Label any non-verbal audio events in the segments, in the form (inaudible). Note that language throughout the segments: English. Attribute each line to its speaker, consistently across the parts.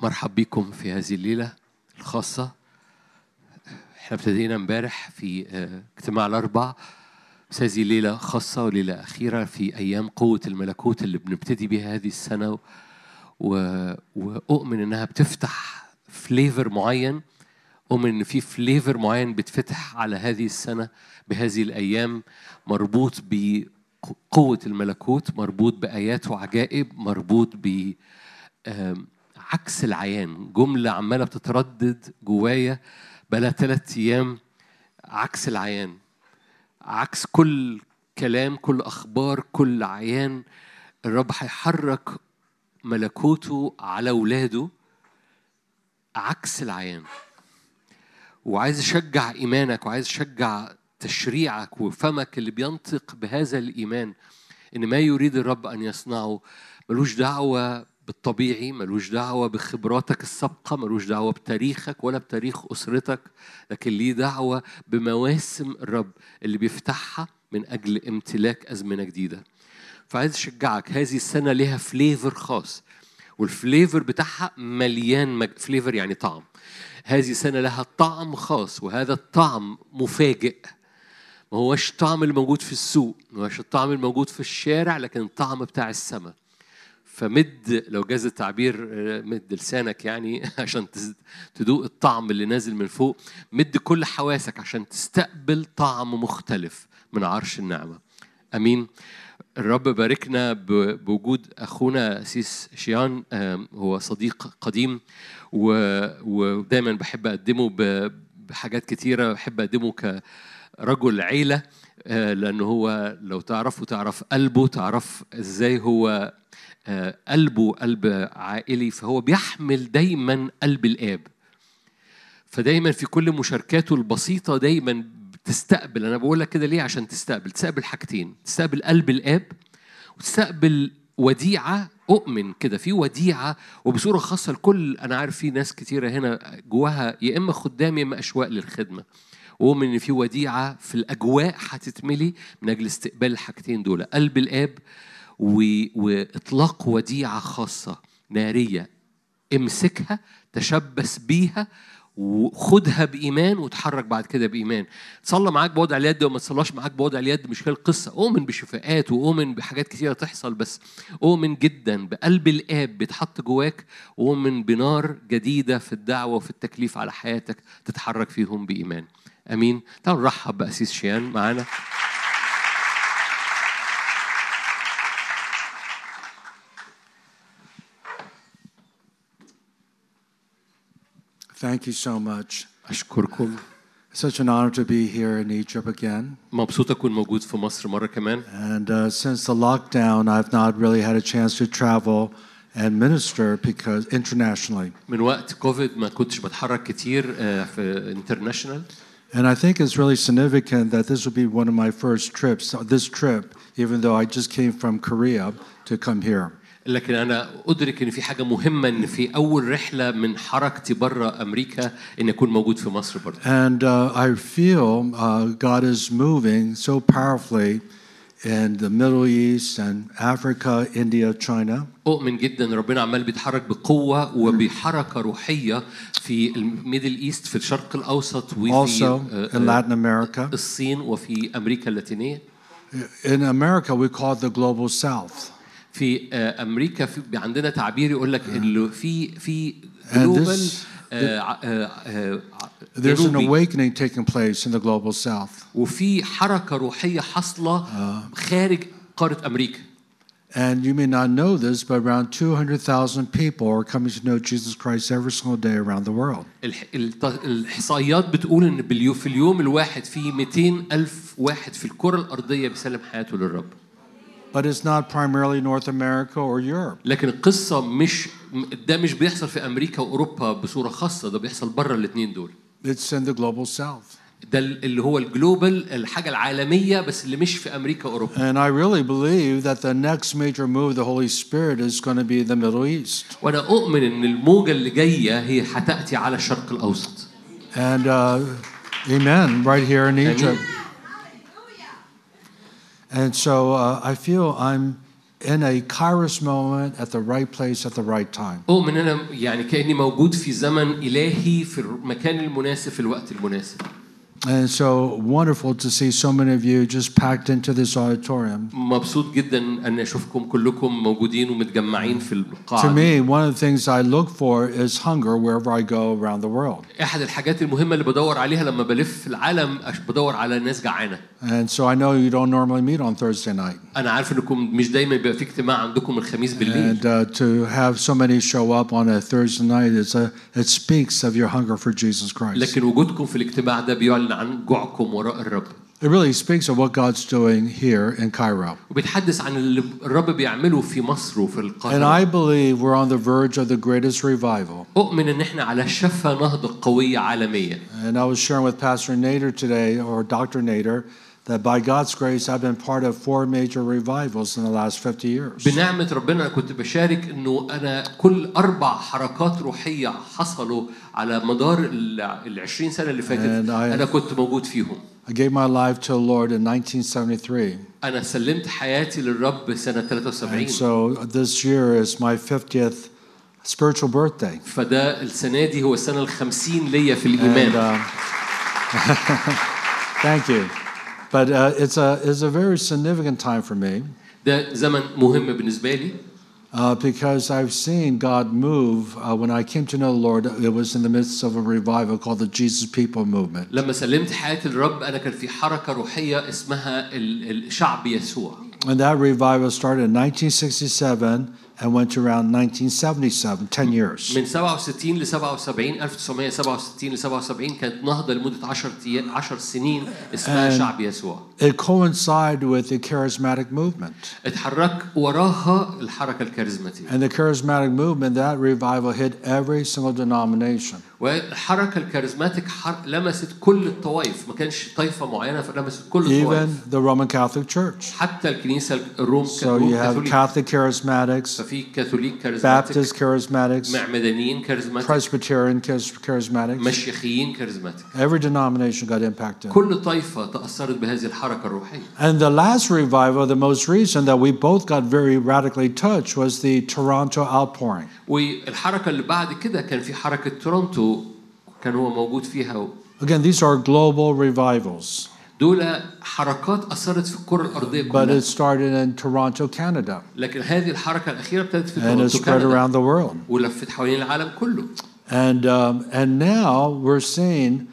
Speaker 1: مرحب بكم في هذه الليلة الخاصة احنا ابتدينا امبارح في آه، اجتماع الأربع بس هذه ليلة خاصة وليلة أخيرة في أيام قوة الملكوت اللي بنبتدي بها هذه السنة و... وأؤمن إنها بتفتح فليفر معين أؤمن إن في فليفر معين بتفتح على هذه السنة بهذه الأيام مربوط بقوة الملكوت مربوط بآيات وعجائب مربوط ب آم، عكس العيان جملة عمالة بتتردد جوايا بقالها ثلاث أيام عكس العيان عكس كل كلام كل أخبار كل عيان الرب هيحرك ملكوته على ولاده عكس العيان وعايز اشجع ايمانك وعايز اشجع تشريعك وفمك اللي بينطق بهذا الايمان ان ما يريد الرب ان يصنعه ملوش دعوه بالطبيعي ملوش دعوه بخبراتك السابقه ملوش دعوه بتاريخك ولا بتاريخ اسرتك لكن ليه دعوه بمواسم الرب اللي بيفتحها من اجل امتلاك ازمنه جديده فعايز اشجعك هذه السنه ليها فليفر خاص والفليفر بتاعها مليان مج... فليفر يعني طعم هذه سنة لها طعم خاص وهذا الطعم مفاجئ ما هوش الطعم اللي موجود في السوق ما هوش الطعم اللي موجود في الشارع لكن الطعم بتاع السماء فمد لو جاز التعبير آه، مد لسانك يعني (laughs) عشان تز- تدوق الطعم اللي نازل من فوق مد كل حواسك عشان تستقبل طعم مختلف من عرش النعمة امين الرب باركنا ب- بوجود اخونا سيس شيان آم، هو صديق قديم و- ودايما بحب اقدمه ب- بحاجات كتيره بحب اقدمه كرجل عيله آه، لانه هو لو تعرفه تعرف قلبه تعرف ازاي هو آه، قلبه قلب عائلي فهو بيحمل دايما قلب الاب فدايما في كل مشاركاته البسيطه دايما بتستقبل انا بقول لك كده ليه عشان تستقبل تستقبل حاجتين تستقبل قلب الاب وتستقبل وديعه اؤمن كده في وديعه وبصوره خاصه لكل انا عارف في ناس كتيره هنا جواها يا اما خدام يا اما اشواق للخدمه واؤمن ان في وديعه في الاجواء هتتملي من اجل استقبال الحاجتين دول قلب الاب و... واطلاق وديعه خاصه ناريه امسكها تشبث بيها وخدها بايمان وتحرك بعد كده بايمان تصلى معاك بوضع اليد وما تصلاش معاك بوضع اليد مش هي القصه اؤمن بشفاءات واؤمن بحاجات كتيره تحصل بس اؤمن جدا بقلب الاب بيتحط جواك واؤمن بنار جديده في الدعوه وفي التكليف على حياتك تتحرك فيهم بايمان امين تعالوا نرحب باسيس شيان معانا
Speaker 2: Thank you so much.
Speaker 1: اشكركم
Speaker 2: Such an honor to be here in Egypt again.
Speaker 1: مبسوط اكون موجود في مصر مره كمان
Speaker 2: And uh, since the lockdown, I've not really had a chance to travel and minister because internationally.
Speaker 1: من وقت كوفيد ما كنتش بتحرك كتير آه، في انترناشونال
Speaker 2: And I think it's really significant that this will be one of my first trips, uh, this trip, even though I just came from Korea to come here.
Speaker 1: لكن انا ادرك ان في حاجه مهمه ان في اول رحله من حركتي بره امريكا ان اكون موجود في مصر برضه
Speaker 2: And uh, I feel uh, God is moving so powerfully in the Middle East and Africa, India, China.
Speaker 1: اؤمن جدا ربنا عمال بيتحرك بقوه وبحركه روحيه في الميدل ايست في الشرق الاوسط وفي
Speaker 2: also
Speaker 1: آه،
Speaker 2: in
Speaker 1: آه،
Speaker 2: Latin America.
Speaker 1: الصين وفي امريكا اللاتينيه
Speaker 2: In America, we call it the global south.
Speaker 1: في آه، امريكا في عندنا تعبير يقول لك اللي في في آه،
Speaker 2: And
Speaker 1: جلوبال
Speaker 2: this-
Speaker 1: آه،
Speaker 2: There's an awakening taking place in the global south.
Speaker 1: وفي حركه روحيه حاصله
Speaker 2: آه.
Speaker 1: خارج قاره امريكا
Speaker 2: And you may not know this, but around 200,000 people are coming to know Jesus Christ every single day around the world.
Speaker 1: الح- الت- الاحصائيات بتقول ان باليو- في اليوم الواحد في 200 الف واحد في الكره الارضيه بيسلم حياته للرب
Speaker 2: But it's not primarily North America or Europe.
Speaker 1: لكن القصه مش م- ده مش بيحصل في امريكا واوروبا بصوره خاصه ده بيحصل بره الاثنين دول
Speaker 2: It's in the global south.
Speaker 1: ده ال- اللي هو الجلوبال الحاجه العالميه بس اللي مش في امريكا واوروبا
Speaker 2: And I really believe that the next major move of the Holy Spirit is going to be the Middle East.
Speaker 1: وانا اؤمن ان الموجه اللي جايه هي هتاتي على الشرق الاوسط
Speaker 2: And uh, amen, right here in Egypt.
Speaker 1: امين
Speaker 2: And so uh, I feel I'm in a kairos moment at the right place at the right time.
Speaker 1: أؤمن أنا يعني كأني موجود في زمن إلهي في المكان المناسب في الوقت المناسب
Speaker 2: And so wonderful to see so many of you just packed into this auditorium.
Speaker 1: مبسوط جدا أن أشوفكم كلكم موجودين ومتجمعين في
Speaker 2: To
Speaker 1: القاعة دي.
Speaker 2: me, one of the things I look for is hunger wherever I go around the world.
Speaker 1: أحد الحاجات المهمة اللي بدور عليها لما بلف العالم أش- بدور على ناس جعانة
Speaker 2: And so I know you don't normally meet on Thursday night.
Speaker 1: أنا عارف إنكم مش دايما بيبقى في اجتماع عندكم الخميس بالليل
Speaker 2: And uh, to have so many show up on a Thursday night, it's a, it speaks of your hunger for Jesus Christ.
Speaker 1: لكن وجودكم في الاجتماع ده بيعلن عن جوعكم وراء الرب
Speaker 2: It really speaks of what God's doing here in Cairo.
Speaker 1: وبيتحدث عن اللي الرب بيعمله في مصر وفي
Speaker 2: And
Speaker 1: القاهرة
Speaker 2: I believe we're on the verge of the greatest revival.
Speaker 1: أؤمن إن إحنا على شفا نهضة قوية عالمية
Speaker 2: And I was sharing with Pastor Nader today, or Dr. Nader, that by God's grace, I've been part of four major revivals in the last 50 years.
Speaker 1: بنعمة ربنا أنا كنت بشارك إنه أنا كل أربع حركات روحية حصلوا على مدار ال 20 سنة اللي فاتت
Speaker 2: And I-
Speaker 1: أنا كنت موجود فيهم
Speaker 2: I gave my life to the Lord in 1973.
Speaker 1: أنا سلمت حياتي للرب سنة 73
Speaker 2: And so this year is my 50th spiritual birthday.
Speaker 1: فده السنة دي هو السنة الخمسين ليا في
Speaker 2: And,
Speaker 1: الإيمان
Speaker 2: um, (laughs) thank you. But uh, it's, a, it's a very significant time for me
Speaker 1: ده زمن مهم بالنسبة لي
Speaker 2: uh, because I've seen God move. Uh, when I came to know the Lord, it was in the midst of a revival called the Jesus People Movement.
Speaker 1: لما سلمت حياتي للرب أنا كان في حركة روحية اسمها ال- الشعب يسوع
Speaker 2: And that revival started in 1967 and went to around 1977, 10 years.
Speaker 1: من 67 ل 77 1967 ل 77 كانت نهضة لمدة 10 أيام- 10 سنين اسمها
Speaker 2: And-
Speaker 1: شعب يسوع
Speaker 2: It coincided with the charismatic movement.
Speaker 1: اتحرك وراها الحركة الكاريزماتية
Speaker 2: And the charismatic movement, that revival hit every single denomination.
Speaker 1: والحركة الكاريزماتيك حر- لمست كل الطوائف ما كانش طائفة معينة فلمست كل الطوائف
Speaker 2: even the Roman Catholic Church.
Speaker 1: حتى الكنيسة الروم
Speaker 2: So
Speaker 1: الروم
Speaker 2: you have
Speaker 1: كاثوليك
Speaker 2: Catholic charismatics,
Speaker 1: ففي كاثوليك كاريزماتيك
Speaker 2: Baptist charismatics,
Speaker 1: معمدانيين كاريزماتيك
Speaker 2: Presbyterian chas- charismatics.
Speaker 1: مشيخيين كاريزماتيك
Speaker 2: Every denomination got impacted.
Speaker 1: كل طائفة تأثرت بهذه الحركة الروحية
Speaker 2: And the last revival, the most recent that we both got very radically touched, was the Toronto outpouring.
Speaker 1: والحركة اللي بعد كده كان في حركة تورونتو كان هو موجود فيها
Speaker 2: Again, these are global revivals,
Speaker 1: دول حركات أثرت في الكرة الأرضية
Speaker 2: but
Speaker 1: كلها
Speaker 2: it started in Toronto, Canada,
Speaker 1: لكن هذه الحركة الأخيرة ابتدت في
Speaker 2: and it
Speaker 1: تورونتو
Speaker 2: spread
Speaker 1: كندا
Speaker 2: around the world.
Speaker 1: ولفت حوالين العالم كله
Speaker 2: And um, and now we're seeing,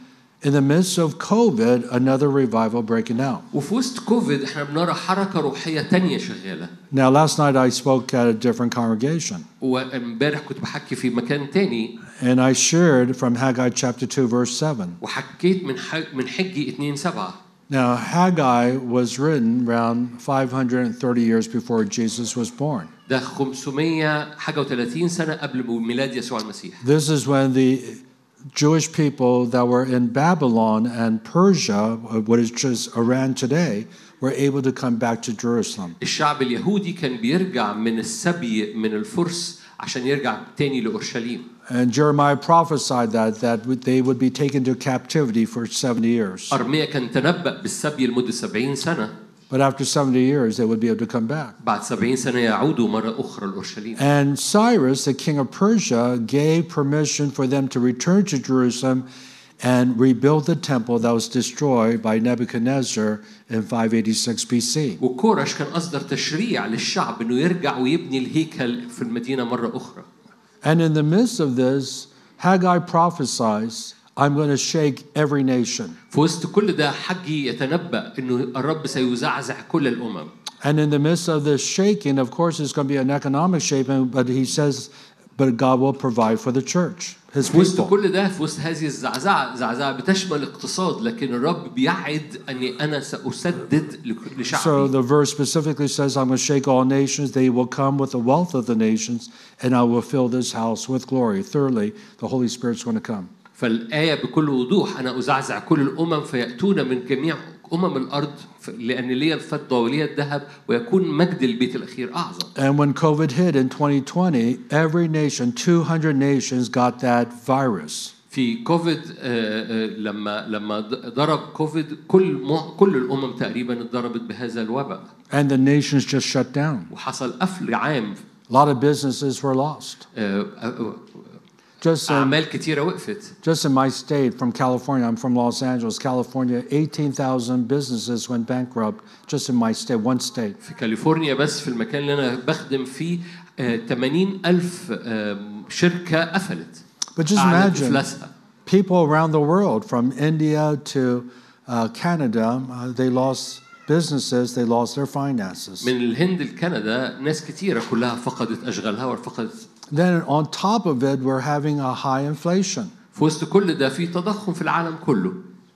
Speaker 2: in the midst of COVID, another revival breaking out.
Speaker 1: وفي وسط كوفيد احنا بنرى حركة روحية تانية شغالة
Speaker 2: Now, last night I spoke at a different congregation,
Speaker 1: وامبارح كنت بحكي في مكان تاني
Speaker 2: and I shared from Haggai chapter 2, verse 7.
Speaker 1: وحكيت من حج من حجي 2 7
Speaker 2: Now, Haggai was written around 530 years before Jesus was born.
Speaker 1: ده 500 حاجة و30 سنة قبل ميلاد يسوع المسيح
Speaker 2: This is when the Jewish people that were in Babylon and Persia, what is just Iran today, were able to come back to Jerusalem.
Speaker 1: الشعب اليهودي كان بيرجع من السبي من الفرس عشان يرجع تاني لأورشليم
Speaker 2: And Jeremiah prophesied that, that they would be taken to captivity for 70 years.
Speaker 1: أرميا كان تنبأ بالسبي لمدة 70 سنة
Speaker 2: But after 70 years, they would be able to come back.
Speaker 1: بعد 70 سنة يعودوا مرة أخرى لأورشليم
Speaker 2: And Cyrus, the king of Persia, gave permission for them to return to Jerusalem and rebuild the temple that was destroyed by Nebuchadnezzar in 586 BC.
Speaker 1: وكورش كان أصدر تشريع للشعب إنه يرجع ويبني الهيكل في المدينة مرة أخرى
Speaker 2: And in the midst of this, Haggai prophesies, I'm going to shake every nation.
Speaker 1: في وسط كل ده حجي يتنبأ إنه الرب سيزعزع كل الأمم
Speaker 2: And in the midst of this shaking, of course, it's going to be an economic shaking, but he says, but God will provide for the church, his
Speaker 1: في وسط
Speaker 2: people.
Speaker 1: كل ده في وسط هذه الزعزعة زعزعة بتشمل اقتصاد لكن الرب بيعد أني أنا سأسدد لك- لشعبي
Speaker 2: So the verse specifically says, I'm going to shake all nations. They will come with the wealth of the nations, and I will fill this house with glory. Thirdly, the Holy Spirit's going to come.
Speaker 1: فالآية بكل وضوح أنا أزعزع كل الأمم فيأتون من جميع أمم الأرض ف- لأن لي الفضة ولي الذهب ويكون مجد البيت الأخير أعظم
Speaker 2: And when COVID hit in 2020, every nation, 200 nations, got that virus.
Speaker 1: في كوفيد آه، آه، لما لما ضرب كوفيد كل م- كل الامم تقريبا اتضربت بهذا الوباء
Speaker 2: and the nations just shut down.
Speaker 1: وحصل قفل عام
Speaker 2: A lot of businesses were lost.
Speaker 1: آه، آه،
Speaker 2: Just in,
Speaker 1: اعمال كتيره وقفت
Speaker 2: just in my state from California, I'm from Los Angeles, California, 18,000 businesses went bankrupt just in my state, one state.
Speaker 1: في كاليفورنيا بس في المكان اللي انا بخدم فيه آه، 80 الف آه، شركه قفلت
Speaker 2: But just
Speaker 1: أعلنت
Speaker 2: imagine
Speaker 1: افلاسها
Speaker 2: people around the world, from India to uh, Canada, uh, they lost businesses, they lost their finances.
Speaker 1: من الهند لكندا ناس كتيره كلها فقدت اشغالها وفقدت
Speaker 2: Then on top of it, we're having a high inflation.
Speaker 1: في وسط كل ده في تضخم في العالم كله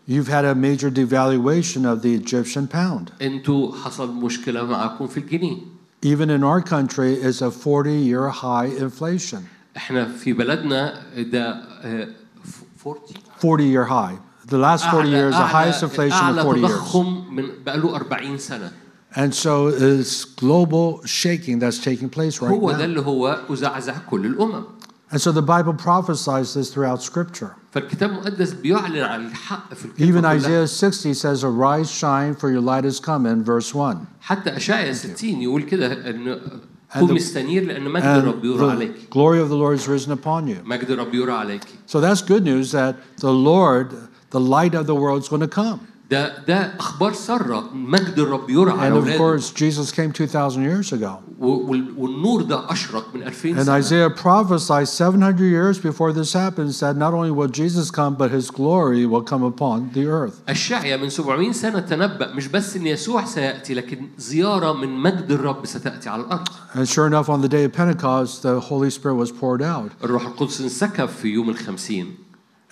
Speaker 2: You've had a major devaluation of the Egyptian pound.
Speaker 1: انتوا حصل مشكله معاكم في الجنيه
Speaker 2: Even in our country, it's a 40 year high inflation,
Speaker 1: احنا في بلدنا ده آه، ف- 40
Speaker 2: 40 year high. The
Speaker 1: Ah,
Speaker 2: last 40 years, the highest inflation in
Speaker 1: أعلى
Speaker 2: 40 years.
Speaker 1: تضخم من بقاله 40 سنه
Speaker 2: And so it's global shaking that's taking place right
Speaker 1: هو ده
Speaker 2: now.
Speaker 1: اللي هو أزعزع كل الأمم
Speaker 2: And so the Bible prophesies this throughout Scripture.
Speaker 1: فالكتاب المقدس بيعلن عن الحق في الكلمة
Speaker 2: Even
Speaker 1: كلها.
Speaker 2: Isaiah 60 says, Arise, shine, for your light is come, in verse 1.
Speaker 1: حتى أشعيا 60 يقول كده أن
Speaker 2: the-
Speaker 1: قوم استنير لأن مجد
Speaker 2: And
Speaker 1: الرب يرى
Speaker 2: the
Speaker 1: عليك
Speaker 2: glory of the Lord is risen upon you.
Speaker 1: مجد الرب يرى عليك
Speaker 2: So that's good news that the Lord, the light of the world, is going to come.
Speaker 1: ده ده أخبار سارة مجد الرب يرى على
Speaker 2: And of
Speaker 1: أولاده
Speaker 2: course, Jesus came 2,000 years ago.
Speaker 1: و- وال- والنور ده أشرق من 2000
Speaker 2: And
Speaker 1: سنة
Speaker 2: Isaiah prophesied 700 years before this happens that not only will Jesus come, but his glory will come upon the earth.
Speaker 1: أشعيا من 700 سنة تنبأ مش بس إن يسوع سيأتي لكن زيارة من مجد الرب ستأتي على الأرض
Speaker 2: And sure enough, on the day of Pentecost, the Holy Spirit was poured out,
Speaker 1: الروح القدس انسكب في يوم الخمسين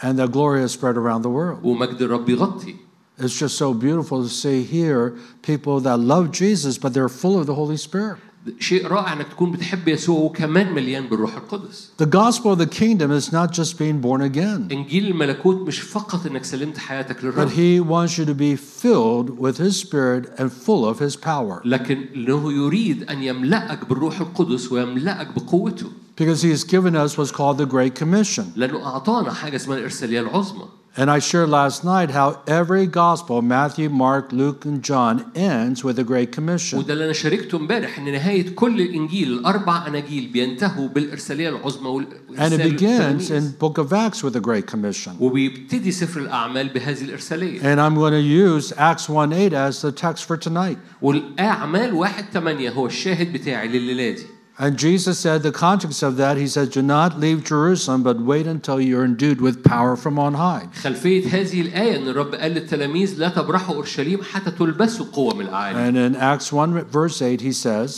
Speaker 2: and the glory is spread around the world.
Speaker 1: ومجد الرب يغطي
Speaker 2: It's just so beautiful to see here people that love Jesus, but they're full of the Holy Spirit.
Speaker 1: شيء رائع انك تكون بتحب يسوع وكمان مليان بالروح القدس
Speaker 2: The gospel of the kingdom is not just being born again,
Speaker 1: انجيل الملكوت مش فقط انك سلمت حياتك
Speaker 2: but
Speaker 1: للرب
Speaker 2: he wants you to be filled with his spirit and full of his power.
Speaker 1: لكن انه يريد ان يملاك بالروح القدس ويملاك بقوته
Speaker 2: Because he has given us what's called the Great Commission.
Speaker 1: لانه اعطانا حاجه اسمها الارساليه العظمى
Speaker 2: And I shared last night how every gospel, Matthew, Mark, Luke, and John, ends with the Great Commission.
Speaker 1: وده اللي انا شاركته امبارح ان نهايه كل الانجيل الاربع اناجيل بينتهوا بالارساليه العظمى
Speaker 2: And it
Speaker 1: والإرسال
Speaker 2: begins in
Speaker 1: للتلاميذ.
Speaker 2: Book of Acts with the Great Commission.
Speaker 1: وبيبتدي سفر الاعمال بهذه الارساليه
Speaker 2: And I'm going to use Acts 1 8 as the text for tonight.
Speaker 1: والاعمال واحد ثمانية هو الشاهد بتاعي لليله دي
Speaker 2: And Jesus said, the context of that, he said, Do not leave Jerusalem, but wait until you're endued with power from on high.
Speaker 1: خلفية هذه الآية أن الرب قال للتلاميذ لا تبرحوا أورشليم حتى تلبسوا قوة من العالي
Speaker 2: And in Acts 1 verse 8, he says,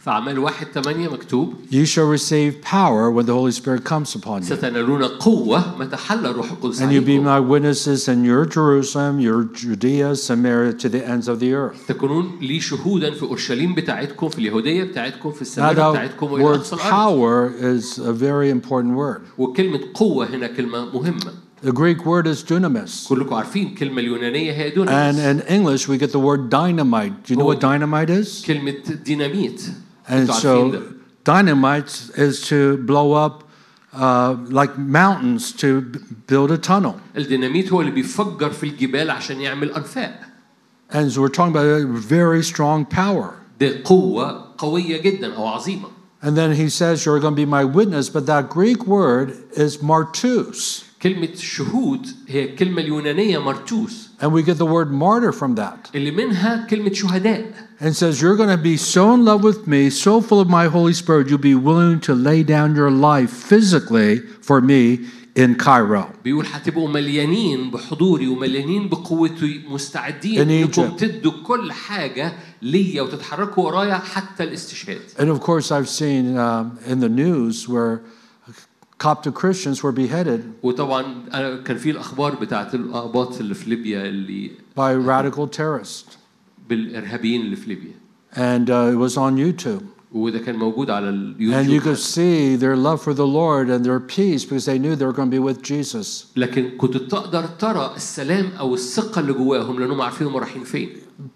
Speaker 1: في أعمال واحد ثمانية مكتوب
Speaker 2: You shall receive power when the Holy Spirit comes upon you.
Speaker 1: ستنالون قوة متى حل الروح القدس
Speaker 2: And you be
Speaker 1: عليكم
Speaker 2: my witnesses in your Jerusalem, your Judea, Samaria, to the ends of the earth.
Speaker 1: تكونون لي شهودا في أورشليم بتاعتكم في اليهودية بتاعتكم في
Speaker 2: Now,
Speaker 1: السامرة
Speaker 2: the
Speaker 1: بتاعتكم وإلى
Speaker 2: word
Speaker 1: أقصى الأرض
Speaker 2: power is a very important word.
Speaker 1: وكلمة قوة هنا كلمة مهمة
Speaker 2: The Greek word is dunamis.
Speaker 1: كلكم عارفين الكلمة اليونانية هي
Speaker 2: And
Speaker 1: دوناميس
Speaker 2: in English, we get the word dynamite. Do you know what dynamite is?
Speaker 1: كلمة ديناميت
Speaker 2: And
Speaker 1: انتوا عارفين ده
Speaker 2: so, dynamite is to blow up uh, like mountains to b- build a tunnel.
Speaker 1: الديناميت هو اللي بيفجر في الجبال عشان يعمل أنفاق
Speaker 2: And so, we're talking about a very strong power.
Speaker 1: ده قوة قوية جدا أو عظيمة
Speaker 2: And then he says, You're going to be my witness, but that Greek word is martus.
Speaker 1: كلمة شهود هي الكلمة اليونانية مرتوس
Speaker 2: And we get the word martyr from that.
Speaker 1: اللي منها كلمة شهداء
Speaker 2: And says, You're going to be so in love with me, so full of my Holy Spirit, you'll be willing to lay down your life physically for me in Cairo.
Speaker 1: بيقول هتبقوا مليانين بحضوري ومليانين بقوتي مستعدين
Speaker 2: In
Speaker 1: انكم
Speaker 2: Egypt.
Speaker 1: تدوا كل حاجة ليا وتتحركوا ورايا حتى الاستشهاد
Speaker 2: And of course, I've seen um, in the news where Coptic Christians were beheaded
Speaker 1: وطبعا أنا كان في الأخبار بتاعت الأقباط اللي في ليبيا اللي
Speaker 2: by radical terrorists.
Speaker 1: بالإرهابيين اللي في ليبيا
Speaker 2: And uh, it was on YouTube.
Speaker 1: وده كان موجود على
Speaker 2: And you
Speaker 1: اليوتيوب
Speaker 2: could see their love for the Lord and their peace because they knew they were going to be with Jesus.
Speaker 1: لكن كنت تقدر ترى السلام او الثقه اللي جواهم لانهم عارفين هم رايحين فين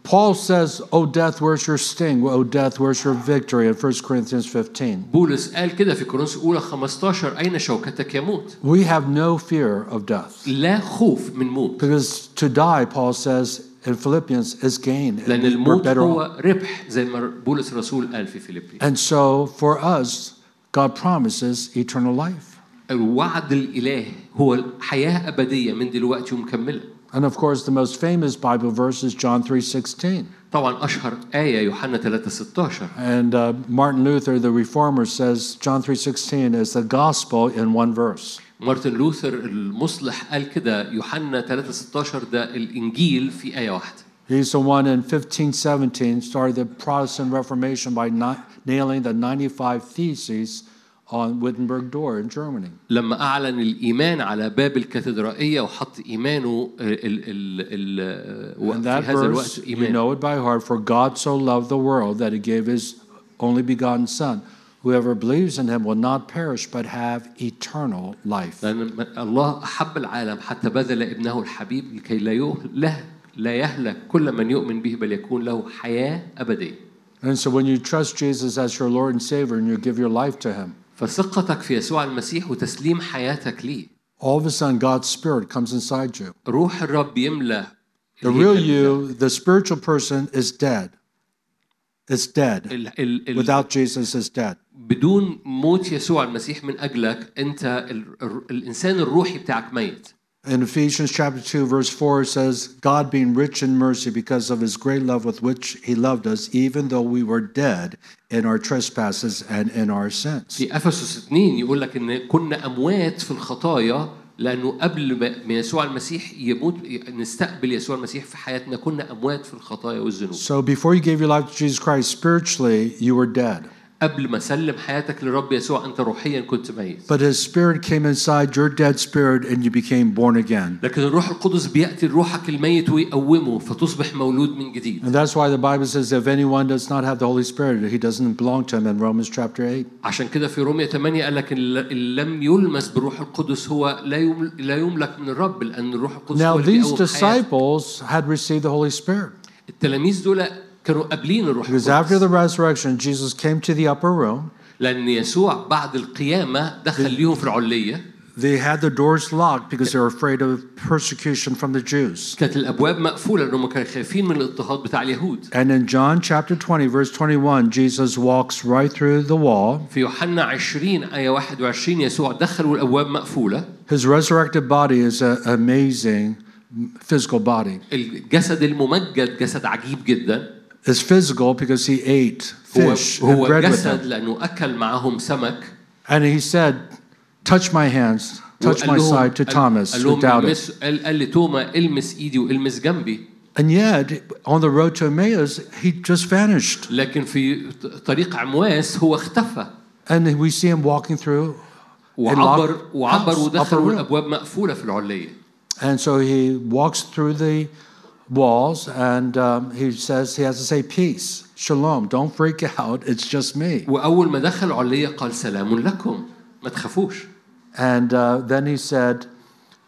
Speaker 2: Paul says, O death, where's your sting? O death, where's your victory? In 1 Corinthians 15.
Speaker 1: بولس قال كده في كورنثوس الاولى 15 اين شوكتك يا موت
Speaker 2: We have no fear of death
Speaker 1: لا خوف من موت
Speaker 2: because to die, Paul says in Philippians, is gain. and
Speaker 1: لان
Speaker 2: we're
Speaker 1: الموت
Speaker 2: better off.
Speaker 1: هو ربح زي ما بولس الرسول قال في فيليبي
Speaker 2: And so for us, God promises eternal life.
Speaker 1: الوعد الإله هو حياة أبدية من دلوقتي ومكملة
Speaker 2: And of course, the most famous Bible verse is John 3:16.
Speaker 1: طبعا أشهر آية يوحنا 3 16
Speaker 2: And uh, Martin Luther, the reformer, says John 3:16 is the gospel in one verse.
Speaker 1: مارتن لوثر المصلح قال كده يوحنا 3 16 ده الإنجيل في آية واحدة
Speaker 2: He's the one in 1517 started the Protestant Reformation by ni- nailing the 95 theses on Wittenberg door in Germany.
Speaker 1: لما أعلن الإيمان على باب الكاتدرائية وحط إيمانه آه، ال ال ال في
Speaker 2: And that
Speaker 1: هذا
Speaker 2: verse,
Speaker 1: الوقت
Speaker 2: you
Speaker 1: إيمان
Speaker 2: know it by heart, for God so loved the world that he gave his only begotten son. Whoever believes in him will not perish but have eternal life.
Speaker 1: لأن الله أحب العالم حتى بذل ابنه الحبيب لكي لا يهلك لا يهلك كل من يؤمن به بل يكون له حياة أبدية
Speaker 2: And so when you trust Jesus as your Lord and Savior and you give your life to him,
Speaker 1: فثقتك في يسوع المسيح وتسليم حياتك ليه
Speaker 2: all of a sudden God's Spirit comes inside you.
Speaker 1: روح الرب يملى
Speaker 2: The real
Speaker 1: الهيكل
Speaker 2: you, the spiritual person, is dead. It's dead.
Speaker 1: ال- ال- ال-
Speaker 2: Without Jesus, is dead.
Speaker 1: بدون موت يسوع المسيح من اجلك انت ال- ال- الانسان الروحي بتاعك ميت
Speaker 2: In Ephesians chapter 2, verse 4 it says, God being rich in mercy because of his great love with which he loved us, even though we were dead in our trespasses and in our sins.
Speaker 1: في افسس 2 يقول لك ان كنا اموات في الخطايا لانه قبل ما- ما يسوع المسيح يموت نستقبل يسوع المسيح في حياتنا كنا اموات في الخطايا والذنوب
Speaker 2: So before you gave your life to Jesus Christ, spiritually, you were dead.
Speaker 1: قبل ما سلم حياتك للرب يسوع انت روحيا كنت ميت
Speaker 2: But his spirit came inside your dead spirit and you became born again.
Speaker 1: لكن الروح القدس بياتي روحك الميت ويقومه فتصبح مولود من جديد
Speaker 2: And that's why the Bible says if anyone does not have the Holy Spirit, he doesn't belong to him in Romans chapter 8.
Speaker 1: عشان كده في رومية 8 قال لك الل- اللي لم يلمس بالروح القدس هو لا يمل- لا يملك من الرب لان الروح القدس
Speaker 2: Now,
Speaker 1: هو اللي
Speaker 2: these
Speaker 1: بيقوم حياتك.
Speaker 2: disciples had received the Holy Spirit
Speaker 1: التلاميذ دول كانوا قابلين الروح
Speaker 2: because after
Speaker 1: القدس
Speaker 2: the resurrection, Jesus came to the upper room.
Speaker 1: لان يسوع بعد القيامه
Speaker 2: Mm.
Speaker 1: دخل ليهم في العليه
Speaker 2: They had the doors locked because they were afraid of persecution from the Jews.
Speaker 1: كانت الابواب مقفوله لانهم كانوا خايفين من الاضطهاد بتاع اليهود
Speaker 2: And in John chapter 20, verse 21, Jesus walks right through the wall.
Speaker 1: في يوحنا 20 ايه 21 يسوع دخل والابواب مقفوله
Speaker 2: His resurrected body is an amazing physical body.
Speaker 1: الجسد الممجد جسد عجيب جدا
Speaker 2: It's physical because he ate
Speaker 1: هو
Speaker 2: fish and
Speaker 1: هو
Speaker 2: bread with them.
Speaker 1: جسد لانه اكل معاهم سمك
Speaker 2: And he said, Touch my hands, touch
Speaker 1: وقال
Speaker 2: my
Speaker 1: لهم-
Speaker 2: side to
Speaker 1: قال-
Speaker 2: Thomas,
Speaker 1: قال
Speaker 2: who
Speaker 1: لهم
Speaker 2: doubted.
Speaker 1: المس قال, قال لتوما المس ايدي والمس جنبي
Speaker 2: And yet, on the road to Emmaus, he just vanished.
Speaker 1: لكن في ط- طريق عمواس هو اختفى
Speaker 2: And we see him walking through. a
Speaker 1: وعبر
Speaker 2: locked
Speaker 1: وعبر
Speaker 2: house, upper
Speaker 1: ودخل
Speaker 2: room.
Speaker 1: والابواب مقفوله في العليه
Speaker 2: And so he walks through the walls and um, he says, he has to say, Peace, shalom, don't freak (laughs) out, it's just me.
Speaker 1: واول ما دخل العليه قال سلام لكم ما تخافوش
Speaker 2: And uh, then he said,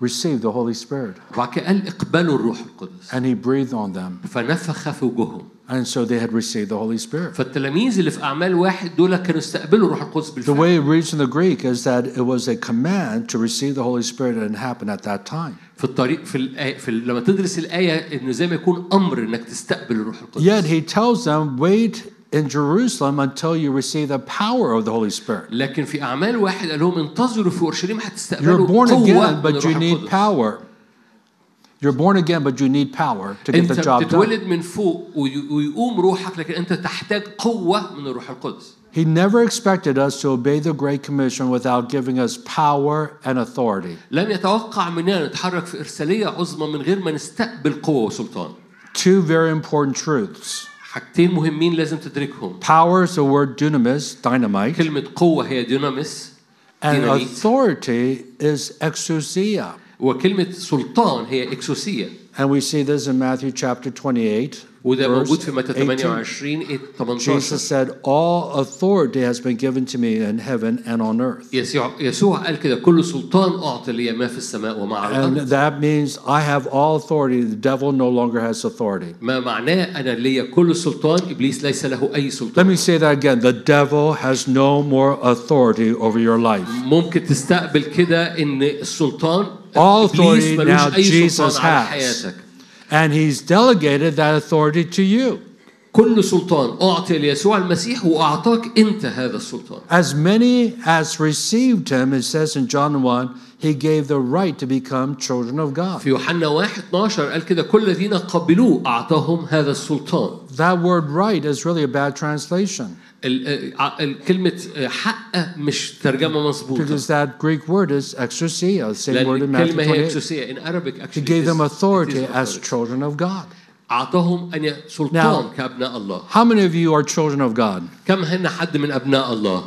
Speaker 2: Receive the Holy Spirit.
Speaker 1: وبعد كده قال اقبلوا الروح القدس
Speaker 2: And he breathed on them.
Speaker 1: فنفخ في وجوههم
Speaker 2: And so they had received the Holy Spirit.
Speaker 1: فالتلاميذ اللي في اعمال واحد دول كانوا استقبلوا الروح القدس
Speaker 2: The
Speaker 1: بالفعل
Speaker 2: way it reads in the Greek is that it was a command to receive the Holy Spirit and it happened at that time.
Speaker 1: في الطريق في, الآية في ال- لما تدرس الايه انه زي ما يكون امر انك تستقبل الروح القدس
Speaker 2: Yet he tells them, wait in Jerusalem until you receive the power of the Holy Spirit.
Speaker 1: لكن في اعمال واحد قال لهم انتظروا في اورشليم هتستقبلوا
Speaker 2: You're born
Speaker 1: قوه
Speaker 2: again,
Speaker 1: من
Speaker 2: but you
Speaker 1: الروح
Speaker 2: need
Speaker 1: القدس
Speaker 2: power. You're born again, but you need power to get
Speaker 1: انت
Speaker 2: the job done.
Speaker 1: بتتولد من فوق وي- ويقوم روحك لكن انت تحتاج قوه من الروح القدس
Speaker 2: He never expected us to obey the Great Commission without giving us power and authority.
Speaker 1: لن يتوقع مننا نتحرك في ارساليه عظمى من غير ما نستقبل قوه وسلطان
Speaker 2: Two very important truths.
Speaker 1: حاجتين مهمين لازم تدركهم
Speaker 2: Power is the word dunamis, dynamite.
Speaker 1: كلمه قوه هي ديناميس
Speaker 2: And
Speaker 1: ديناميت
Speaker 2: authority is exousia.
Speaker 1: وكلمه سلطان هي اكسوسيه
Speaker 2: And we see this in Matthew chapter 28,
Speaker 1: وده
Speaker 2: Verse
Speaker 1: موجود في متى
Speaker 2: 18.
Speaker 1: 28 إيه، 18
Speaker 2: Jesus said, All authority has been given to me in heaven and on earth.
Speaker 1: يسوع يسوع قال كده كل سلطان أعطي لي ما في السماء وما على
Speaker 2: And
Speaker 1: الأرض
Speaker 2: that means I have all authority. The devil no longer has authority.
Speaker 1: ما معناه أنا ليا كل سلطان إبليس ليس له أي
Speaker 2: Let
Speaker 1: سلطان
Speaker 2: me say that again. The devil has no more authority over your life.
Speaker 1: ممكن تستقبل كده إن السلطان
Speaker 2: All
Speaker 1: إبليس
Speaker 2: authority now
Speaker 1: ملوش أي
Speaker 2: Jesus
Speaker 1: سلطان على
Speaker 2: has.
Speaker 1: حياتك
Speaker 2: And he's delegated that authority to you.
Speaker 1: كل سلطان أعطي ليسوع المسيح وأعطاك أنت هذا السلطان
Speaker 2: As many as received him, it says in John 1, he gave the right to become children of God.
Speaker 1: في يوحنا 1 12 قال كده كل الذين قبلوه أعطاهم هذا السلطان
Speaker 2: That word right is really a bad translation
Speaker 1: ال- آه، ع- ال- كلمة حق مش ترجمة مظبوطة
Speaker 2: because that Greek word is exousia, same word
Speaker 1: لأن
Speaker 2: in Matthew
Speaker 1: الكلمة هي
Speaker 2: 28.
Speaker 1: اكسوسية in Arabic actually
Speaker 2: He gave
Speaker 1: it
Speaker 2: them
Speaker 1: is- it
Speaker 2: authority
Speaker 1: is
Speaker 2: as
Speaker 1: authority.
Speaker 2: children of God.
Speaker 1: أعطاهم أن ي- سلطان
Speaker 2: Now-
Speaker 1: كأبناء الله
Speaker 2: How many of you are children of God?
Speaker 1: كم هن حد من أبناء الله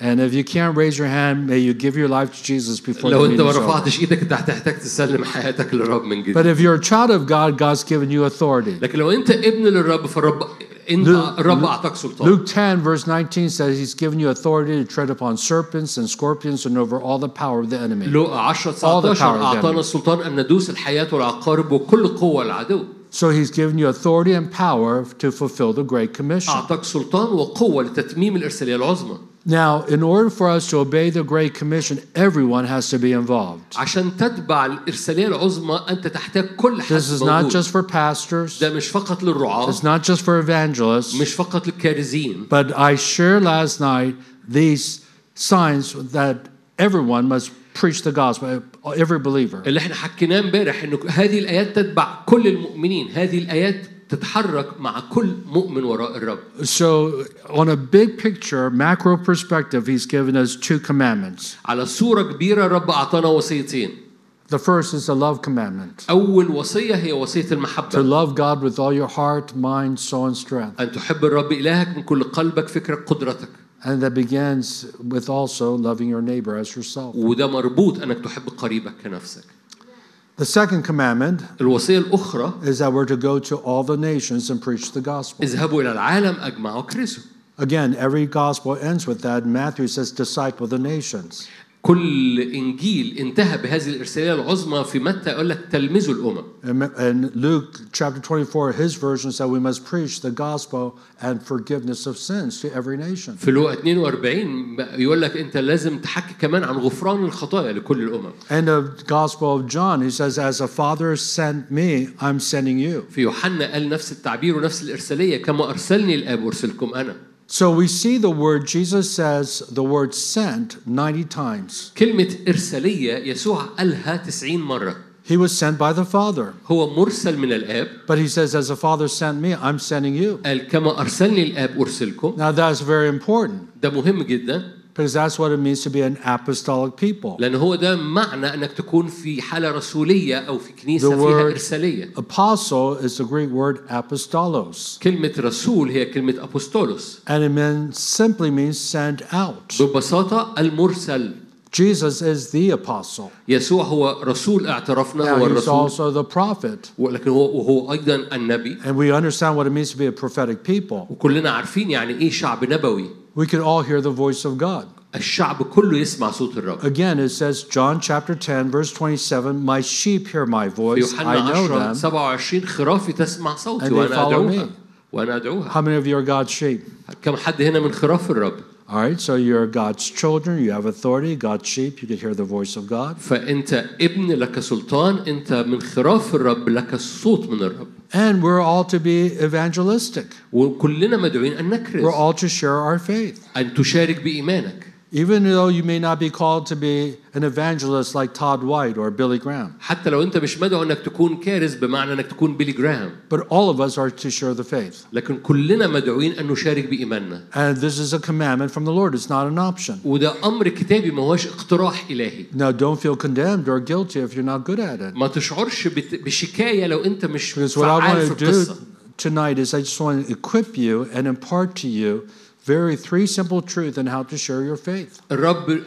Speaker 2: And if you can't raise your hand, may you give your life to Jesus before the
Speaker 1: لو أنت
Speaker 2: meeting
Speaker 1: ما
Speaker 2: is over.
Speaker 1: رفعتش إيدك أنت هتحتاج تسلم حياتك للرب من
Speaker 2: But
Speaker 1: جديد
Speaker 2: if you're a child of God, God's given you authority.
Speaker 1: لكن لو أنت ابن للرب فالرب أنت
Speaker 2: Luke-
Speaker 1: الرب أعطاك سلطان
Speaker 2: Luke 10, verse 19 says, He's given you authority to tread upon serpents and scorpions and over all the power of the enemy.
Speaker 1: لو 10
Speaker 2: All the
Speaker 1: 19
Speaker 2: power of the enemy.
Speaker 1: أعطانا السلطان أن ندوس الحياة والعقارب وكل قوة العدو
Speaker 2: So He's given you authority and power to fulfill the Great Commission.
Speaker 1: أعطاك سلطان وقوة لتتميم الإرسالية العظمى
Speaker 2: Now, in order for us to obey the Great Commission, everyone has to be involved.
Speaker 1: عشان تتبع الإرسالية العظمى أنت تحتاج كل حد
Speaker 2: This is not
Speaker 1: موجود
Speaker 2: just for pastors,
Speaker 1: ده مش فقط للرعاة
Speaker 2: it's not just for evangelists,
Speaker 1: مش فقط للكارزين
Speaker 2: but I shared last night these signs that everyone must preach the gospel, every believer.
Speaker 1: اللي احنا حكيناه امبارح ان هذه الايات تتبع كل المؤمنين هذه الايات تتحرك مع كل مؤمن وراء الرب
Speaker 2: So, on a big picture, macro perspective, he's given us two commandments.
Speaker 1: على صوره كبيره الرب اعطانا وصيتين
Speaker 2: The first is the love commandment
Speaker 1: اول وصيه هي وصيه
Speaker 2: to
Speaker 1: المحبه
Speaker 2: love God with all your heart, mind, soul, and strength.
Speaker 1: ان تحب الرب الهك من كل قلبك فكرك قدرتك
Speaker 2: And that begins with also loving your neighbor as yourself.
Speaker 1: وده مربوط انك تحب قريبك كنفسك
Speaker 2: The second commandment
Speaker 1: الوصيه الاخرى
Speaker 2: is that we're to go to all the nations and preach the gospel.
Speaker 1: اذهبوا الى العالم اجمع وكرسوا
Speaker 2: Again, every gospel ends with that. Matthew says, disciple the nations.
Speaker 1: كل انجيل انتهى بهذه الارساليه العظمى في متى يقول لك تلمذوا الامم
Speaker 2: And and Luke chapter 24, his version said we must preach the gospel and forgiveness of sins to every nation.
Speaker 1: في لوقا 42 يقول لك انت لازم تحكي كمان عن غفران الخطايا لكل الامم
Speaker 2: And the Gospel of John, he says, As the Father sent me, I'm sending you.
Speaker 1: في يوحنا قال نفس التعبير ونفس الارساليه كما ارسلني الاب ارسلكم انا
Speaker 2: So we see the word, Jesus says the word sent 90 times.
Speaker 1: كلمه ارساليه يسوع قالها 90 مره
Speaker 2: He was sent by the Father.
Speaker 1: هو مرسل من الاب
Speaker 2: But he says, As the Father sent me, I'm sending you.
Speaker 1: قال كما ارسلني الاب ارسلكم
Speaker 2: Now that's very important
Speaker 1: ده مهم جدا
Speaker 2: because that's what it means to be an apostolic people.
Speaker 1: لان هو ده معنى انك تكون في حاله رسوليه او في كنيسه
Speaker 2: The
Speaker 1: فيها
Speaker 2: word-
Speaker 1: ارساليه
Speaker 2: Apostle is the Greek word apostolos,
Speaker 1: كلمه رسول هي كلمه ابوستولوس
Speaker 2: and it mean, simply means sent out.
Speaker 1: ببساطه المرسل
Speaker 2: Jesus is the apostle.
Speaker 1: يسوع هو رسول اعترفنا هو
Speaker 2: Now, he's
Speaker 1: الرسول
Speaker 2: also the prophet.
Speaker 1: ولكن هو وهو ايضا النبي
Speaker 2: And we understand what it means to be a prophetic people.
Speaker 1: وكلنا عارفين يعني ايه شعب نبوي
Speaker 2: We could all hear the voice of God.
Speaker 1: الشعب كله يسمع صوت الرب
Speaker 2: Again, it says, John chapter 10, verse 27, My sheep hear my
Speaker 1: في
Speaker 2: voice.
Speaker 1: يوحنا
Speaker 2: I
Speaker 1: 10
Speaker 2: know them.
Speaker 1: 27 خرافي تسمع صوتي
Speaker 2: And they
Speaker 1: وانا
Speaker 2: follow
Speaker 1: ادعوها
Speaker 2: me.
Speaker 1: وانا ادعوها
Speaker 2: How many of you are God's sheep?
Speaker 1: كم حد هنا من خراف الرب
Speaker 2: All right, so you're God's children. You have authority. God's sheep. You could hear the voice of God.
Speaker 1: فانت ابن لك سلطان انت من خراف الرب لك الصوت من الرب
Speaker 2: And we're all to be evangelistic.
Speaker 1: وكلنا مدعوين ان
Speaker 2: We're
Speaker 1: نكرز
Speaker 2: all to share our faith.
Speaker 1: ان تشارك بايمانك
Speaker 2: Even though you may not be called to be an evangelist like Todd White or Billy Graham,
Speaker 1: حتى لو انت مش مدعو انك تكون كارز بمعنى انك تكون بيلي جراهام
Speaker 2: but all of us are to share the faith.
Speaker 1: لكن كلنا مدعوين ان نشارك بايماننا
Speaker 2: And this is a commandment from the Lord, it's not an option.
Speaker 1: وده امر كتابي ما هوش اقتراح الهي
Speaker 2: Now, don't feel condemned or guilty if you're not good at it.
Speaker 1: ما تشعرش بت- بشكايه لو انت مش
Speaker 2: Because what I
Speaker 1: فعال في
Speaker 2: want to do
Speaker 1: القصه
Speaker 2: tonight is I just want to equip you and impart to you Very three simple truths on how to share your faith.
Speaker 1: الرب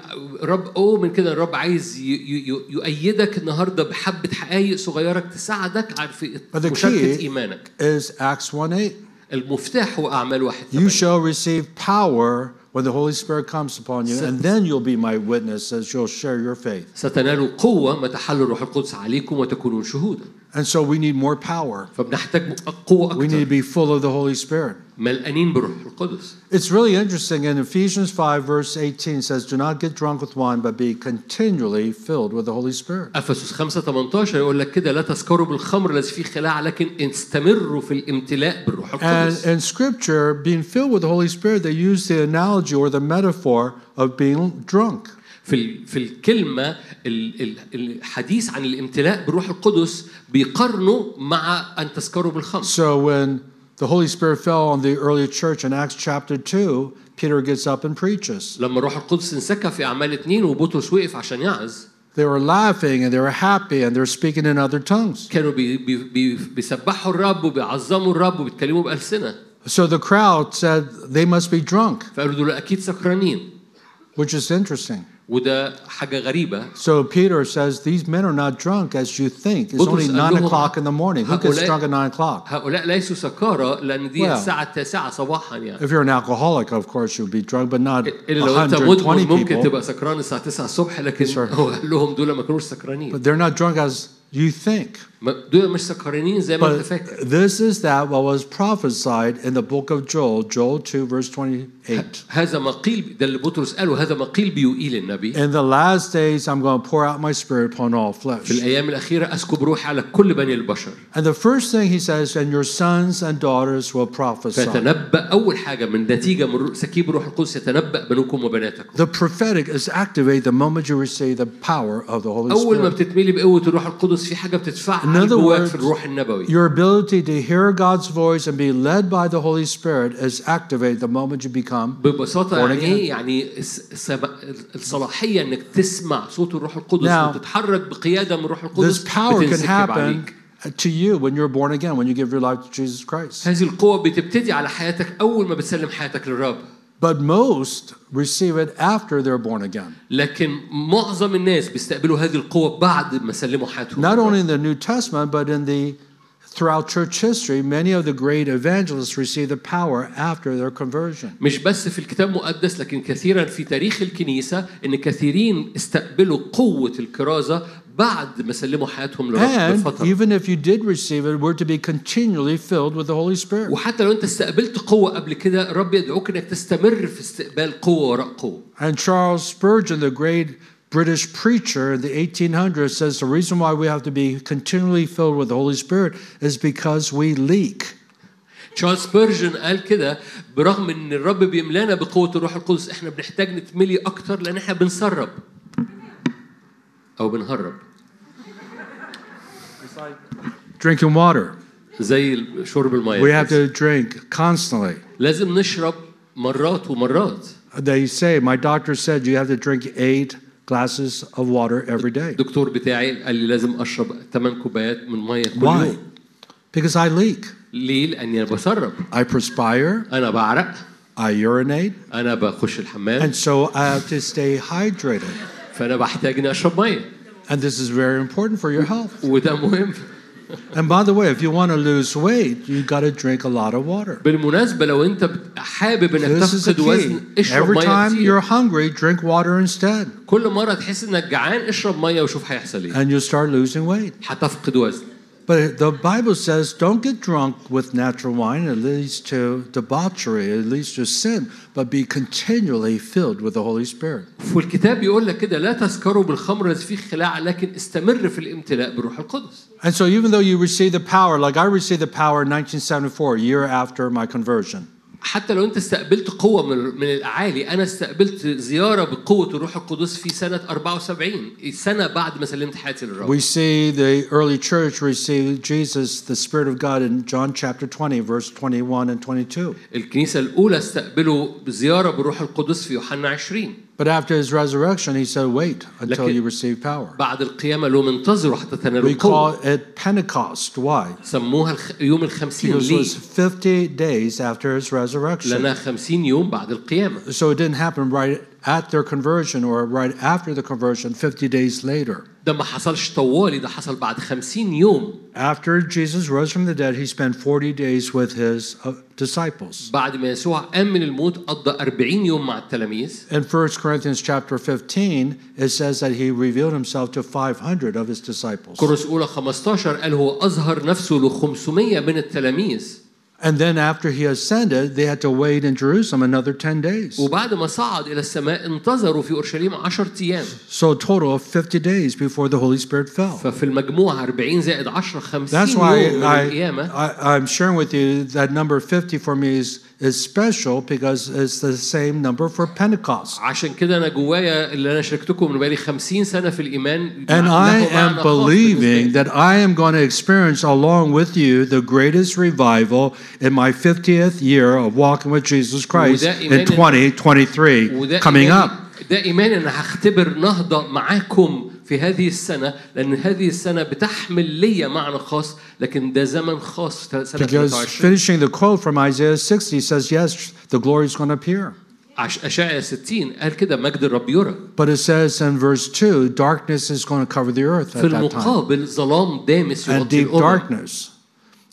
Speaker 1: رب اوه من كده الرب عايز ي- ي- ي- يؤيدك النهارده بحبه حقائق صغيره تساعدك على في
Speaker 2: But the
Speaker 1: مشاركه
Speaker 2: key-
Speaker 1: ايمانك
Speaker 2: Is Acts 1 8.
Speaker 1: المفتاح هو اعمال واحد
Speaker 2: You shall receive power when the Holy Spirit comes upon you, and then you'll be my witnesses. You'll share your faith.
Speaker 1: ستنالوا قوة متى حل الروح القدس عليكم وتكونون شهودا
Speaker 2: And so we need more power.
Speaker 1: فبنحتاج قوة
Speaker 2: We need to
Speaker 1: أكثر
Speaker 2: be full of the Holy Spirit.
Speaker 1: ملقانين بالروح القدس
Speaker 2: It's really interesting. In Ephesians 5, verse 18 says, Do not get drunk with wine, but be continually filled with the Holy Spirit.
Speaker 1: أفسس 5 18 يقول لك كده لا تسكروا بالخمر الذي فيه خلاع لكن استمروا في الامتلاء بالروح
Speaker 2: And
Speaker 1: القدس
Speaker 2: in Scripture, being filled with the Holy Spirit, they use the analogy or the metaphor of being drunk.
Speaker 1: في ال- في الكلمة ال- ال- الحديث عن الامتلاء بالروح القدس بيقارنه مع أن تسكروا بالخمر
Speaker 2: So when the Holy Spirit fell on the early church in Acts chapter 2, Peter gets up and preaches.
Speaker 1: لما الروح القدس انسكى في أعمال اتنين وبطرس وقف عشان يعظ
Speaker 2: They were laughing and they were happy and they were speaking in other tongues.
Speaker 1: كانوا بي بي بي بيسبحوا الرب وبيعظموا الرب وبيتكلموا بألسنة
Speaker 2: So the crowd said they must be drunk,
Speaker 1: فقالوا دول اكيد سكرانين
Speaker 2: which is interesting.
Speaker 1: وده حاجه غريبه
Speaker 2: So Peter says, These men are not drunk as you think. It's
Speaker 1: Buddha's
Speaker 2: only nine
Speaker 1: alone.
Speaker 2: o'clock in the morning. Who gets
Speaker 1: Haole-
Speaker 2: drunk at nine o'clock?
Speaker 1: هؤلاء ليسوا سكارى لان دي
Speaker 2: Well.
Speaker 1: الساعه التاسعه صباحا يعني
Speaker 2: If you're an alcoholic, of course, you'd be drunk, but not
Speaker 1: الا لو انت مدمن
Speaker 2: 120
Speaker 1: ممكن
Speaker 2: people.
Speaker 1: تبقى سكران الساعه 9 الصبح لكن
Speaker 2: Yes, sir.
Speaker 1: هو قال لهم دول ما كانوش سكرانين
Speaker 2: But they're not drunk as you think.
Speaker 1: ما- دول مش سكرانين زي ما انت
Speaker 2: But
Speaker 1: فاكر
Speaker 2: this is that what was prophesied in the book of Joel, Joel 2,
Speaker 1: (laughs)
Speaker 2: verse 28.
Speaker 1: هذا ما قيل ده اللي بطرس قاله هذا ما قيل بيقيل للنبي
Speaker 2: In the last days, I'm going to pour out my spirit upon all flesh.
Speaker 1: في الايام الاخيره اسكب روحي على كل بني البشر
Speaker 2: And the first thing he says, and your sons and daughters will prophesy.
Speaker 1: فتنبأ اول حاجه من نتيجه من رو- سكيب روح القدس يتنبأ بنوكم وبناتكم
Speaker 2: The prophetic is activated the moment you receive the power of the Holy
Speaker 1: اول ما
Speaker 2: Spirit.
Speaker 1: بتتملي بقوه الروح القدس في حاجه
Speaker 2: In
Speaker 1: بتدفعها
Speaker 2: other
Speaker 1: جواك
Speaker 2: words,
Speaker 1: في الروح النبوي
Speaker 2: Your ability to hear God's voice and be led by the Holy Spirit is activated the moment you become.
Speaker 1: ببساطه
Speaker 2: Born
Speaker 1: يعني
Speaker 2: again.
Speaker 1: ايه يعني الس- السب- الصلاحيه انك تسمع صوت الروح القدس
Speaker 2: Now,
Speaker 1: وتتحرك بقياده من الروح القدس
Speaker 2: This power can
Speaker 1: بتنسكب
Speaker 2: happen
Speaker 1: عليك
Speaker 2: to you when you're born again, when you give your life to Jesus Christ.
Speaker 1: هذه القوة بتبتدي على حياتك أول ما بتسلم حياتك للرب
Speaker 2: But most receive it after they're born again.
Speaker 1: لكن معظم الناس بيستقبلوا هذه القوة بعد ما سلموا حياتهم
Speaker 2: Not only
Speaker 1: للرب.
Speaker 2: in the New Testament, but in the throughout church history, many of the great evangelists received the power after their conversion.
Speaker 1: مش بس في الكتاب المقدس لكن كثيرا في تاريخ الكنيسة إن كثيرين استقبلوا قوة الكرازة بعد ما سلموا حياتهم للرب
Speaker 2: And
Speaker 1: بفترة
Speaker 2: even if you did receive it, we're to be continually filled with the Holy Spirit.
Speaker 1: وحتى لو انت استقبلت قوه قبل كده رب يدعوك انك تستمر في استقبال قوه وراء قوه
Speaker 2: And Charles Spurgeon, the great British preacher in the 1800s, says the reason why we have to be continually filled with the Holy Spirit is because we leak.
Speaker 1: تشارلز بيرجن قال كده برغم ان الرب بيملانا بقوه الروح القدس احنا بنحتاج نتملي اكتر لان احنا بنسرب او بنهرب
Speaker 2: Drinking water.
Speaker 1: زي شرب
Speaker 2: We have
Speaker 1: الميه
Speaker 2: to drink constantly.
Speaker 1: لازم نشرب مرات ومرات
Speaker 2: They say, my doctor said you have to drink eight glasses of water every day.
Speaker 1: الدكتور بتاعي قال لي لازم اشرب 8 كوبايات من ميه كل
Speaker 2: Why?
Speaker 1: يوم
Speaker 2: Because I leak.
Speaker 1: ليه لاني انا بسرب
Speaker 2: I perspire,
Speaker 1: انا بعرق
Speaker 2: I urinate,
Speaker 1: انا بخش الحمام
Speaker 2: and so I have to stay hydrated.
Speaker 1: فانا بحتاج اني اشرب ميه
Speaker 2: And this is very important for your health.
Speaker 1: وده مهم
Speaker 2: And by the way, if you want to lose weight, you got to drink a lot of water.
Speaker 1: بالمناسبة لو انت بت- حابب انك
Speaker 2: This is the
Speaker 1: تفقد
Speaker 2: key.
Speaker 1: وزن اشرب
Speaker 2: Every
Speaker 1: ميه
Speaker 2: time
Speaker 1: كتير
Speaker 2: you're hungry, drink water instead,
Speaker 1: كل مرة تحس انك جعان اشرب ميه وشوف هيحصل ايه
Speaker 2: and you'll start losing weight.
Speaker 1: هتفقد وزن
Speaker 2: But the Bible says, don't get drunk with natural wine. It leads to debauchery, it leads to sin, but be continually filled with the Holy Spirit.
Speaker 1: والكتاب بيقول لك كده لا تسكروا بالخمر الذي فيه خلاع لكن استمر في الامتلاء بالروح القدس
Speaker 2: And so, even though you receive the power, like I received the power in 1974, a year after my conversion,
Speaker 1: حتى لو انت استقبلت قوة من من الاعالي انا استقبلت زيارة بقوة الروح القدس في سنة 74 سنة بعد ما سلمت حياتي للرب
Speaker 2: we see the early church receive Jesus, the Spirit of God, in John chapter 20, verse 21 and 22.
Speaker 1: الكنيسة الأولى استقبلوا زيارة بالروح القدس في يوحنا 20
Speaker 2: But after his resurrection, he said, Wait until
Speaker 1: لكن-
Speaker 2: you receive power.
Speaker 1: بعد القيامة لهم انتظروا حتى تنالوا
Speaker 2: We call
Speaker 1: القوة
Speaker 2: it Pentecost. Why?
Speaker 1: سموها الخ... يوم الخمسين
Speaker 2: Because it
Speaker 1: ليه؟
Speaker 2: was 50 days after his resurrection.
Speaker 1: لأنها خمسين يوم بعد القيامة
Speaker 2: So it didn't happen right at their conversion or right after the conversion, 50 days later.
Speaker 1: ده ما حصلش طوالي ده حصل بعد خمسين يوم
Speaker 2: After Jesus rose from the dead, he spent 40 days with his uh, disciples.
Speaker 1: بعد ما يسوع قام من الموت قضى 40 يوم مع التلاميذ
Speaker 2: In 1 Corinthians chapter 15, it says that he revealed himself to 500 of his disciples.
Speaker 1: كورس أولى 15 قال هو أظهر نفسه ل 500 من التلاميذ
Speaker 2: And then after he ascended, they had to wait in Jerusalem another 10 days.
Speaker 1: وبعد ما صعد إلى السماء انتظروا في أورشليم 10 أيام
Speaker 2: So a total of 50 days before the Holy Spirit fell.
Speaker 1: ففي المجموعة 40 زائد 10 50
Speaker 2: That's
Speaker 1: يوم
Speaker 2: why
Speaker 1: من
Speaker 2: I,
Speaker 1: القيامة
Speaker 2: I, I'm sharing with you that number 50 for me is, is special because it's the same number for Pentecost.
Speaker 1: عشان كده أنا جوايا اللي أنا شاركتكم من بقالي 50 سنة في الإيمان
Speaker 2: And
Speaker 1: له
Speaker 2: I
Speaker 1: معنى
Speaker 2: am
Speaker 1: خاص بالنسبة لي.
Speaker 2: believing that I am going to experience along with you the greatest revival in my 50th year of walking with Jesus Christ
Speaker 1: وده
Speaker 2: in
Speaker 1: إيمان-
Speaker 2: 2023
Speaker 1: وده
Speaker 2: coming
Speaker 1: إيماني-
Speaker 2: up.
Speaker 1: ده ايمان ان هختبر نهضه معاكم في هذه السنه لان هذه السنه بتحمل ليا معنى خاص لكن ده زمن خاص سنه
Speaker 2: Because
Speaker 1: 23
Speaker 2: finishing the quote from Isaiah 60 says, Yes, the glory is going to appear.
Speaker 1: عش- اشعيا 60 قال كده مجد الرب يرى
Speaker 2: But it says in verse 2 darkness is going to cover the
Speaker 1: في
Speaker 2: earth at that time.
Speaker 1: المقابل ظلام دامس
Speaker 2: And
Speaker 1: يغطي
Speaker 2: deep
Speaker 1: الامم
Speaker 2: darkness.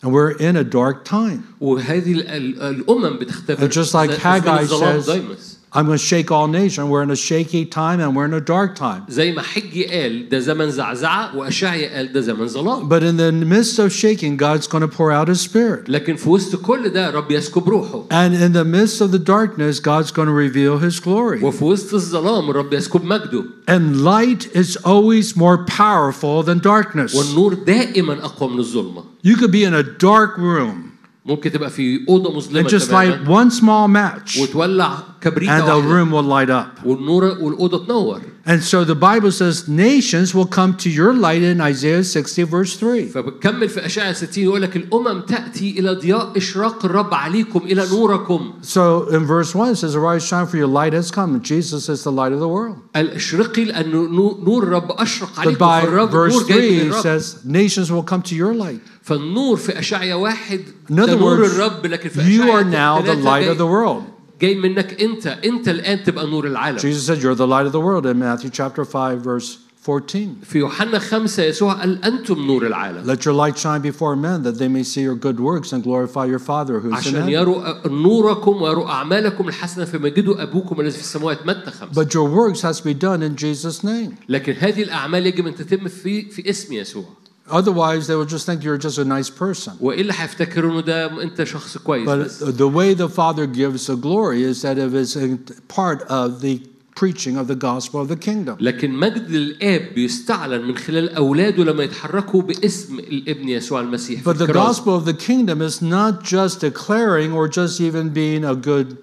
Speaker 2: And we're in a dark time.
Speaker 1: وهذه ال- ال- الامم بتختبر
Speaker 2: And just like
Speaker 1: ز-
Speaker 2: Haggai
Speaker 1: أزمنة ظلام
Speaker 2: says-
Speaker 1: دامس
Speaker 2: I'm going to shake all nations. We're in a shaky time and we're in a dark time.
Speaker 1: زي ما حجي قال ده زمن زعزعه واشعيا قال ده زمن ظلام
Speaker 2: But in the midst of shaking, God's going to pour out his spirit.
Speaker 1: لكن في وسط كل ده رب يسكب روحه
Speaker 2: And in the midst of the darkness, God's going to reveal his glory.
Speaker 1: وفي وسط الظلام رب يسكب مجده
Speaker 2: And light is always more powerful than darkness.
Speaker 1: والنور دائما اقوى من الظلمه
Speaker 2: You could be in a dark room
Speaker 1: ممكن تبقى في اوضه
Speaker 2: and
Speaker 1: مظلمه
Speaker 2: just
Speaker 1: تماما
Speaker 2: light one small match,
Speaker 1: وتولع كبريتة
Speaker 2: and the
Speaker 1: واحدة
Speaker 2: room will light up.
Speaker 1: والنور والاوضه تنور
Speaker 2: And so the Bible says, nations will come to your light in Isaiah 60, verse 3.
Speaker 1: فبتكمل في اشعه 60 يقول لك الامم تاتي الى ضياء اشراق الرب عليكم الى نوركم
Speaker 2: So in verse 1, it says, Arise, shine, for your light has come. Jesus is the light of the world.
Speaker 1: قال اشرقي لان نو- نور الرب اشرق
Speaker 2: But
Speaker 1: عليكم
Speaker 2: by
Speaker 1: فالرب
Speaker 2: verse
Speaker 1: نور جاي
Speaker 2: 3,
Speaker 1: من
Speaker 2: it
Speaker 1: الرب
Speaker 2: says, Nations will come to your light.
Speaker 1: فالنور في اشعيا واحد
Speaker 2: In
Speaker 1: ده
Speaker 2: other
Speaker 1: نور
Speaker 2: words,
Speaker 1: الرب لكن في
Speaker 2: you are now
Speaker 1: اشعيا ثلاثة
Speaker 2: the light of the
Speaker 1: جاي-
Speaker 2: world.
Speaker 1: جاي منك انت انت الان تبقى نور العالم
Speaker 2: Jesus said, You're the light of the world in Matthew chapter 5, verse 14.
Speaker 1: في يوحنا خمسة يسوع قال أنتم نور العالم
Speaker 2: Let your light shine before men that they may see your good works and glorify your Father who's in
Speaker 1: عشان
Speaker 2: heaven.
Speaker 1: يروا نوركم ويروا أعمالكم الحسنة فمجدوا أبوكم الذي في السماوات متى خمسة
Speaker 2: But your works has to be done in Jesus' name.
Speaker 1: لكن هذه الأعمال يجب أن تتم في في اسم يسوع
Speaker 2: Otherwise, they will just think you're just a nice person.
Speaker 1: وإلا هيفتكروا إنه ده أنت شخص كويس
Speaker 2: But
Speaker 1: بس
Speaker 2: the way the Father gives the glory is that it is a part of the preaching of the gospel of the kingdom.
Speaker 1: لكن مجد الآب بيستعلن من خلال أولاده لما يتحركوا باسم الابن يسوع المسيح في
Speaker 2: But the
Speaker 1: الكرازة.
Speaker 2: gospel of the kingdom is not just declaring or just even being a good,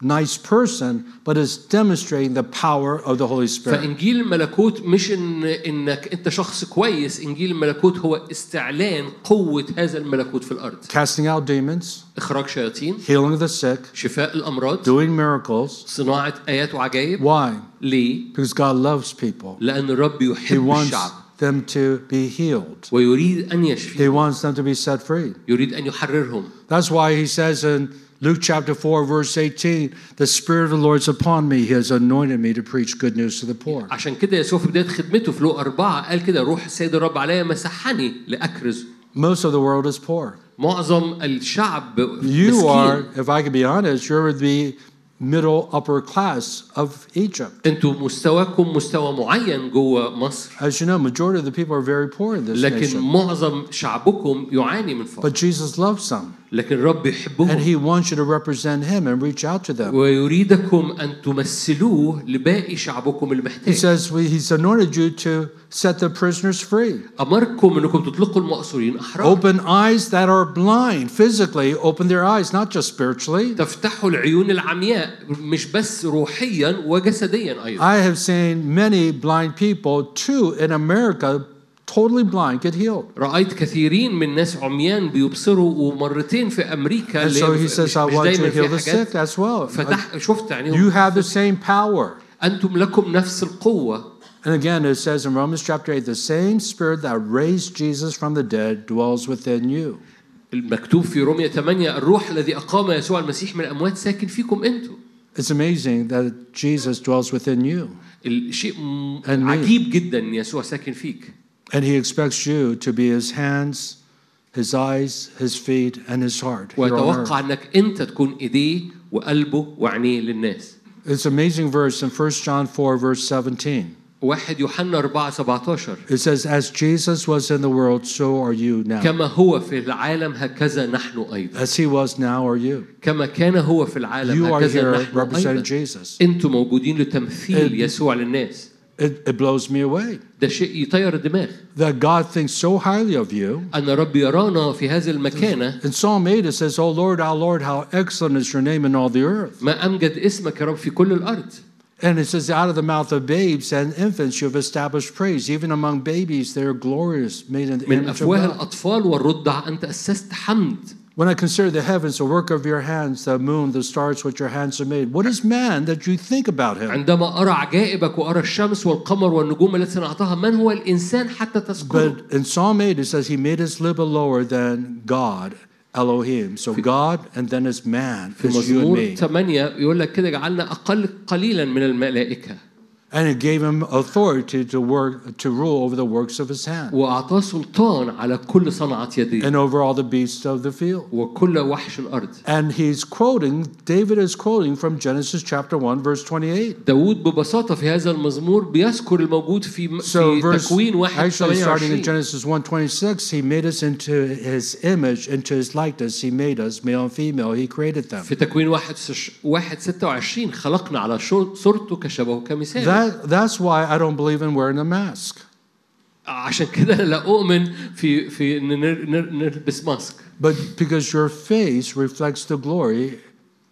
Speaker 2: nice person, but it's demonstrating the power of the Holy Spirit.
Speaker 1: فإنجيل الملكوت مش إن إنك أنت شخص كويس إنجيل الملكوت هو استعلان قوة هذا الملكوت في الأرض
Speaker 2: Casting out demons,
Speaker 1: إخراج شياطين
Speaker 2: healing the sick,
Speaker 1: شفاء الامراض
Speaker 2: doing miracles.
Speaker 1: صناعه ايات وعجائب
Speaker 2: Why?
Speaker 1: ليه
Speaker 2: Because God loves people.
Speaker 1: لان الرب
Speaker 2: He
Speaker 1: يحب
Speaker 2: wants
Speaker 1: الشعب
Speaker 2: them to be healed.
Speaker 1: ويريد ان
Speaker 2: He
Speaker 1: يشفيهم
Speaker 2: wants them to be set free.
Speaker 1: يريد ان يحررهم
Speaker 2: That's why he says in Luke chapter 4, verse 18, the Spirit of the Lord is upon me. He has anointed me to preach good news to the poor.
Speaker 1: عشان كده يسوع في بدايه خدمته في لو أربعة قال كده روح السيد الرب عليا مسحني لاكرز
Speaker 2: Most of the world is poor.
Speaker 1: معظم الشعب
Speaker 2: You are,
Speaker 1: مسكين
Speaker 2: if I could be honest, you're the middle upper class of Egypt.
Speaker 1: انتوا مستواكم مستوى معين جوه مصر
Speaker 2: As you know, majority of the people are very poor in this
Speaker 1: لكن
Speaker 2: nation.
Speaker 1: معظم شعبكم يعاني من فقر
Speaker 2: But Jesus loves them,
Speaker 1: لكن الرب
Speaker 2: and
Speaker 1: يحبهم
Speaker 2: he wants you to represent him and reach out to them.
Speaker 1: ويريدكم ان تمثلوه لباقي شعبكم
Speaker 2: He
Speaker 1: المحتاج
Speaker 2: says we- he's anointed you to set the prisoners free.
Speaker 1: أمركم أنكم تطلقوا المأسورين أحرار
Speaker 2: Open eyes that are blind, physically, open their eyes, not just spiritually.
Speaker 1: تفتحوا العيون العمياء مش بس روحيا وجسديا أيضا
Speaker 2: I have seen many blind people, too, in America, totally blind, get healed.
Speaker 1: رأيت كثيرين من ناس عميان بيبصروا ومرتين في أمريكا
Speaker 2: And
Speaker 1: اللي
Speaker 2: so
Speaker 1: هي
Speaker 2: he
Speaker 1: مش,
Speaker 2: says, I
Speaker 1: مش
Speaker 2: want you
Speaker 1: دايما
Speaker 2: to heal
Speaker 1: فيها
Speaker 2: the
Speaker 1: حاجات
Speaker 2: sick as well.
Speaker 1: فتح شفت
Speaker 2: You
Speaker 1: عينيهم
Speaker 2: have the same power.
Speaker 1: أنتم لكم نفس القوة
Speaker 2: And again, it says in Romans chapter 8, the same spirit that raised Jesus from the dead dwells within you.
Speaker 1: المكتوب في رومية 8 الروح الذي أقام يسوع المسيح من الأموات ساكن فيكم أنتم
Speaker 2: It's amazing that Jesus dwells within you,
Speaker 1: الشيء م-
Speaker 2: أمين.
Speaker 1: عجيب جدا إن يسوع ساكن فيك
Speaker 2: and he expects you to be his hands, his eyes, his feet, and his heart. here on earth.
Speaker 1: ويتوقع أنك أنت تكون إيديه وقلبه وعينيه للناس
Speaker 2: It's an amazing verse in 1 John 4, verse 17.
Speaker 1: واحد يوحنا 4 17
Speaker 2: It says, As Jesus was in the world, so are you now.
Speaker 1: كما هو في العالم هكذا نحن أيضا
Speaker 2: As he was now, are you.
Speaker 1: كما كان هو في العالم
Speaker 2: You are here
Speaker 1: هكذا نحن
Speaker 2: representing
Speaker 1: أيضا
Speaker 2: Jesus.
Speaker 1: أنتم موجودين لتمثيل
Speaker 2: It-
Speaker 1: يسوع للناس
Speaker 2: It, it blows me away
Speaker 1: ده شيء يطير الدماغ
Speaker 2: that God thinks so highly of you.
Speaker 1: أن رب يرانا في هذه المكانة
Speaker 2: In Psalm 8, it says, O Lord, our Lord, how excellent is your name in all the earth.
Speaker 1: ما أمجد اسمك يا رب في كل الأرض
Speaker 2: And it says, Out of the mouth of babes and infants you have established praise. Even among babies, they are glorious, made in the
Speaker 1: من
Speaker 2: image of
Speaker 1: أفواه
Speaker 2: God.
Speaker 1: الأطفال والرضع أنت أسست حمد
Speaker 2: When I consider the heavens, the work of your hands, the moon, the stars which your hands have made, what is man that you think about him?
Speaker 1: عندما أرى عجائبك وأرى الشمس والقمر والنجوم التي صنعتها من هو الإنسان حتى تذكره
Speaker 2: But in Psalm 8, it says, He made us live lower than God, Elohim. So God, and then it's man,
Speaker 1: في
Speaker 2: it's you and
Speaker 1: مزمور
Speaker 2: me.
Speaker 1: 8 يقول لك كده جعلنا أقل قليلا من الملائكة
Speaker 2: And it gave him authority to work, to rule over the works of his hand
Speaker 1: وأعطاه سلطان على كل صنعة يديه
Speaker 2: and over all the beasts of the field.
Speaker 1: وكل وحش الأرض
Speaker 2: And he's quoting, David is quoting from Genesis chapter 1, verse 28.
Speaker 1: داود ببساطة في هذا المزمور بيذكر الموجود في,
Speaker 2: So
Speaker 1: في
Speaker 2: verse,
Speaker 1: تكوين واحد
Speaker 2: actually starting in
Speaker 1: 28
Speaker 2: Genesis 1, 26, he made us into his image, into his likeness. He made us male and female. He created them.
Speaker 1: في تكوين واحد سش- واحد 26 خلقنا على شو- صورته كشبهه كمثال
Speaker 2: That, that's why I don't believe in wearing a mask.
Speaker 1: عشان كده أنا لا أؤمن في في إن نر- نر- نلبس ماسك
Speaker 2: But because your face reflects the glory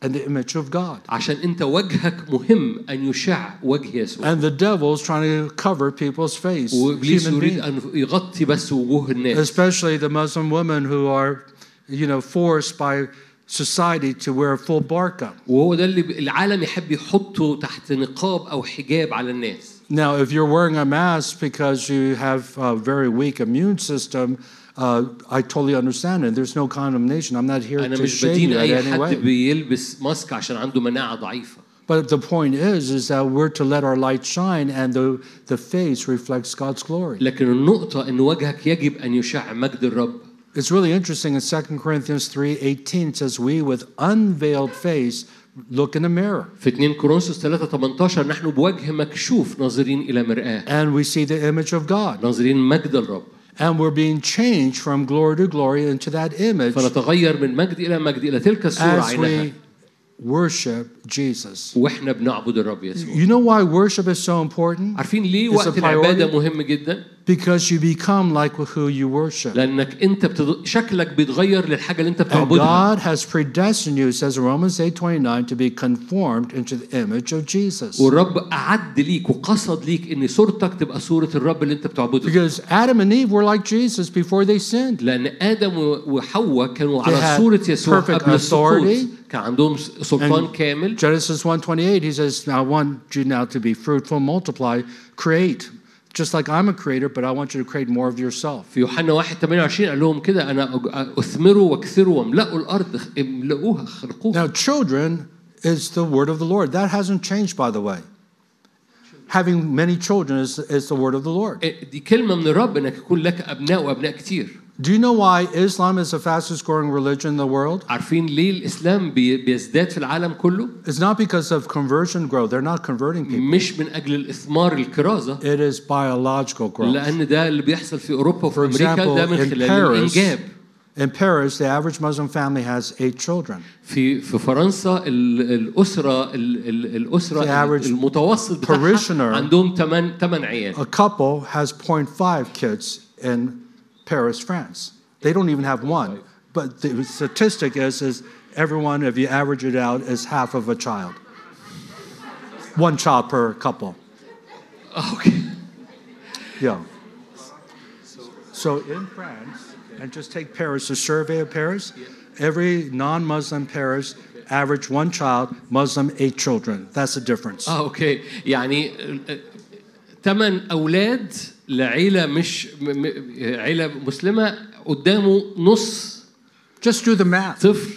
Speaker 2: and the image of God.
Speaker 1: عشان أنت وجهك مهم أن يشع وجه يسوع
Speaker 2: And the devil's trying to cover people's face,
Speaker 1: وإبليس
Speaker 2: human
Speaker 1: يريد
Speaker 2: beings.
Speaker 1: أن يغطي بس وجوه الناس
Speaker 2: especially the Muslim women who are, you know, forced by society to wear a full burqa.
Speaker 1: وهو ده اللي ب- العالم يحب يحطه تحت نقاب أو حجاب على الناس
Speaker 2: Now, if you're wearing a mask because you have a very weak immune system, uh, I totally understand it. There's no condemnation. I'm not here
Speaker 1: أنا
Speaker 2: to
Speaker 1: مش
Speaker 2: shame
Speaker 1: بدين
Speaker 2: you in
Speaker 1: أي
Speaker 2: any
Speaker 1: حد
Speaker 2: way.
Speaker 1: بيلبس ماسك عشان عنده مناعة ضعيفة
Speaker 2: But the point is, is that we're to let our light shine, and the, the face reflects God's glory.
Speaker 1: لكن النقطة إن وجهك يجب أن يشع مجد الرب
Speaker 2: It's really interesting in 2 Corinthians 3.18, it says, we with unveiled face look in the mirror,
Speaker 1: في 2 كورنثوس 3 18 نحن بوجه مكشوف ناظرين إلى مرآة
Speaker 2: and we see the image of God.
Speaker 1: ناظرين مجد الرب
Speaker 2: And we're being changed from glory to glory into that image
Speaker 1: فنتغير من مجد إلى مجد إلى تلك الصورة
Speaker 2: as
Speaker 1: عينها
Speaker 2: we worship Jesus.
Speaker 1: وإحنا بنعبد الرب يسوع
Speaker 2: You know why worship is so important?
Speaker 1: عارفين ليه
Speaker 2: It's a
Speaker 1: وقت العبادة
Speaker 2: priority.
Speaker 1: مهم جدا؟
Speaker 2: Because you become like who you worship.
Speaker 1: لأنك أنت بتض... شكلك بيتغير للحاجة اللي أنت
Speaker 2: And
Speaker 1: بتعبدها
Speaker 2: God has predestined you, it says in Romans 8 29, to be conformed into the image of Jesus.
Speaker 1: والرب أعد ليك وقصد ليك إن صورتك تبقى صورة الرب اللي أنت بتعبده
Speaker 2: Because Adam and Eve were like Jesus before they sinned.
Speaker 1: لأن آدم و- وحواء كانوا على
Speaker 2: had
Speaker 1: صورة يسوع
Speaker 2: perfect
Speaker 1: قبل السقوط
Speaker 2: authority.
Speaker 1: كان عندهم س- سلطان
Speaker 2: And-
Speaker 1: كامل
Speaker 2: Genesis 1:28, he says, I want you now to be fruitful, multiply, create. Just like I'm a creator, but I want you to create more of yourself.
Speaker 1: في يوحنا 1 28 قال لهم كده أنا أج- أثمروا واكثروا واملأوا الأرض خ- املؤوها خلقوها
Speaker 2: Now, children is the word of the Lord. That hasn't changed, by the way. Having many children is, is the word of the Lord.
Speaker 1: إيه، دي كلمة من الرب إنك يكون لك أبناء وأبناء كتير
Speaker 2: Do you know why Islam is the fastest growing religion in the world?
Speaker 1: عارفين ليه الإسلام بي- بيزداد في العالم كله؟
Speaker 2: It's not because of conversion growth. They're not converting people.
Speaker 1: مش من اجل الاثمار الكرازه
Speaker 2: It is biological growth.
Speaker 1: لان ده اللي بيحصل في اوروبا وفي
Speaker 2: For
Speaker 1: امريكا
Speaker 2: example,
Speaker 1: ده من
Speaker 2: in
Speaker 1: خلال
Speaker 2: Paris,
Speaker 1: الانجاب
Speaker 2: in Paris, the average Muslim family has eight children.
Speaker 1: في في فرنسا ال- الاسره ال- ال-
Speaker 2: The
Speaker 1: الاسره
Speaker 2: average
Speaker 1: المتوسط
Speaker 2: parishioner-
Speaker 1: بتاعها عندهم 8 8 عيال
Speaker 2: A couple has 0.5 kids in Paris, France. They don't even have one. But the statistic is, is everyone, if you average it out, is half of a child. One child per couple.
Speaker 1: اوكي
Speaker 2: Yeah. So in France, and just take Paris, a survey of Paris, every non-Muslim parish average one child, Muslim eight children. That's the difference.
Speaker 1: اه اوكي يعني ثمان اولاد لعيله مش م- م- عيله مسلمه قدامه نص
Speaker 2: Just do the math.
Speaker 1: طفل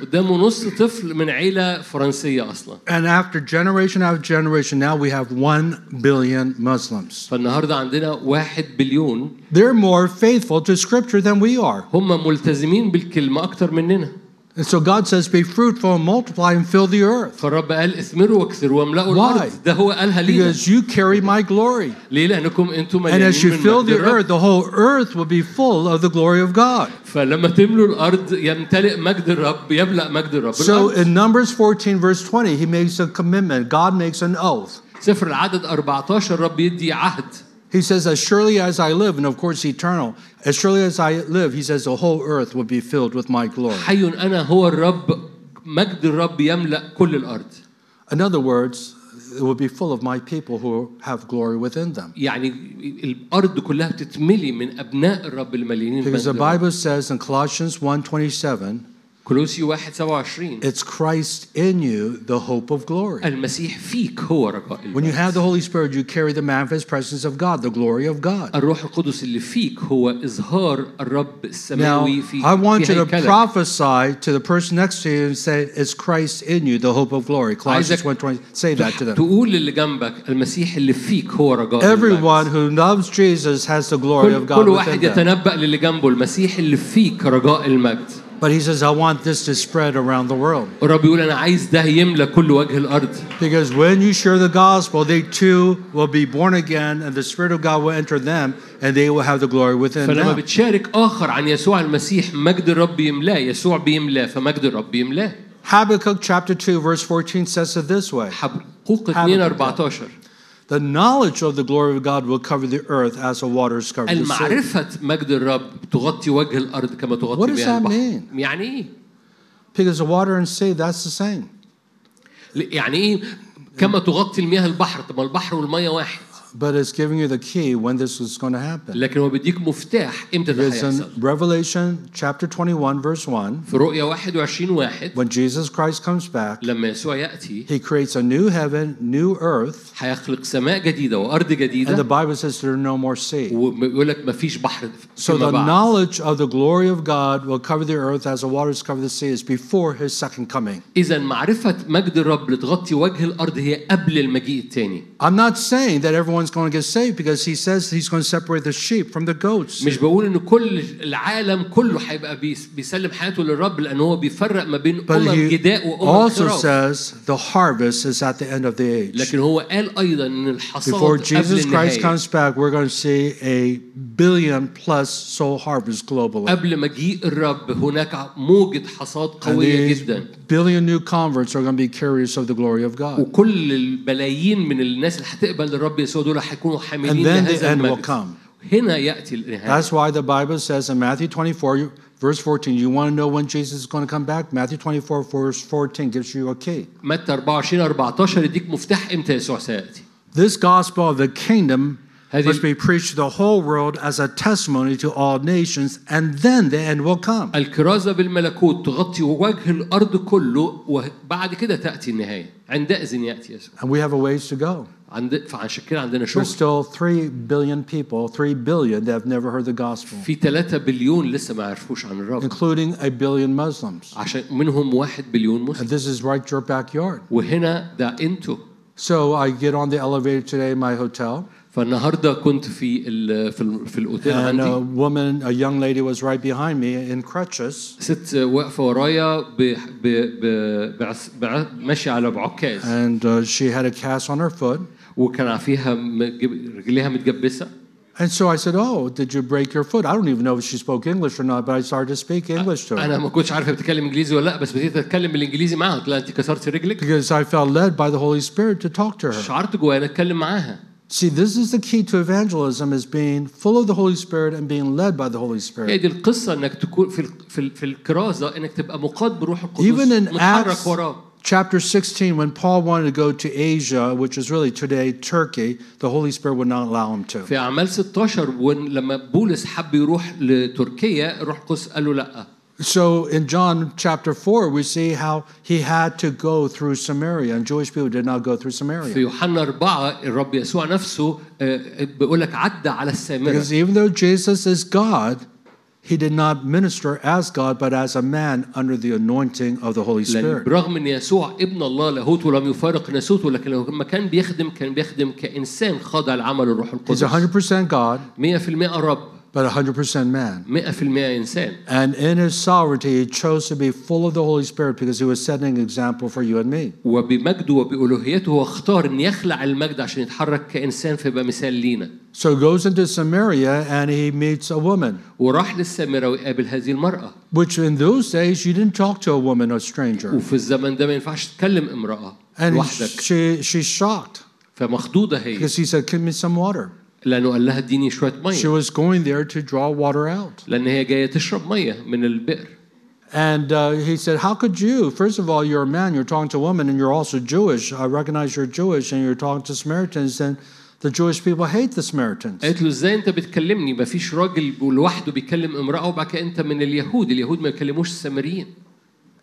Speaker 1: قدامه نص طفل من عيله فرنسيه اصلا
Speaker 2: And after generation after generation, now we have one billion Muslims.
Speaker 1: فالنهارده عندنا واحد بليون
Speaker 2: They're more faithful to Scripture than we are.
Speaker 1: هم ملتزمين بالكلمه اكتر مننا
Speaker 2: And so God says, Be fruitful and multiply and fill the earth.
Speaker 1: فالرب قال اثمروا واكثروا واملأوا
Speaker 2: Why?
Speaker 1: الارض ده هو قالها لينا
Speaker 2: Because you carry my glory.
Speaker 1: ليه لانكم انتم
Speaker 2: And
Speaker 1: مليانين
Speaker 2: as you
Speaker 1: من
Speaker 2: fill
Speaker 1: مجد
Speaker 2: the
Speaker 1: الرب
Speaker 2: earth, the whole earth will be full of the glory of God.
Speaker 1: فلما تملوا الارض يمتلئ مجد الرب يملا مجد الرب
Speaker 2: So
Speaker 1: الأرض.
Speaker 2: in Numbers 14, verse 20, he makes a commitment. God makes an oath.
Speaker 1: سفر العدد 14 الرب يدي عهد
Speaker 2: He says, As surely as I live, and of course, eternal, as surely as I live, he says, the whole earth will be filled with my glory.
Speaker 1: حي انا هو الرب مجد الرب يملا كل الارض
Speaker 2: In other words, it will be full of my people who have glory within them.
Speaker 1: يعني الارض كلها بتتملي من ابناء الرب المليانين
Speaker 2: Because
Speaker 1: بمجد
Speaker 2: the
Speaker 1: الرب.
Speaker 2: Bible says in Colossians 1:27,
Speaker 1: كولوسي 1 27
Speaker 2: it's Christ in you, the hope of glory.
Speaker 1: المسيح فيك هو رجاء
Speaker 2: When you
Speaker 1: المجد.
Speaker 2: have the Holy Spirit, you carry the manifest presence of God, the glory of God.
Speaker 1: الروح القدس اللي فيك هو اظهار الرب
Speaker 2: Now,
Speaker 1: السماوي في
Speaker 2: I want
Speaker 1: في
Speaker 2: you to
Speaker 1: هيكلك.
Speaker 2: prophesy to the person next to you and say, It's Christ in you, the hope of glory. Colossians
Speaker 1: Isaac-
Speaker 2: 1:20. Say that to them.
Speaker 1: تقول للي جنبك المسيح اللي فيك هو رجاء
Speaker 2: Everyone
Speaker 1: المجد.
Speaker 2: who loves Jesus has the glory of
Speaker 1: كل,
Speaker 2: God
Speaker 1: كل
Speaker 2: within
Speaker 1: واحد
Speaker 2: them.
Speaker 1: يتنبأ للي جنبه المسيح اللي فيك رجاء المجد
Speaker 2: But he says, I want this to spread around the world.
Speaker 1: الرب يقول انا عايز ده يملى كل وجه الارض
Speaker 2: Because when you share the gospel, they too will be born again, and the Spirit of God will enter them, and they will have the glory within
Speaker 1: فلما
Speaker 2: them.
Speaker 1: بتشارك اخر عن يسوع المسيح مجد الرب يملاه يسوع بيملاه فمجد الرب يملاه
Speaker 2: Habakkuk chapter 2, verse 14 says it this way
Speaker 1: حبقوق
Speaker 2: حبقوق.
Speaker 1: 2 14
Speaker 2: The knowledge of the glory of God will cover the earth as the waters cover the sea.
Speaker 1: المعرفة مجد الرب تغطي وجه الأرض كما
Speaker 2: What
Speaker 1: تغطي
Speaker 2: does
Speaker 1: بها
Speaker 2: that
Speaker 1: البحر يعني إيه؟
Speaker 2: Because the water and sea, that's the same.
Speaker 1: ل- يعني إيه كما تغطي المياه البحر طب ما البحر والمية واحد
Speaker 2: But it's giving you the key when this is going to happen.
Speaker 1: لكن هو بيديك مفتاح إمتى ده
Speaker 2: It's
Speaker 1: هيحصل
Speaker 2: in Revelation chapter 21, verse 1.
Speaker 1: في رؤية 21 واحد
Speaker 2: When Jesus Christ comes back,
Speaker 1: لما يسوع يأتي
Speaker 2: he creates a new heaven, new earth.
Speaker 1: هيخلق سماء جديدة وأرض
Speaker 2: And the
Speaker 1: جديدة
Speaker 2: Bible says there are no more sea.
Speaker 1: ويقول لك مفيش بحر
Speaker 2: So the
Speaker 1: فيما بعد
Speaker 2: knowledge of the glory of God will cover the earth as the waters cover the sea is before his second coming.
Speaker 1: إذا معرفة مجد الرب لتغطي وجه الأرض هي قبل المجيء الثاني
Speaker 2: I'm not saying that everyone's going to get saved because he says he's going to separate the sheep from the goats.
Speaker 1: مش بقول ان كل العالم كله هيبقى بيس- بيسلم حياته للرب لان هو بيفرق ما بين
Speaker 2: But
Speaker 1: امم
Speaker 2: he
Speaker 1: جداء وامم
Speaker 2: also
Speaker 1: خراف
Speaker 2: says the harvest is at the end of the age.
Speaker 1: لكن هو قال ايضا ان الحصاد
Speaker 2: Before
Speaker 1: قبل
Speaker 2: Jesus Christ
Speaker 1: النهايه
Speaker 2: comes back, we're going to see a billion plus soul harvest globally.
Speaker 1: قبل مجيء الرب هناك موجة حصاد
Speaker 2: And
Speaker 1: قوية
Speaker 2: these
Speaker 1: جدا
Speaker 2: billion new converts are going to be carriers of the glory of God.
Speaker 1: وكل البلايين من الناس اللي هتقبل الرب يسوع دول هيكونوا
Speaker 2: And
Speaker 1: حاملين
Speaker 2: then the
Speaker 1: لهذا
Speaker 2: end will
Speaker 1: المجد
Speaker 2: come.
Speaker 1: هنا ياتي النهايه
Speaker 2: That's why the Bible says in Matthew 24, you- verse 14, you want to know when Jesus is going to come back? Matthew 24, verse 14 gives you a key.
Speaker 1: متى 24 14 يديك مفتاح امتى يسوع سياتي
Speaker 2: This gospel of the kingdom
Speaker 1: هذه-
Speaker 2: must be preached to the whole world as a testimony to all nations, and then the end will come.
Speaker 1: الكرازة بالملكوت تغطي وجه الأرض كله وبعد كده تأتي النهاية عندئذ يأتي يسوع
Speaker 2: And we have a ways to go.
Speaker 1: عند فعشان كده عندنا شغل
Speaker 2: There's still 3 billion people, 3 billion that have never heard the gospel,
Speaker 1: في 3 بليون لسه ما يعرفوش عن الرب
Speaker 2: including a billion Muslims.
Speaker 1: عشان منهم واحد بليون
Speaker 2: And
Speaker 1: مسلم
Speaker 2: this is right your backyard.
Speaker 1: وهنا ده انتوا
Speaker 2: So I get on the elevator today in my hotel.
Speaker 1: فالنهارده كنت في ال في, ال في الاوتيل
Speaker 2: And uh, a
Speaker 1: عندي
Speaker 2: woman, a young lady was right behind me in crutches.
Speaker 1: ست واقفه ورايا ب- ب- ب- بعس- بع- ماشيه على بعكاز
Speaker 2: And uh, she had a cast on her foot.
Speaker 1: وكان فيها مج- رجليها متجبسه
Speaker 2: And so I said, Oh, did you break your foot? I don't even know if she spoke English or not, but I started to speak English to her
Speaker 1: انا ما كنتش عارف هي بتتكلم انجليزي ولا لا بس بديت اتكلم بالانجليزي معاها قلت لها انت كسرتي رجلك
Speaker 2: because I felt led by the Holy Spirit to talk to her.
Speaker 1: شعرت جوايا أنا اتكلم معاها
Speaker 2: See, this is the key to evangelism is being full of the Holy Spirit and being led by the Holy
Speaker 1: هي
Speaker 2: Spirit.
Speaker 1: دي القصه انك تكون في ال- في ال- في الكرازه انك تبقى مقاد بروح
Speaker 2: Even
Speaker 1: القدس
Speaker 2: in
Speaker 1: متحرك
Speaker 2: Acts
Speaker 1: وراه
Speaker 2: chapter 16, when Paul wanted to go to Asia, which is really today Turkey, the Holy Spirit would not allow him to.
Speaker 1: في اعمال 16 ون- لما بولس حب يروح لتركيا الروح القدس قال له لا
Speaker 2: So in John chapter 4, we see how he had to go through Samaria, and Jewish people did not go through
Speaker 1: في
Speaker 2: Samaria.
Speaker 1: يوحنا أربعة الرب يسوع نفسه آه، بيقول لك عدى على السامرة
Speaker 2: Because even though Jesus is God, he did not minister as God, but as a man under the anointing of the
Speaker 1: لأن
Speaker 2: Holy Spiر.
Speaker 1: برغم ان يسوع ابن الله لاهوت ولم يفارق ناسوته لكن لما كان بيخدم كان بيخدم كانسان خاضع لعمل الروح
Speaker 2: He's
Speaker 1: القدس 100%
Speaker 2: 100% God,
Speaker 1: رب
Speaker 2: but 100% man.
Speaker 1: 100% انسان
Speaker 2: And in his sovereignty, he chose to be full of the Holy Spirit because he was setting an example for you and me.
Speaker 1: وبمجده وبألوهيته هو اختار ان يخلع المجد عشان يتحرك كانسان فيبقى مثال لينا
Speaker 2: So he goes into Samaria and he meets a woman,
Speaker 1: وراح للسامره ويقابل هذه المراه
Speaker 2: which in those days you didn't talk to a woman, a stranger.
Speaker 1: وفي الزمن ده ما ينفعش تكلم امراه
Speaker 2: And
Speaker 1: لوحدك
Speaker 2: she, she's shocked
Speaker 1: فمخضوضه هي
Speaker 2: because he said, Give me some water.
Speaker 1: لانه قال لها اديني شويه
Speaker 2: She
Speaker 1: ميه
Speaker 2: was going there to draw water out.
Speaker 1: لان هي جايه تشرب ميه من البئر
Speaker 2: And uh, he said, How could you? First of all, you're a man, you're talking to a woman, and you're also Jewish. I recognize you're Jewish, and you're talking to Samaritans, and the Jewish people hate the Samaritans.
Speaker 1: قالت له ازاي انت بتكلمني ما فيش راجل لوحده بيكلم امراه وبعد كده انت من اليهود اليهود ما يكلموش السامريين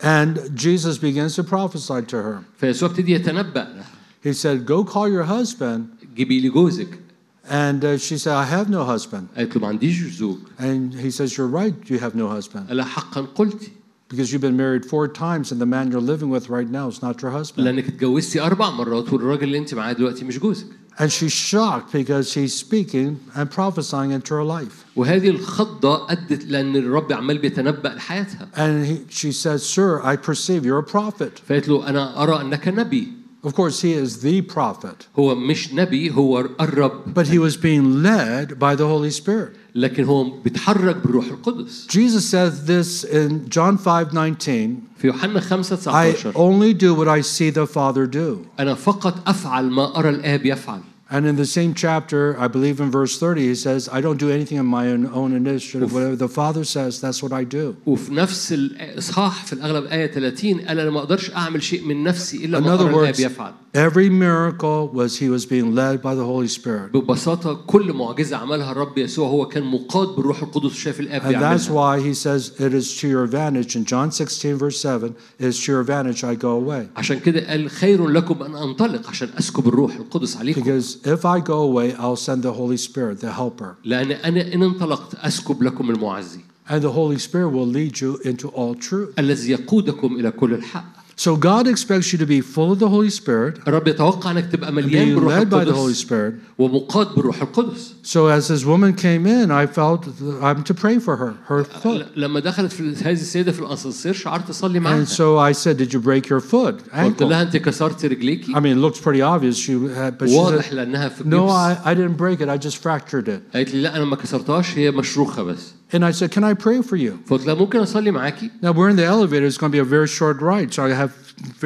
Speaker 2: And Jesus begins to prophesy to her.
Speaker 1: فيسوع ابتدي يتنبأ لها
Speaker 2: He said, Go call your husband.
Speaker 1: جيبي لي جوزك
Speaker 2: And uh, she said, I have no husband.
Speaker 1: قالت له ما عنديش زوج
Speaker 2: And he says, You're right, you have no husband.
Speaker 1: قال لها حقا قلت
Speaker 2: Because you've been married four times, and the man you're living with right now is not your husband.
Speaker 1: لانك اتجوزتي اربع مرات والراجل اللي انت معاه دلوقتي مش جوزك
Speaker 2: And she's shocked because he's speaking and prophesying into her life.
Speaker 1: وهذه الخضة أدت لأن الرب عمال بيتنبأ لحياتها
Speaker 2: And he, she says, Sir, I perceive you're a prophet.
Speaker 1: فقالت له أنا أرى أنك نبي
Speaker 2: Of course, he is the prophet,
Speaker 1: هو مش نبي هو الرب
Speaker 2: but he was being led by the Holy Spirit.
Speaker 1: لكن هو بيتحرك بالروح القدس
Speaker 2: Jesus says this in John 5 19
Speaker 1: في يوحنا 5
Speaker 2: I
Speaker 1: 19
Speaker 2: only do what I see the Father do.
Speaker 1: أنا فقط أفعل ما أرى الآب يفعل
Speaker 2: And in the same chapter, I believe in verse 30, he says, I don't do anything on my own, own initiative. Whatever the Father says, that's what I do.
Speaker 1: وفي نفس الإصحاح في الأغلب آية 30 قال أنا ما أقدرش أعمل شيء من نفسي إلا
Speaker 2: In
Speaker 1: ما
Speaker 2: other
Speaker 1: أرى الآب
Speaker 2: words,
Speaker 1: يفعل
Speaker 2: every miracle was he was being led by the Holy Spirit.
Speaker 1: ببساطة كل معجزة عملها الرب يسوع هو كان مقاد بالروح القدس وشاف الآب
Speaker 2: And that's
Speaker 1: بيعملها
Speaker 2: why he says, It is to your advantage. In John 16, verse 7, it is to your advantage I go away.
Speaker 1: عشان كده قال خير لكم أن أنطلق عشان أسكب الروح القدس عليكم
Speaker 2: Because if I go away, I'll send the Holy Spirit, the Helper.
Speaker 1: لأن أنا إن انطلقت أسكب لكم المعزي
Speaker 2: And the Holy Spirit will lead you into all truth.
Speaker 1: الذي يقودكم إلى كل الحق
Speaker 2: So God expects you to be full of the Holy Spirit,
Speaker 1: الرب يتوقع أنك تبقى مليان
Speaker 2: being
Speaker 1: بالروح
Speaker 2: led by the Holy
Speaker 1: القدس
Speaker 2: Spirit.
Speaker 1: ومقاد بالروح القدس
Speaker 2: So as this woman came in, I felt that I'm to pray for her, her foot.
Speaker 1: ل- لما دخلت في هذه السيدة في الأسانسير شعرت أصلي معاها
Speaker 2: And so I said, Did you break your foot?
Speaker 1: قلت
Speaker 2: Ankle.
Speaker 1: لها أنت كسرت رجليكي
Speaker 2: I mean, it looks pretty obvious. She had, but she
Speaker 1: واضح
Speaker 2: said,
Speaker 1: لأنها في
Speaker 2: No,
Speaker 1: الجبس
Speaker 2: I, I didn't break it. I just fractured it.
Speaker 1: قالت لي لا أنا ما كسرتهاش هي مشروخة بس
Speaker 2: And I said, Can I pray for you?
Speaker 1: فقلت لها ممكن أصلي معاكي
Speaker 2: Now we're in the elevator. It's going to be a very short ride, so I have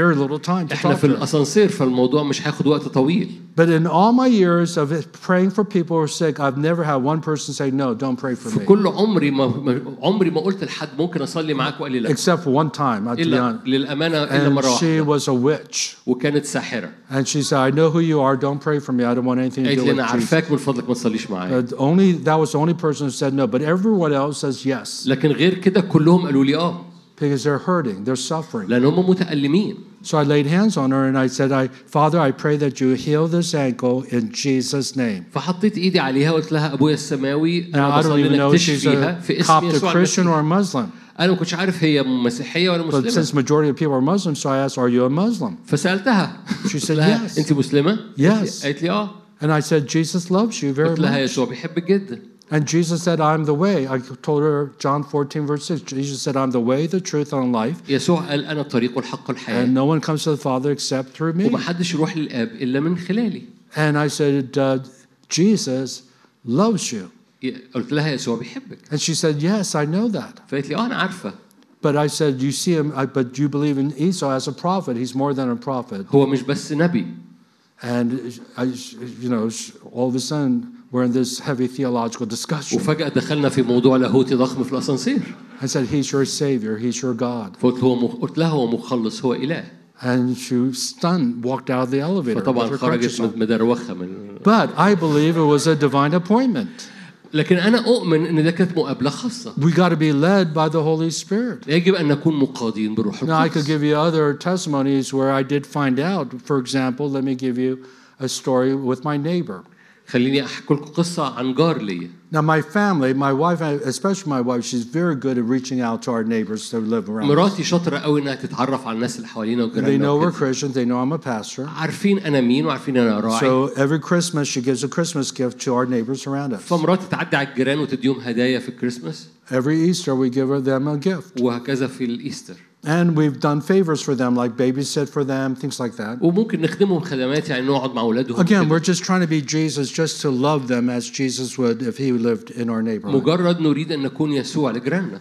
Speaker 2: very little time to
Speaker 1: إحنا
Speaker 2: talk
Speaker 1: في
Speaker 2: to her.
Speaker 1: الأسانسير فالموضوع مش هياخد وقت طويل
Speaker 2: But in all my years of it- praying for people who are sick, I've never had one person say, No, don't pray for
Speaker 1: في
Speaker 2: me.
Speaker 1: كل عمري ما ما- عمري ما قلت لحد ممكن أصلي معاك وقال لي لا
Speaker 2: Except for one time, I'll be
Speaker 1: إلا
Speaker 2: honest.
Speaker 1: للأمانة إلا
Speaker 2: يعني. And
Speaker 1: مرة
Speaker 2: she
Speaker 1: واحدة
Speaker 2: was a witch.
Speaker 1: وكانت ساحرة
Speaker 2: And she said, I know who you are. Don't pray for me. I don't want anything to
Speaker 1: قالت
Speaker 2: do
Speaker 1: لي
Speaker 2: with
Speaker 1: انا
Speaker 2: Jesus.
Speaker 1: عارفاك من فضلك ما تصليش معايا
Speaker 2: But only that was the only person who said no. But everyone else says yes
Speaker 1: لكن غير كده كلهم قالوا لي اه
Speaker 2: because they're hurting, they're suffering.
Speaker 1: لان هم متالمين
Speaker 2: So I laid hands on her and I said, I Father, I pray that you heal this ankle in Jesus' name.
Speaker 1: فحطيت ايدي عليها وقلت لها ابويا السماوي
Speaker 2: Now
Speaker 1: انا
Speaker 2: I don't
Speaker 1: بصلي
Speaker 2: even know
Speaker 1: انك
Speaker 2: if she's
Speaker 1: تشفيها
Speaker 2: a
Speaker 1: في اسم
Speaker 2: Coptic
Speaker 1: يسوع
Speaker 2: Christian
Speaker 1: المسيح
Speaker 2: or a Muslim.
Speaker 1: انا ما كنتش عارف هي مسيحيه ولا
Speaker 2: But
Speaker 1: مسلمه
Speaker 2: since majority of people are Muslim, so I asked, Are you a Muslim?
Speaker 1: فسالتها
Speaker 2: She
Speaker 1: قلت
Speaker 2: said
Speaker 1: لها
Speaker 2: yes.
Speaker 1: انت مسلمه؟
Speaker 2: Yes.
Speaker 1: قالت لي اه
Speaker 2: And I said, Jesus loves you very
Speaker 1: قلت لها
Speaker 2: much.
Speaker 1: يسوع بيحبك جدا
Speaker 2: And Jesus said, I'm the way. I told her John 14, verse 6. Jesus said, I'm the way, the truth, and life.
Speaker 1: يسوع قال انا الطريق والحق والحياه
Speaker 2: And no one comes to the Father except through me.
Speaker 1: ومحدش يروح للاب الا من خلالي
Speaker 2: And I said, uh, Jesus loves you.
Speaker 1: ي- قلت لها يسوع بيحبك
Speaker 2: And she said, Yes, I know that.
Speaker 1: فقالت لي اه انا عارفه
Speaker 2: But I said, You see him, I, but you believe in Esau as a prophet. He's more than a prophet.
Speaker 1: هو مش بس نبي
Speaker 2: And I, you know, sh- all of a sudden, we're in this heavy theological discussion.
Speaker 1: وفجأة دخلنا في موضوع لاهوتي ضخم في الأسانسير
Speaker 2: I said, He's your Savior. He's your God.
Speaker 1: فقلت هو مخ... قلت لها هو مخلص هو إله
Speaker 2: And she, stunned, walked out of the elevator. with
Speaker 1: فطبعا
Speaker 2: her
Speaker 1: خرجت
Speaker 2: crutches on.
Speaker 1: مد- مدروخة من
Speaker 2: But I believe it was a divine appointment.
Speaker 1: لكن أنا أؤمن إن ده كانت مقابلة خاصة
Speaker 2: We got to be led by the Holy Spirit.
Speaker 1: يجب أن نكون مقاضين بالروح
Speaker 2: Now, I could
Speaker 1: القدس
Speaker 2: give you other testimonies where I did find out. For example, let me give you a story with my neighbor.
Speaker 1: خليني أحكي لكم قصة عن جار ليا
Speaker 2: Now, my family, my wife, especially my wife, she's very good at reaching out to our neighbors that live around. us.
Speaker 1: مراتي شاطرة قوي إنها تتعرف على الناس اللي حوالينا
Speaker 2: They
Speaker 1: وجيراننا
Speaker 2: know we're
Speaker 1: وكده.
Speaker 2: Christians, they know I'm a pastor.
Speaker 1: عارفين أنا مين وعارفين أنا راعي
Speaker 2: So every Christmas, she gives a Christmas gift to our neighbors around us.
Speaker 1: فمراتي تعدي على الجيران وتديهم هدايا في الكريسماس
Speaker 2: Every Easter, we give her them a gift.
Speaker 1: وهكذا في الإيستر
Speaker 2: And we've done favors for them, like babysit for them, things like that.
Speaker 1: وممكن نخدمهم خدمات يعني نقعد مع أولادهم
Speaker 2: Again,
Speaker 1: وكده.
Speaker 2: we're just trying to be Jesus, just to love them as Jesus would if he lived in our neighborhood.
Speaker 1: مجرد نريد أن نكون يسوع لجيراننا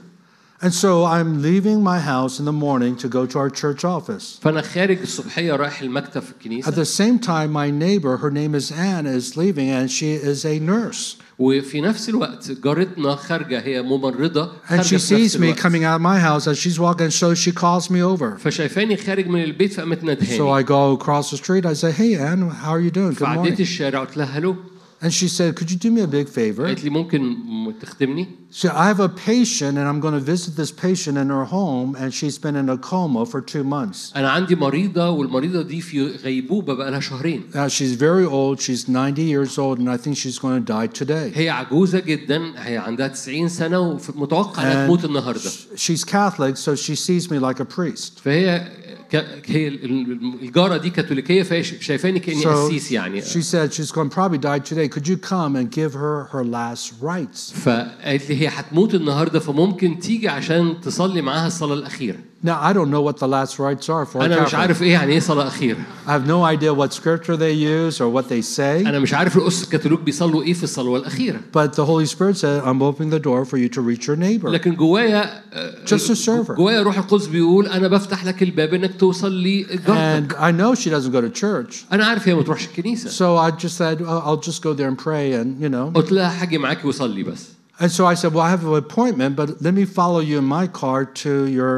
Speaker 2: And so I'm leaving my house in the morning to go to our church office.
Speaker 1: فأنا خارج الصبحية رايح المكتب في الكنيسة
Speaker 2: At the same time, my neighbor, her name is Anne, is leaving, and she is a nurse.
Speaker 1: وفي نفس الوقت جارتنا خارجه هي ممرضه
Speaker 2: And
Speaker 1: خارجه
Speaker 2: she
Speaker 1: في نفس
Speaker 2: sees me
Speaker 1: الوقت
Speaker 2: coming out of my house as she's walking, so she calls me over.
Speaker 1: فشايفاني خارج من البيت فقامت
Speaker 2: So
Speaker 1: ندهاني
Speaker 2: I go across the street. I say, "Hey, Anne, how are you doing? Good
Speaker 1: فعديت
Speaker 2: morning."
Speaker 1: الشارع قلت لها هلو
Speaker 2: And she said, "Could you do me a big favor?"
Speaker 1: قالت لي ممكن م- تخدمني
Speaker 2: So I have a patient, and I'm going to visit this patient in her home, and she's been in a coma for two months.
Speaker 1: انا عندي مريضه والمريضه دي في غيبوبه بقى لها شهرين
Speaker 2: Now she's very old. She's 90 years old, and I think she's going to die today.
Speaker 1: هي عجوزه جدا هي عندها 90 سنه ومتوقع انها
Speaker 2: And
Speaker 1: تموت النهارده
Speaker 2: sh- she's Catholic, so she sees me like a priest.
Speaker 1: فهي ك... هي ال- ال- الجاره دي كاثوليكيه فهي ش- شايفاني كاني
Speaker 2: So
Speaker 1: قسيس يعني
Speaker 2: she said she's going to probably die today. Could you come and give her her last rites?
Speaker 1: فقالت لي هي هتموت النهارده فممكن تيجي عشان تصلي معاها الصلاه الاخيره
Speaker 2: Now I don't know what the last rites are for. a
Speaker 1: انا مش
Speaker 2: Catholic.
Speaker 1: عارف ايه يعني ايه صلاه اخيره
Speaker 2: I have no idea what scripture they use or what they say.
Speaker 1: انا مش عارف الاسس الكاثوليك بيصلوا ايه في الصلوه الاخيره
Speaker 2: But the Holy Spirit said, I'm opening the door for you to reach your neighbor.
Speaker 1: لكن جوايا آه،
Speaker 2: Just a server.
Speaker 1: جوايا روح القدس بيقول انا بفتح لك الباب انك توصل لي جارتك
Speaker 2: And I know she doesn't go to church.
Speaker 1: انا عارف هي ما تروحش الكنيسه
Speaker 2: So I just said, "Oh, I'll just go there and pray. And, you know.
Speaker 1: قلت لها هاجي معاكي وصلي بس
Speaker 2: And so I said, Well, I have an appointment, but let me follow you in my car to your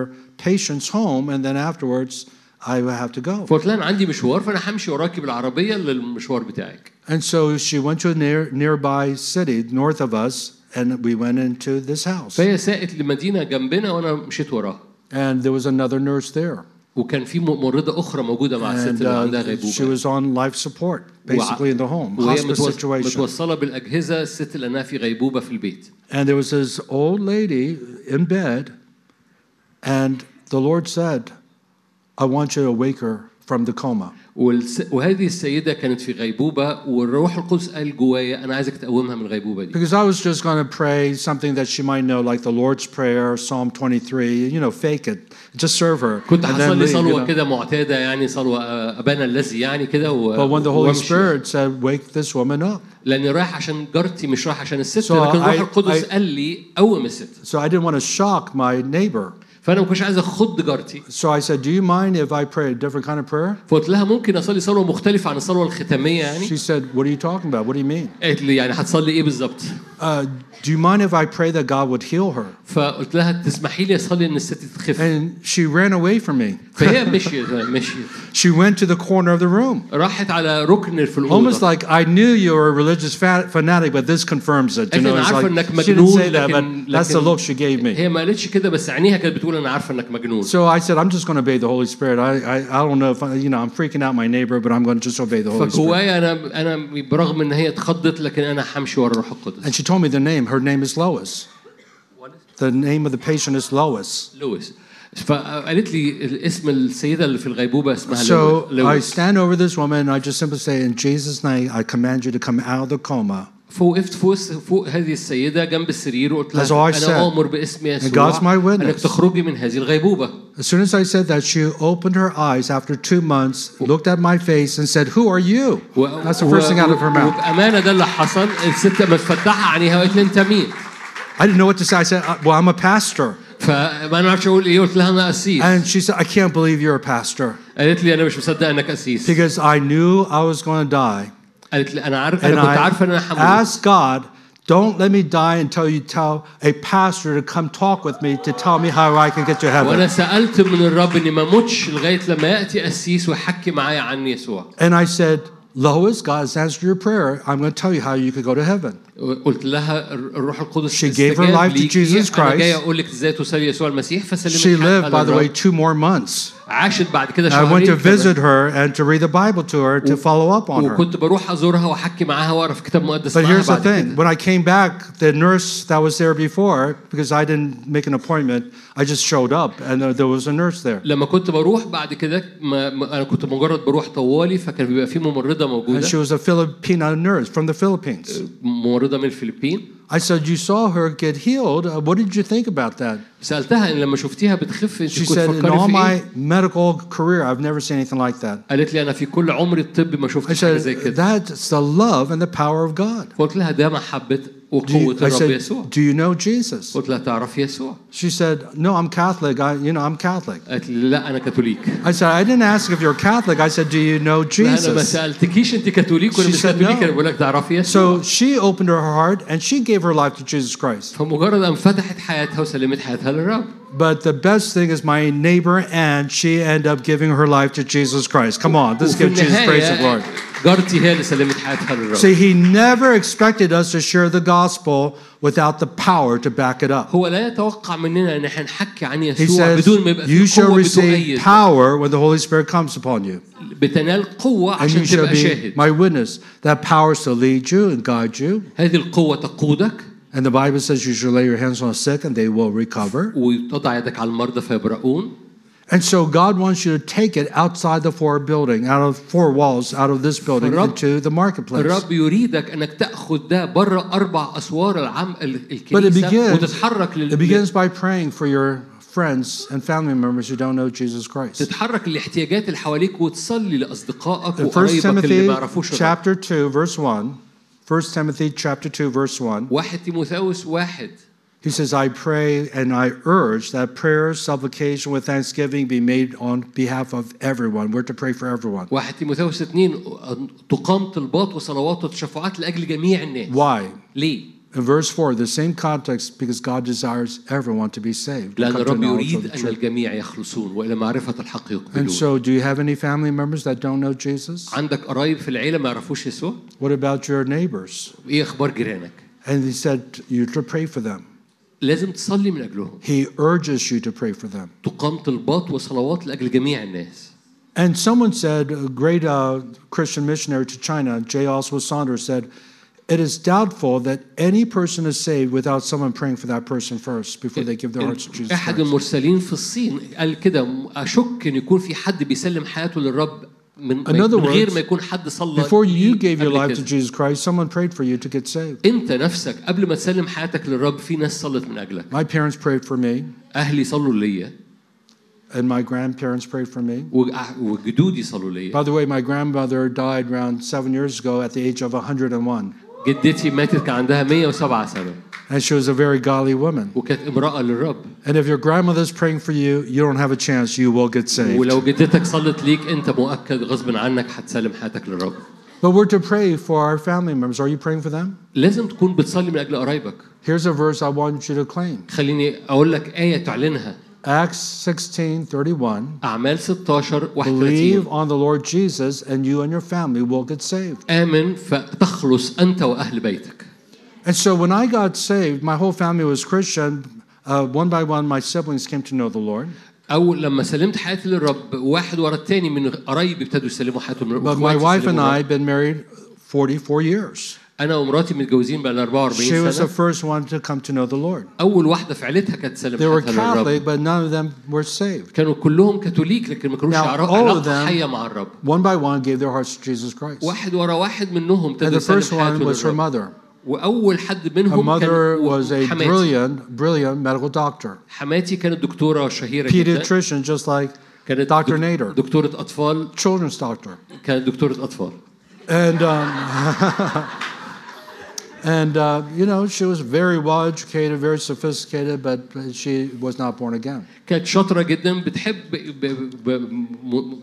Speaker 2: patient's home. And then afterwards, I will have to go.
Speaker 1: فقلت لها انا عندي مشوار فانا همشي وراكي بالعربيه للمشوار بتاعك
Speaker 2: And so she went to a near, nearby city north of us. And we went into this house.
Speaker 1: فهي ساقت لمدينه جنبنا وانا مشيت وراها
Speaker 2: And there was another nurse there.
Speaker 1: وكان في ممرضه اخرى موجوده مع الست
Speaker 2: And
Speaker 1: اللي عندها
Speaker 2: uh, she
Speaker 1: غيبوبه
Speaker 2: was on life support, basically in the home,
Speaker 1: وهي
Speaker 2: hospice
Speaker 1: متوص-
Speaker 2: situation.
Speaker 1: متوصله بالاجهزه الست اللي لانها في غيبوبه في البيت
Speaker 2: And there was this old lady in bed, and the Lord said, I want you to wake her from the coma.
Speaker 1: والس... وهذه السيدة كانت في غيبوبة والروح القدس قال جوايا أنا عايزك تقومها من الغيبوبة دي
Speaker 2: Because I was just going to pray something that she might know, like the Lord's Prayer, Psalm 23, you know, fake it, just serve her.
Speaker 1: كنت
Speaker 2: and then
Speaker 1: هصلي
Speaker 2: leave, you
Speaker 1: صلوة
Speaker 2: know.
Speaker 1: كده معتادة يعني صلوة آه، أبانا الذي يعني كده و...
Speaker 2: But when the Holy
Speaker 1: وأمشي.
Speaker 2: Spirit said, Wake this woman up.
Speaker 1: لأني رايح عشان جارتي مش رايح عشان الست
Speaker 2: So
Speaker 1: لكن
Speaker 2: I-
Speaker 1: الروح القدس
Speaker 2: I-
Speaker 1: قال لي قوم الست
Speaker 2: So I didn't want to shock my neighbor.
Speaker 1: فأنا ما كنتش عايز أخض جارتي
Speaker 2: So I said, Do you mind if I pray a different kind of prayer?
Speaker 1: فقلت لها ممكن أصلي صلوة مختلفة عن الصلوة الختامية يعني
Speaker 2: She said, What are you talking about? What do you mean?
Speaker 1: قالت لي يعني هتصلي إيه بالظبط
Speaker 2: Uh, do you mind if I pray that God would heal her?
Speaker 1: فقلت لها تسمحي لي أصلي إن الست تخف
Speaker 2: And she ran away from me.
Speaker 1: فهي مشيت مشيت
Speaker 2: She went to the corner of the room.
Speaker 1: راحت على ركن في الأوضة
Speaker 2: Almost like I knew you were a religious fa- fanatic, but this confirms it. You
Speaker 1: Actually,
Speaker 2: know, it's
Speaker 1: I'm
Speaker 2: like,
Speaker 1: عارفة إنك
Speaker 2: she didn't
Speaker 1: مجنون,
Speaker 2: say that,
Speaker 1: لكن-
Speaker 2: but that's the
Speaker 1: لكن-
Speaker 2: look she gave me.
Speaker 1: هي ما قالتش كده بس عينيها كانت بتقول انا عارفه انك مجنون
Speaker 2: So I said, I'm just going to obey the Holy Spirit. I, I, I don't know if I, you know, I'm freaking out my neighbor, but I'm going to just obey the Holy Spirit.
Speaker 1: فجوايا انا انا برغم ان هي اتخضت لكن انا همشي ورا الروح القدس
Speaker 2: And she told me the name. Her name is Lois. The name of the patient is Lois.
Speaker 1: لويس فقالت لي اسم السيده اللي في الغيبوبه اسمها
Speaker 2: So I
Speaker 1: لويس
Speaker 2: stand over this woman. And I just simply say, In Jesus' name, I command you to come out of the coma.
Speaker 1: فوقفت فوق فوق هذه السيده جنب السرير وقلت
Speaker 2: That's all
Speaker 1: لها
Speaker 2: I said.
Speaker 1: انا امر باسم يسوع
Speaker 2: God's my witness.
Speaker 1: انك تخرجي من هذه الغيبوبه
Speaker 2: As soon as I said that, she opened her eyes after two months, looked at my face, and said, Who are you?
Speaker 1: و-
Speaker 2: That's the first thing out of her mouth.
Speaker 1: وبامانه ده اللي حصل الست لما فتحها عينيها وقالت لي انت مين؟
Speaker 2: I didn't know what to say. I said, "Uh, Well, I'm a pastor.
Speaker 1: فما انا ما اعرفش اقول ايه قلت لها انا قسيس
Speaker 2: And she said, I can't believe you're a pastor
Speaker 1: قالت لي انا مش مصدقه انك قسيس
Speaker 2: because I knew I was going to die.
Speaker 1: قالت لي انا عارف
Speaker 2: And
Speaker 1: انا كنت
Speaker 2: I
Speaker 1: عارفه ان انا هموت
Speaker 2: asked God, Don't let me die until you tell a pastor to come talk with me to tell me how I can get to
Speaker 1: وانا
Speaker 2: heaven.
Speaker 1: سالت من الرب اني ما اموتش لغايه لما ياتي قسيس ويحكي معايا عن يسوع
Speaker 2: And I said, Lois, God has answered your prayer. I'm going to tell you how you could go to heaven.
Speaker 1: قلت لها الروح القدس
Speaker 2: She gave her
Speaker 1: استجاب
Speaker 2: life to
Speaker 1: ليكي.
Speaker 2: Jesus
Speaker 1: أنا
Speaker 2: Christ.
Speaker 1: جاي أقول لك إزاي تساوي يسوع المسيح فسلمت
Speaker 2: She
Speaker 1: حقها
Speaker 2: lived, by the way,
Speaker 1: للرب.
Speaker 2: two more months.
Speaker 1: عاشت بعد كده
Speaker 2: I
Speaker 1: شهرين
Speaker 2: went to
Speaker 1: كمان.
Speaker 2: visit her and to read the Bible to her to follow up on her.
Speaker 1: وكنت بروح أزورها وأحكي معاها وأقرأ في كتاب مقدس
Speaker 2: But
Speaker 1: معاها
Speaker 2: here's the
Speaker 1: بعد
Speaker 2: thing.
Speaker 1: كده
Speaker 2: When I came back, the nurse that was there before, because I didn't make an appointment, I just showed up and there- there was a nurse there.
Speaker 1: لما كنت بروح بعد كده ما ما- أنا كنت مجرد بروح طوالي فكان بيبقى في ممرضة
Speaker 2: And
Speaker 1: موجودة
Speaker 2: she was a Filipina nurse from the
Speaker 1: Uh,
Speaker 2: Philippines.
Speaker 1: ممرضة من الفلبين
Speaker 2: I said, You saw her get healed. Uh, What did you think about that?
Speaker 1: سألتها إن لما شفتيها بتخف أنت
Speaker 2: She
Speaker 1: كنت
Speaker 2: said, In
Speaker 1: تفكري
Speaker 2: all
Speaker 1: في إيه؟
Speaker 2: my medical career, I've never seen anything like that.
Speaker 1: قالت لي أنا في كل عمري الطب ما
Speaker 2: I
Speaker 1: شفتش حاجة
Speaker 2: said,
Speaker 1: زي كده
Speaker 2: That's the love and the power of God.
Speaker 1: فقلت لها ده محبة
Speaker 2: Do you-
Speaker 1: وقوة
Speaker 2: I
Speaker 1: الرب يسوع
Speaker 2: said, Do you know Jesus?
Speaker 1: قلت لها تعرف يسوع
Speaker 2: She said, No, I'm Catholic. I, you know, I'm Catholic.
Speaker 1: قالت لي لا أنا كاثوليك
Speaker 2: I said, I didn't ask if you're Catholic. I said, Do you know
Speaker 1: لا أنا ما
Speaker 2: Jesus?
Speaker 1: سألتكيش أنت كاثوليك ولا
Speaker 2: She
Speaker 1: مش
Speaker 2: said
Speaker 1: كاثوليك
Speaker 2: no.
Speaker 1: أنا بقول لك تعرف يسوع
Speaker 2: So she opened her heart and she gave her life to Jesus Christ.
Speaker 1: فمجرد أن فتحت حياتها وسلمت حياتها للرب
Speaker 2: But the best thing is my neighbor and she ended up giving her life to Jesus Christ. Come on, let's
Speaker 1: وفي
Speaker 2: give Jesus praise and
Speaker 1: النهاية
Speaker 2: glory.
Speaker 1: جارتي هي اللي سلمت حياتها للرب
Speaker 2: See, he never expected us to share the gospel without the power to back it up.
Speaker 1: هو لا يتوقع مننا ان احنا نحكي عن
Speaker 2: He
Speaker 1: يسوع
Speaker 2: says,
Speaker 1: بدون ما يبقى في
Speaker 2: You shall
Speaker 1: قوه
Speaker 2: receive
Speaker 1: بتؤيد
Speaker 2: power when the Holy Spirit comes upon you,
Speaker 1: بتنال قوه
Speaker 2: and
Speaker 1: عشان
Speaker 2: you shall
Speaker 1: تبقى
Speaker 2: be
Speaker 1: شاهد
Speaker 2: my witness. That power is to lead you and guide you.
Speaker 1: هذه القوه تقودك
Speaker 2: And the Bible says you shall lay your hands on the sick and they will recover.
Speaker 1: وتضع يدك على المرضى فيبرؤون
Speaker 2: And so God wants you to take it outside the four building, out of four walls, out of this building
Speaker 1: الرب-
Speaker 2: into the marketplace.
Speaker 1: الرب يريدك انك تاخذ ده بره اربع اسوار العم ال-
Speaker 2: But it
Speaker 1: الكنيسه
Speaker 2: begins,
Speaker 1: وتتحرك
Speaker 2: it
Speaker 1: لل...
Speaker 2: begins by praying for your friends and family members who don't know Jesus Christ.
Speaker 1: تتحرك لاحتياجات اللي حواليك وتصلي لاصدقائك
Speaker 2: In 1
Speaker 1: وقرايبك اللي
Speaker 2: Timothy
Speaker 1: ما يعرفوش الرب
Speaker 2: chapter 2, verse 1, 1 Timothy chapter 2, verse 1,
Speaker 1: واحد تيموثاوس واحد
Speaker 2: he says, I pray and I urge that prayer, supplication with thanksgiving be made on behalf of everyone. We're to pray for everyone.
Speaker 1: واحد تيموثاوس اتنين أن تقام طلبات وصلوات وتشفعات لاجل جميع الناس
Speaker 2: Why?
Speaker 1: ليه؟
Speaker 2: In verse 4, the same context, because God desires everyone to be saved.
Speaker 1: لأن
Speaker 2: come to
Speaker 1: الرب
Speaker 2: knowledge of
Speaker 1: يريد
Speaker 2: the
Speaker 1: أن
Speaker 2: truth.
Speaker 1: الجميع يخلصون وإلى معرفة الحق
Speaker 2: And
Speaker 1: يقبلون
Speaker 2: so, do you have any family members that don't know Jesus?
Speaker 1: عندك قرايب في العيلة ما يعرفوش يسوع
Speaker 2: What about your neighbors?
Speaker 1: إيه أخبار جيرانك
Speaker 2: And he said, You're to pray for them.
Speaker 1: لازم تصلي من أجلهم
Speaker 2: He urges you to pray for them.
Speaker 1: تقام طلبات وصلوات لأجل جميع الناس
Speaker 2: And someone said, a great uh, Christian missionary to China, J. Oswald Saunders, said, It is doubtful that any person is saved without someone praying for that person first before they
Speaker 1: Eh,
Speaker 2: give their hearts to Jesus
Speaker 1: أحد
Speaker 2: Christ.
Speaker 1: المرسلين في الصين قال كده أشك إن يكون في حد بيسلم حياته للرب من, من
Speaker 2: Another
Speaker 1: غير
Speaker 2: words,
Speaker 1: ما يكون حد صلى
Speaker 2: Before
Speaker 1: ليه
Speaker 2: you gave your
Speaker 1: قبل
Speaker 2: life
Speaker 1: كده.
Speaker 2: to Jesus Christ, someone prayed for you to get saved.
Speaker 1: أنت نفسك قبل ما تسلم حياتك للرب في ناس صلت من أجلك
Speaker 2: My parents prayed for me,
Speaker 1: أهلي صلوا ليا
Speaker 2: and my grandparents prayed for me.
Speaker 1: وأح- وجدودي صلوا ليا
Speaker 2: By the way, my grandmother died around seven years ago at the age of 101.
Speaker 1: جدتي ماتت كان عندها 107 سنة
Speaker 2: And she was a very godly woman.
Speaker 1: وكانت امرأة للرب
Speaker 2: And if your grandmother's praying for you, you don't have a chance. You will get saved.
Speaker 1: ولو جدتك صلت ليك انت مؤكد غصب عنك هتسلم حياتك للرب
Speaker 2: But we're to pray for our family members. Are you praying for them?
Speaker 1: لازم تكون بتصلي من اجل قرايبك
Speaker 2: Here's a verse I want you to claim
Speaker 1: خليني اقول لك آية تعلنها
Speaker 2: Acts 16 31.
Speaker 1: اعمال 16
Speaker 2: Believe
Speaker 1: 31
Speaker 2: on the Lord Jesus, and you and your family will get saved.
Speaker 1: آمن فتخلص انت واهل بيتك
Speaker 2: And so when I got saved, my whole family was Christian. Uh, one by one, my siblings came to know the Lord.
Speaker 1: اول لما سلمت حياتي للرب واحد ورا التاني من قرايبي ابتدوا يسلموا حياتهم للرب
Speaker 2: But my
Speaker 1: وإخواتي
Speaker 2: wife and
Speaker 1: سلموا
Speaker 2: I
Speaker 1: للرب.
Speaker 2: have been married 44 years.
Speaker 1: انا ومراتي متجوزين بقى لنا
Speaker 2: She
Speaker 1: 44
Speaker 2: was the
Speaker 1: سنة
Speaker 2: first one to come to know the Lord.
Speaker 1: اول واحدة في عيلتها كانت تسلم
Speaker 2: They were
Speaker 1: حياتها للرب
Speaker 2: Catholic, but none of them were saved.
Speaker 1: كانوا كلهم كاثوليك لكن ما كانوش
Speaker 2: Now,
Speaker 1: يعرفوا
Speaker 2: all of
Speaker 1: علاقة
Speaker 2: them-
Speaker 1: حية مع الرب
Speaker 2: One by one gave their hearts to Jesus Christ.
Speaker 1: واحد ورا واحد منهم
Speaker 2: And
Speaker 1: ابتدى
Speaker 2: the first
Speaker 1: يسلم
Speaker 2: one was
Speaker 1: حياته
Speaker 2: her
Speaker 1: للرب
Speaker 2: mother.
Speaker 1: واول حد
Speaker 2: Her
Speaker 1: منهم
Speaker 2: mother was
Speaker 1: كان
Speaker 2: a
Speaker 1: حماتي
Speaker 2: brilliant, brilliant medical doctor,
Speaker 1: حماتي كانت دكتوره شهيره جدا
Speaker 2: pediatrician, just like
Speaker 1: كانت
Speaker 2: Dr.
Speaker 1: دك-
Speaker 2: Nader,
Speaker 1: دكتوره اطفال
Speaker 2: children's doctor.
Speaker 1: كانت دكتوره اطفال
Speaker 2: And um, (laughs) And, uh, you know, she was very well educated, very sophisticated, but she was not born again.
Speaker 1: كانت شاطره جدا بتحب ب- ب- ب- م-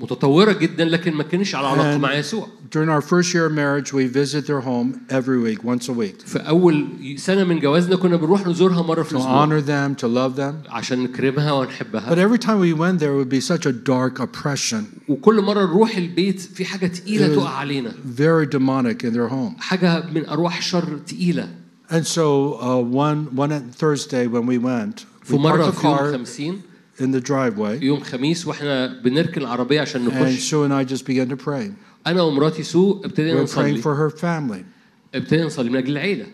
Speaker 1: متطوره جدا لكن ما كانش على علاقه
Speaker 2: And-
Speaker 1: مع يسوع
Speaker 2: During our first year of marriage, we visit their home every week, once a week,
Speaker 1: في اول سنه من جوازنا كنا بنروح نزورها مره في
Speaker 2: to
Speaker 1: الاسبوع
Speaker 2: honor them, to love them.
Speaker 1: عشان نكرمها ونحبها
Speaker 2: But every time we went there, it would be such a dark oppression,
Speaker 1: وكل مره نروح البيت في حاجه
Speaker 2: It
Speaker 1: تقيله
Speaker 2: was-
Speaker 1: تقع علينا
Speaker 2: very demonic in their home.
Speaker 1: حاجه من ارواح شر تقيله
Speaker 2: And so uh, one, one Thursday when we went,
Speaker 1: في
Speaker 2: we parked
Speaker 1: مره
Speaker 2: the
Speaker 1: في يوم
Speaker 2: car
Speaker 1: 50
Speaker 2: in the driveway,
Speaker 1: يوم خميس واحنا بنركن العربيه عشان
Speaker 2: and
Speaker 1: نخش
Speaker 2: Sue and I just began to pray.
Speaker 1: انا ومراتي سو
Speaker 2: We
Speaker 1: ابتدينا
Speaker 2: were praying
Speaker 1: نصلي
Speaker 2: for her family.
Speaker 1: ابتدينا نصلي من اجل العيله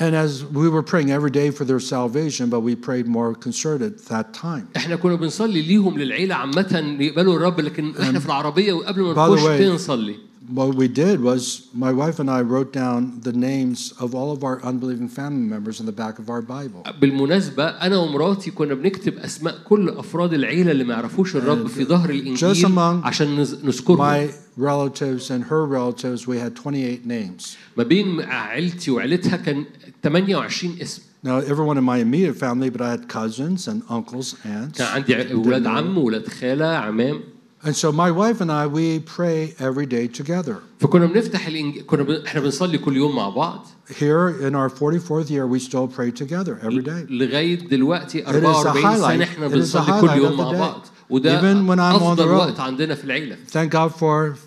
Speaker 2: And as we were praying every day for their salvation, but we prayed more concerted that time.
Speaker 1: احنا كنا بنصلي ليهم للعيله عامه يقبلوا الرب لكن احنا في العربيه وقبل ما
Speaker 2: By the
Speaker 1: نخش
Speaker 2: way-
Speaker 1: ابتدينا نصلي
Speaker 2: What we did was my wife and I wrote down the names of all of our unbelieving family members in the back of our Bible.
Speaker 1: بالمناسبه انا ومراتي كنا بنكتب اسماء كل افراد العيله اللي ما يعرفوش الرب في ظهر
Speaker 2: just
Speaker 1: الانجيل
Speaker 2: among
Speaker 1: عشان نز- نذكرهم
Speaker 2: My relatives and her relatives, we had 28 names.
Speaker 1: ما بين عيلتي وعيلتها كان 28 اسم
Speaker 2: Now, everyone in my immediate family, but I had cousins and uncles, aunts.
Speaker 1: كان عندي ع- ولاد عم ولاد خاله عمام
Speaker 2: And so my wife and I, we pray every day together.
Speaker 1: فكنا بنفتح الإنج... كنا ب... احنا بنصلي كل يوم مع بعض
Speaker 2: Here in our 44th year, we still pray together every day.
Speaker 1: لغايه دلوقتي
Speaker 2: a
Speaker 1: 44
Speaker 2: highlight.
Speaker 1: سنه احنا
Speaker 2: It is a
Speaker 1: بنصلي
Speaker 2: highlight
Speaker 1: كل
Speaker 2: of
Speaker 1: يوم
Speaker 2: the
Speaker 1: مع
Speaker 2: day.
Speaker 1: بعض وده
Speaker 2: Even when I'm on the
Speaker 1: افضل
Speaker 2: road.
Speaker 1: وقت عندنا في العيله
Speaker 2: Thank God for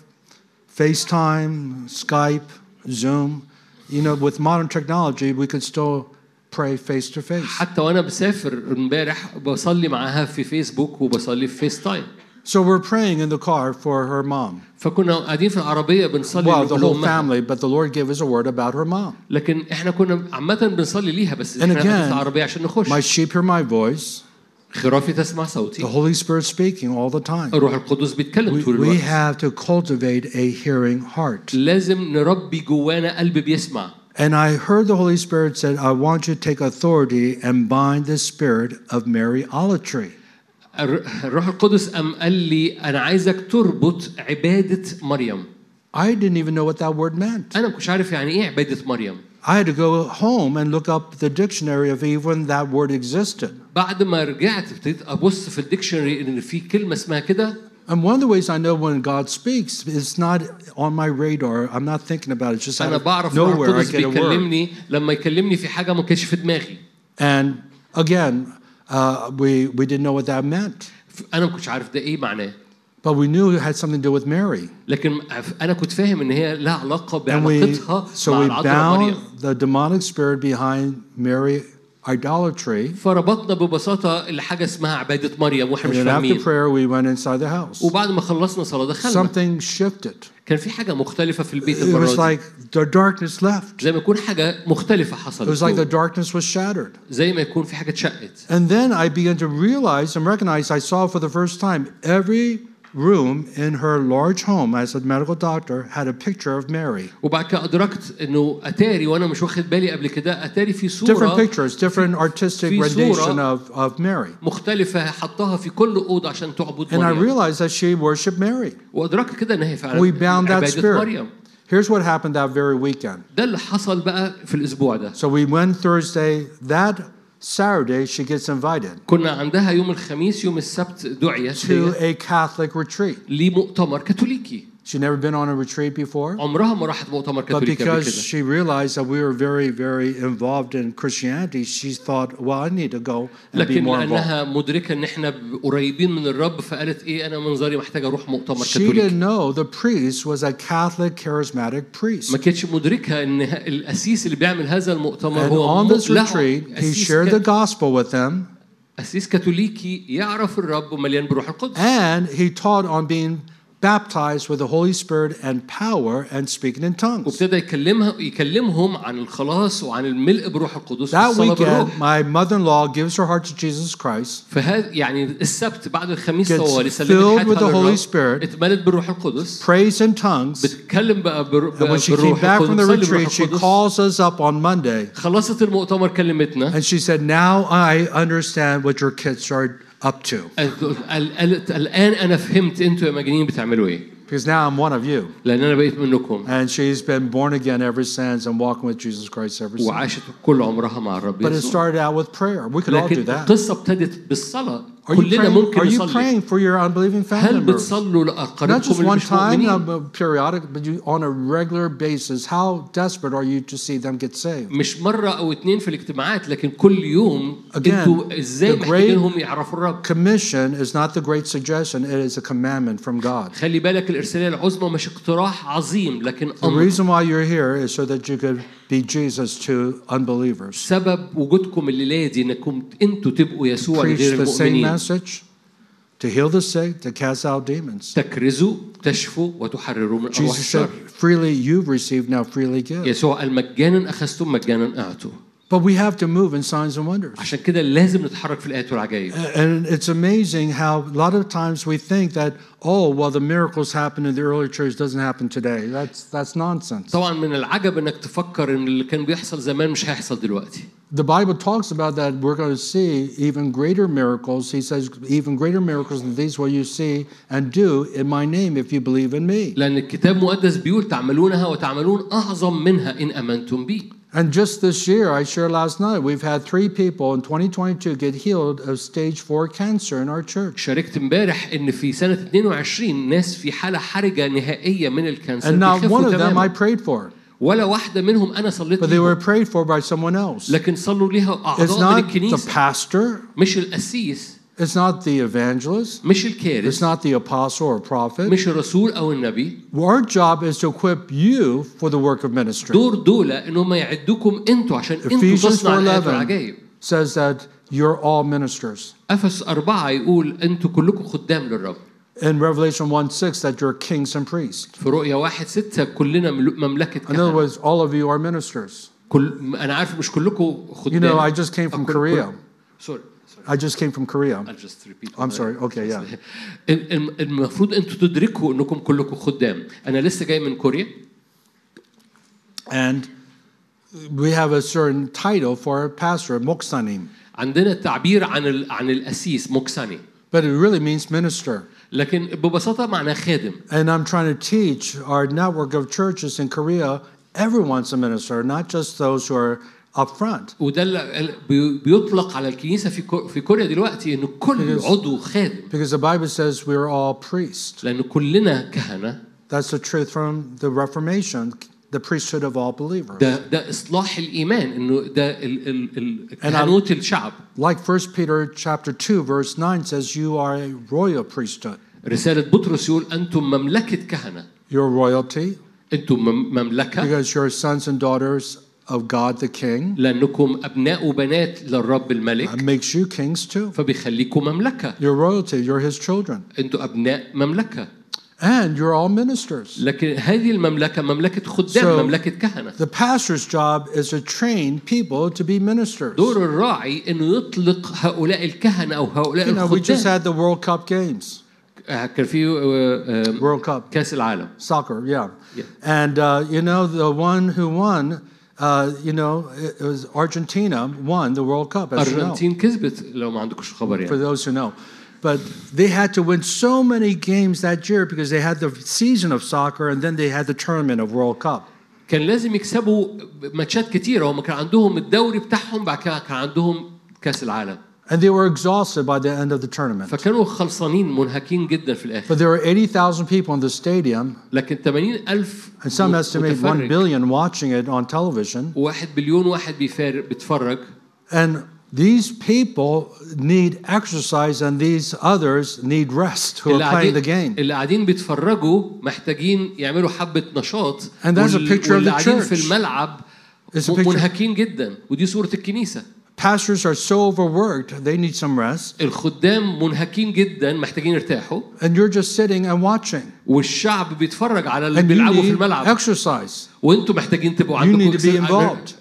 Speaker 2: FaceTime, Skype, Zoom. You know, with modern technology, we could still pray face to face.
Speaker 1: حتى وانا بسافر امبارح بصلي معاها في فيسبوك وبصلي في فيس تايم
Speaker 2: So we're praying in the car for her mom.
Speaker 1: فكنا قاعدين في العربيه بنصلي
Speaker 2: Well, the whole
Speaker 1: لأمها.
Speaker 2: family, but the Lord gave us a word about her mom.
Speaker 1: لكن احنا كنا عامه بنصلي ليها بس
Speaker 2: And
Speaker 1: احنا قاعدين
Speaker 2: again,
Speaker 1: في العربيه عشان نخش
Speaker 2: My sheep hear my voice.
Speaker 1: خرافي تسمع
Speaker 2: The
Speaker 1: صوتي
Speaker 2: Holy Spirit speaking all the time.
Speaker 1: الروح القدس بيتكلم
Speaker 2: We,
Speaker 1: طول
Speaker 2: we
Speaker 1: الوقت
Speaker 2: have to cultivate a hearing heart.
Speaker 1: لازم نربي جوانا قلب بيسمع
Speaker 2: And I heard the Holy Spirit said, I want you to take authority and bind the spirit of Mariolatry.
Speaker 1: الر- الروح القدس قام قال لي انا عايزك تربط عباده مريم
Speaker 2: I didn't even know what that word meant.
Speaker 1: انا ما كنتش عارف يعني ايه عباده مريم
Speaker 2: I had to go home and look up the dictionary of even that word existed.
Speaker 1: بعد ما رجعت ابتديت ابص في الديكشنري ان في كلمه اسمها كده
Speaker 2: And one of the ways I know when God speaks, it's not on my radar. I'm not thinking about it. It's just out
Speaker 1: انا
Speaker 2: of
Speaker 1: بعرف الروح
Speaker 2: nowhere I
Speaker 1: القدس
Speaker 2: get a word.
Speaker 1: بيكلمني لما يكلمني في حاجه ما كانتش في دماغي
Speaker 2: And again, uh, we, we didn't know what that meant.
Speaker 1: ف- انا ما كنتش عارف ده ايه معناه
Speaker 2: But we knew it had something to do with Mary.
Speaker 1: لكن ف- انا كنت فاهم ان هي لها علاقه
Speaker 2: And we,
Speaker 1: بعلاقتها
Speaker 2: so
Speaker 1: مع
Speaker 2: we
Speaker 1: العذراء مريم
Speaker 2: bound the demonic spirit behind Mary idolatry.
Speaker 1: فربطنا ببساطه لحاجه اسمها عباده مريم واحنا مش
Speaker 2: And then after
Speaker 1: فاهمين
Speaker 2: prayer, we went inside the house.
Speaker 1: وبعد ما خلصنا صلاه دخلنا
Speaker 2: Something shifted.
Speaker 1: كان في حاجه مختلفه في البيت
Speaker 2: It was
Speaker 1: المره دي
Speaker 2: like the darkness left.
Speaker 1: زي ما يكون حاجه مختلفه
Speaker 2: It was like
Speaker 1: حصلت
Speaker 2: the
Speaker 1: جوه.
Speaker 2: darkness was shattered.
Speaker 1: زي ما يكون في حاجه اتشقت
Speaker 2: And then I began to realize and recognize I saw for the first time every room in her large home as a medical doctor had a picture of Mary.
Speaker 1: وبعد كده ادركت انه اتاري وانا مش واخد بالي قبل كده اتاري في
Speaker 2: Different
Speaker 1: صوره
Speaker 2: pictures, different artistic
Speaker 1: في
Speaker 2: rendition
Speaker 1: صورة-
Speaker 2: of, of Mary.
Speaker 1: مختلفه حطها في كل اوضه عشان تعبد
Speaker 2: And I
Speaker 1: مريم
Speaker 2: realized that she worshiped Mary.
Speaker 1: وادركت كده ان هي فعلا
Speaker 2: We bound that
Speaker 1: عباده
Speaker 2: spirit.
Speaker 1: مريم
Speaker 2: Here's what happened that very weekend.
Speaker 1: ده اللي حصل بقى في الاسبوع ده
Speaker 2: So we went Thursday. That Saturday, she gets invited
Speaker 1: كنا عندها يوم الخميس يوم السبت دعيت
Speaker 2: to
Speaker 1: هي
Speaker 2: a Catholic retreat.
Speaker 1: لمؤتمر كاثوليكي
Speaker 2: She'd never been on a retreat before.
Speaker 1: عمرها ما راحت مؤتمر
Speaker 2: But
Speaker 1: كاثوليكي قبل
Speaker 2: because
Speaker 1: كده
Speaker 2: she realized that we were very, very involved in Christianity, she thought, well, I need to go and be
Speaker 1: لكن
Speaker 2: more involved.
Speaker 1: لانها مدركه ان احنا قريبين من الرب فقالت ايه انا منظري محتاجه اروح مؤتمر
Speaker 2: She
Speaker 1: كاثوليكي
Speaker 2: didn't know the priest was a Catholic charismatic priest.
Speaker 1: ما كانتش مدركه ان ه- الاسيس اللي بيعمل هذا المؤتمر
Speaker 2: And
Speaker 1: هو
Speaker 2: on
Speaker 1: م-
Speaker 2: this
Speaker 1: له
Speaker 2: retreat, he
Speaker 1: أسيس
Speaker 2: shared the
Speaker 1: ك-
Speaker 2: gospel with them
Speaker 1: أسيس كاثوليكي يعرف الرب ومليان بروح القدس
Speaker 2: and he taught on being baptized with the Holy Spirit and power and speaking in tongues.
Speaker 1: وابتدى يكلمها يكلمهم عن الخلاص وعن الملء بروح القدس
Speaker 2: That
Speaker 1: والصلاة
Speaker 2: weekend,
Speaker 1: بالروح
Speaker 2: my mother in law gives her heart to Jesus Christ.
Speaker 1: فهذا يعني السبت بعد الخميس
Speaker 2: Gets
Speaker 1: طوالي
Speaker 2: filled
Speaker 1: سلمت
Speaker 2: with the
Speaker 1: حياتها
Speaker 2: Holy
Speaker 1: للرب
Speaker 2: Spirit.
Speaker 1: اتملت بالروح القدس
Speaker 2: Prays in tongues.
Speaker 1: بتتكلم بقى بر-
Speaker 2: And when she came
Speaker 1: بالروح
Speaker 2: back from the
Speaker 1: القدس بتصلي بالروح
Speaker 2: retreat, she
Speaker 1: القدس
Speaker 2: calls us up on Monday
Speaker 1: خلصت المؤتمر كلمتنا
Speaker 2: And she said, Now I understand what your kids are up to.
Speaker 1: قالت- قالت الان انا فهمت انتوا يا مجانين بتعملوا ايه
Speaker 2: because now I'm one of you.
Speaker 1: لأن أنا بقيت منكم
Speaker 2: And she's been born again ever since and walking with Jesus Christ ever since.
Speaker 1: وعاشت كل عمرها مع الرب
Speaker 2: But it
Speaker 1: يسوع
Speaker 2: started out with prayer. We could all do
Speaker 1: لكن
Speaker 2: that.
Speaker 1: القصة ابتدت بالصلاة
Speaker 2: Are you
Speaker 1: كلنا
Speaker 2: praying,
Speaker 1: ممكن
Speaker 2: are you
Speaker 1: نصلي
Speaker 2: praying for your unbelieving family
Speaker 1: هل
Speaker 2: members?
Speaker 1: بتصلوا
Speaker 2: Not just
Speaker 1: لأقاربكم اللي
Speaker 2: one
Speaker 1: مش
Speaker 2: time,
Speaker 1: مؤمنين؟
Speaker 2: not periodic, but you, on a regular basis. How desperate are you to see them get saved?
Speaker 1: مش مرة أو اتنين في الاجتماعات لكن كل يوم
Speaker 2: Again,
Speaker 1: انتوا ازاي
Speaker 2: the great-
Speaker 1: محتاجينهم يعرفوا الرب؟
Speaker 2: Commission is not the great suggestion, it is a commandment from God.
Speaker 1: خلي بالك الإرسالية العظمى مش اقتراح عظيم لكن
Speaker 2: The
Speaker 1: أمر
Speaker 2: reason why you're here is so that you could be Jesus to unbelievers.
Speaker 1: سبب وجودكم الليلة دي انكم انتوا تبقوا يسوع
Speaker 2: Preach
Speaker 1: لغير
Speaker 2: the same
Speaker 1: المؤمنين
Speaker 2: message to heal the sick, to cast out demons.
Speaker 1: تكرزوا تشفوا وتحرروا من أرواح
Speaker 2: Jesus said,
Speaker 1: الشر
Speaker 2: freely you've received, now freely give.
Speaker 1: يسوع قال مجانا أخذتم مجانا أعطوا
Speaker 2: But we have to move in signs and wonders.
Speaker 1: عشان كده لازم نتحرك في الآيات والعجائب
Speaker 2: And it's amazing how a lot of times we think that, oh, well, the miracles happened in the early church doesn't happen today. That's, that's nonsense.
Speaker 1: طبعا من العجب انك تفكر ان اللي كان بيحصل زمان مش هيحصل دلوقتي
Speaker 2: The Bible talks about that we're going to see even greater miracles. He says, even greater miracles than these will you see and do in my name if you believe in me.
Speaker 1: لأن الكتاب المقدس بيقول تعملونها وتعملون أعظم منها إن آمنتم بي
Speaker 2: And just this year, I shared last night, we've had three people in 2022 get healed of stage four cancer in our church.
Speaker 1: شاركت امبارح ان في سنة 22 ناس في حالة حرجة نهائية من الكانسر
Speaker 2: And not one
Speaker 1: بيخفوا
Speaker 2: of them I
Speaker 1: تماما
Speaker 2: prayed for,
Speaker 1: ولا واحدة منهم أنا صليت
Speaker 2: but they were
Speaker 1: ليهم
Speaker 2: prayed for by someone else.
Speaker 1: لكن صلوا ليها
Speaker 2: It's
Speaker 1: أعضاء من
Speaker 2: not the
Speaker 1: الكنيسة
Speaker 2: pastor,
Speaker 1: مش القسيس
Speaker 2: It's not the evangelist.
Speaker 1: مش
Speaker 2: It's
Speaker 1: الكارث
Speaker 2: not the apostle or prophet.
Speaker 1: مش الرسول أو النبي
Speaker 2: Our job is to equip you for the work of ministry.
Speaker 1: دور دولة إن هم يعدوكم أنتوا عشان أنتوا
Speaker 2: Ephesians
Speaker 1: تصنعوا الآيات والعجائب
Speaker 2: 4:11 says that you're all ministers.
Speaker 1: أفس أربعة يقول أنتوا كلكم خدام للرب
Speaker 2: In Revelation 1:6 that you're kings and priests.
Speaker 1: في رؤية واحد ستة كلنا مل- مملكة
Speaker 2: In other
Speaker 1: كهنة
Speaker 2: words, all of you are ministers.
Speaker 1: كل أنا عارف مش كلكم
Speaker 2: You
Speaker 1: خدام
Speaker 2: know, I just came from
Speaker 1: أو كل-
Speaker 2: Korea.
Speaker 1: كل- Sorry, sorry,
Speaker 2: I just came from Korea.
Speaker 1: I'll just repeat
Speaker 2: I'm
Speaker 1: what I- (laughs)
Speaker 2: sorry. Okay, yeah.
Speaker 1: ال- ال- المفروض أنتوا تدركوا أنكم كلكم خدام أنا لسه جاي من كوريا
Speaker 2: And we have a certain title for our pastor, moksanim,
Speaker 1: عندنا تعبير عن ال... عن الأسيس موكساني
Speaker 2: but it really means minister.
Speaker 1: لكن ببساطة معناه خادم
Speaker 2: And I'm trying to teach our network of churches in Korea, everyone's a minister, not just those who are up front.
Speaker 1: وده اللي ال- بي- بيطلق على الكنيسة في كو- في كوريا دلوقتي أن كل عضو خادم
Speaker 2: Because the Bible says we're all priests.
Speaker 1: لأن كلنا كهنة
Speaker 2: That's the truth from the Reformation, the priesthood of all believers.
Speaker 1: ده ده اصلاح الايمان انه ده ال- ال- ال-
Speaker 2: أنا-
Speaker 1: كهنوت الشعب
Speaker 2: like 1 Peter chapter 2, verse 9 says, You are a royal priesthood.
Speaker 1: رساله بطرس يقول انتم مملكه كهنه
Speaker 2: You're royalty
Speaker 1: انتم مم- مملكه
Speaker 2: because you're sons and daughters of God the King.
Speaker 1: لانكم ابناء وبنات للرب الملك
Speaker 2: That makes you kings too.
Speaker 1: فبيخليكم مملكه
Speaker 2: You're royalty, you're his children.
Speaker 1: انتم ابناء مملكه
Speaker 2: And you're all ministers.
Speaker 1: لكن هذه المملكه مملكه خدام
Speaker 2: So-
Speaker 1: مملكه كهنه
Speaker 2: The pastor's job is to train people to be ministers.
Speaker 1: دور الراعي انه يطلق هؤلاء الكهنه او هؤلاء
Speaker 2: You know, we just
Speaker 1: الخدام
Speaker 2: had the World Cup games,
Speaker 1: آه، كان في آه، آه،
Speaker 2: World Cup
Speaker 1: كاس العالم
Speaker 2: soccer, yeah.
Speaker 1: Yeah.
Speaker 2: And uh, you know, the one who won, uh, you know, it, it was Argentina won the World Cup, as you know,
Speaker 1: ارجنتين كسبت لو ما عندكش خبر يعني
Speaker 2: for those who know. But they had to win so many games that year because they had the season of soccer and then they had the tournament of World Cup.
Speaker 1: كان لازم يكسبوا ماتشات كتيره هم كان عندهم الدوري بتاعهم بعد كده كان عندهم كاس العالم
Speaker 2: And they were exhausted by the end of the tournament.
Speaker 1: فكانوا خلصانين منهكين جدا في الاخر
Speaker 2: But there were 80,000 people in the stadium,
Speaker 1: لكن 80 الف
Speaker 2: and some estimate 1
Speaker 1: متفرج
Speaker 2: billion watching it on television.
Speaker 1: واحد بليون واحد بيفار بيتفرج
Speaker 2: And these people need exercise, and these others need rest who
Speaker 1: اللي
Speaker 2: are playing the
Speaker 1: قاعدين
Speaker 2: game.
Speaker 1: اللي قاعدين بيتفرجوا محتاجين يعملوا حبه نشاط
Speaker 2: And that's a
Speaker 1: وال-
Speaker 2: picture of
Speaker 1: واللي
Speaker 2: the
Speaker 1: قاعدين في
Speaker 2: church.
Speaker 1: الملعب
Speaker 2: It's a
Speaker 1: م-
Speaker 2: picture.
Speaker 1: منهكين جدا ودي صوره الكنيسه
Speaker 2: Pastors are so overworked, they need some rest.
Speaker 1: الخدام منهكين جدا محتاجين يرتاحوا
Speaker 2: And you're just sitting and watching.
Speaker 1: والشعب بيتفرج على اللي
Speaker 2: And you
Speaker 1: بيلعبوا في
Speaker 2: need
Speaker 1: الملعب
Speaker 2: exercise.
Speaker 1: وانتم محتاجين تبقوا
Speaker 2: You
Speaker 1: عندكم
Speaker 2: need to be
Speaker 1: إكسال-
Speaker 2: involved.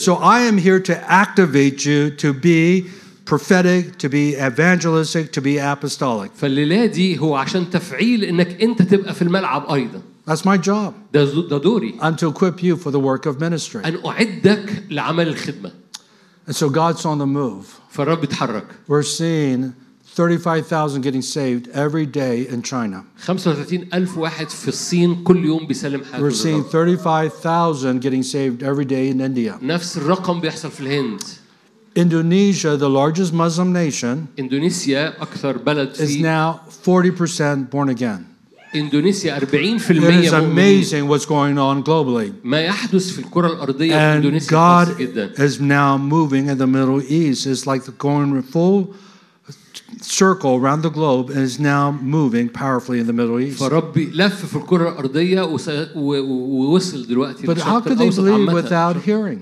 Speaker 2: So I am here to activate you to be prophetic, to be evangelistic, to be apostolic.
Speaker 1: فالليله دي هو عشان تفعيل انك انت تبقى في الملعب ايضا
Speaker 2: That's my job.
Speaker 1: ده ز- ده دوري
Speaker 2: I'm to equip you for the work of ministry.
Speaker 1: ان اعدك لعمل الخدمه
Speaker 2: And so God's on the move.
Speaker 1: فالرب بيتحرك
Speaker 2: We're seeing 35,000 getting saved every day in China.
Speaker 1: 35 ألف واحد في الصين كل يوم بيسلم حياته
Speaker 2: We're seeing
Speaker 1: للرب.
Speaker 2: 35,000 getting saved every day in India.
Speaker 1: نفس الرقم بيحصل في الهند
Speaker 2: Indonesia, the largest Muslim nation,
Speaker 1: اندونيسيا اكثر بلد
Speaker 2: is
Speaker 1: في
Speaker 2: now 40% born again.
Speaker 1: اندونيسيا 40%
Speaker 2: It
Speaker 1: مؤمنين.
Speaker 2: is amazing what's going on globally.
Speaker 1: ما يحدث في الكره الارضيه في
Speaker 2: And
Speaker 1: اندونيسيا خاص
Speaker 2: God
Speaker 1: جدا
Speaker 2: is now moving in the Middle East. It's like the going full circle around the globe and is now moving powerfully in the Middle East.
Speaker 1: فربي لف في الكره الارضيه وس- و- و- ووصل دلوقتي
Speaker 2: But how
Speaker 1: للشرق
Speaker 2: could they
Speaker 1: الاوسط
Speaker 2: believe
Speaker 1: عامه
Speaker 2: without hearing?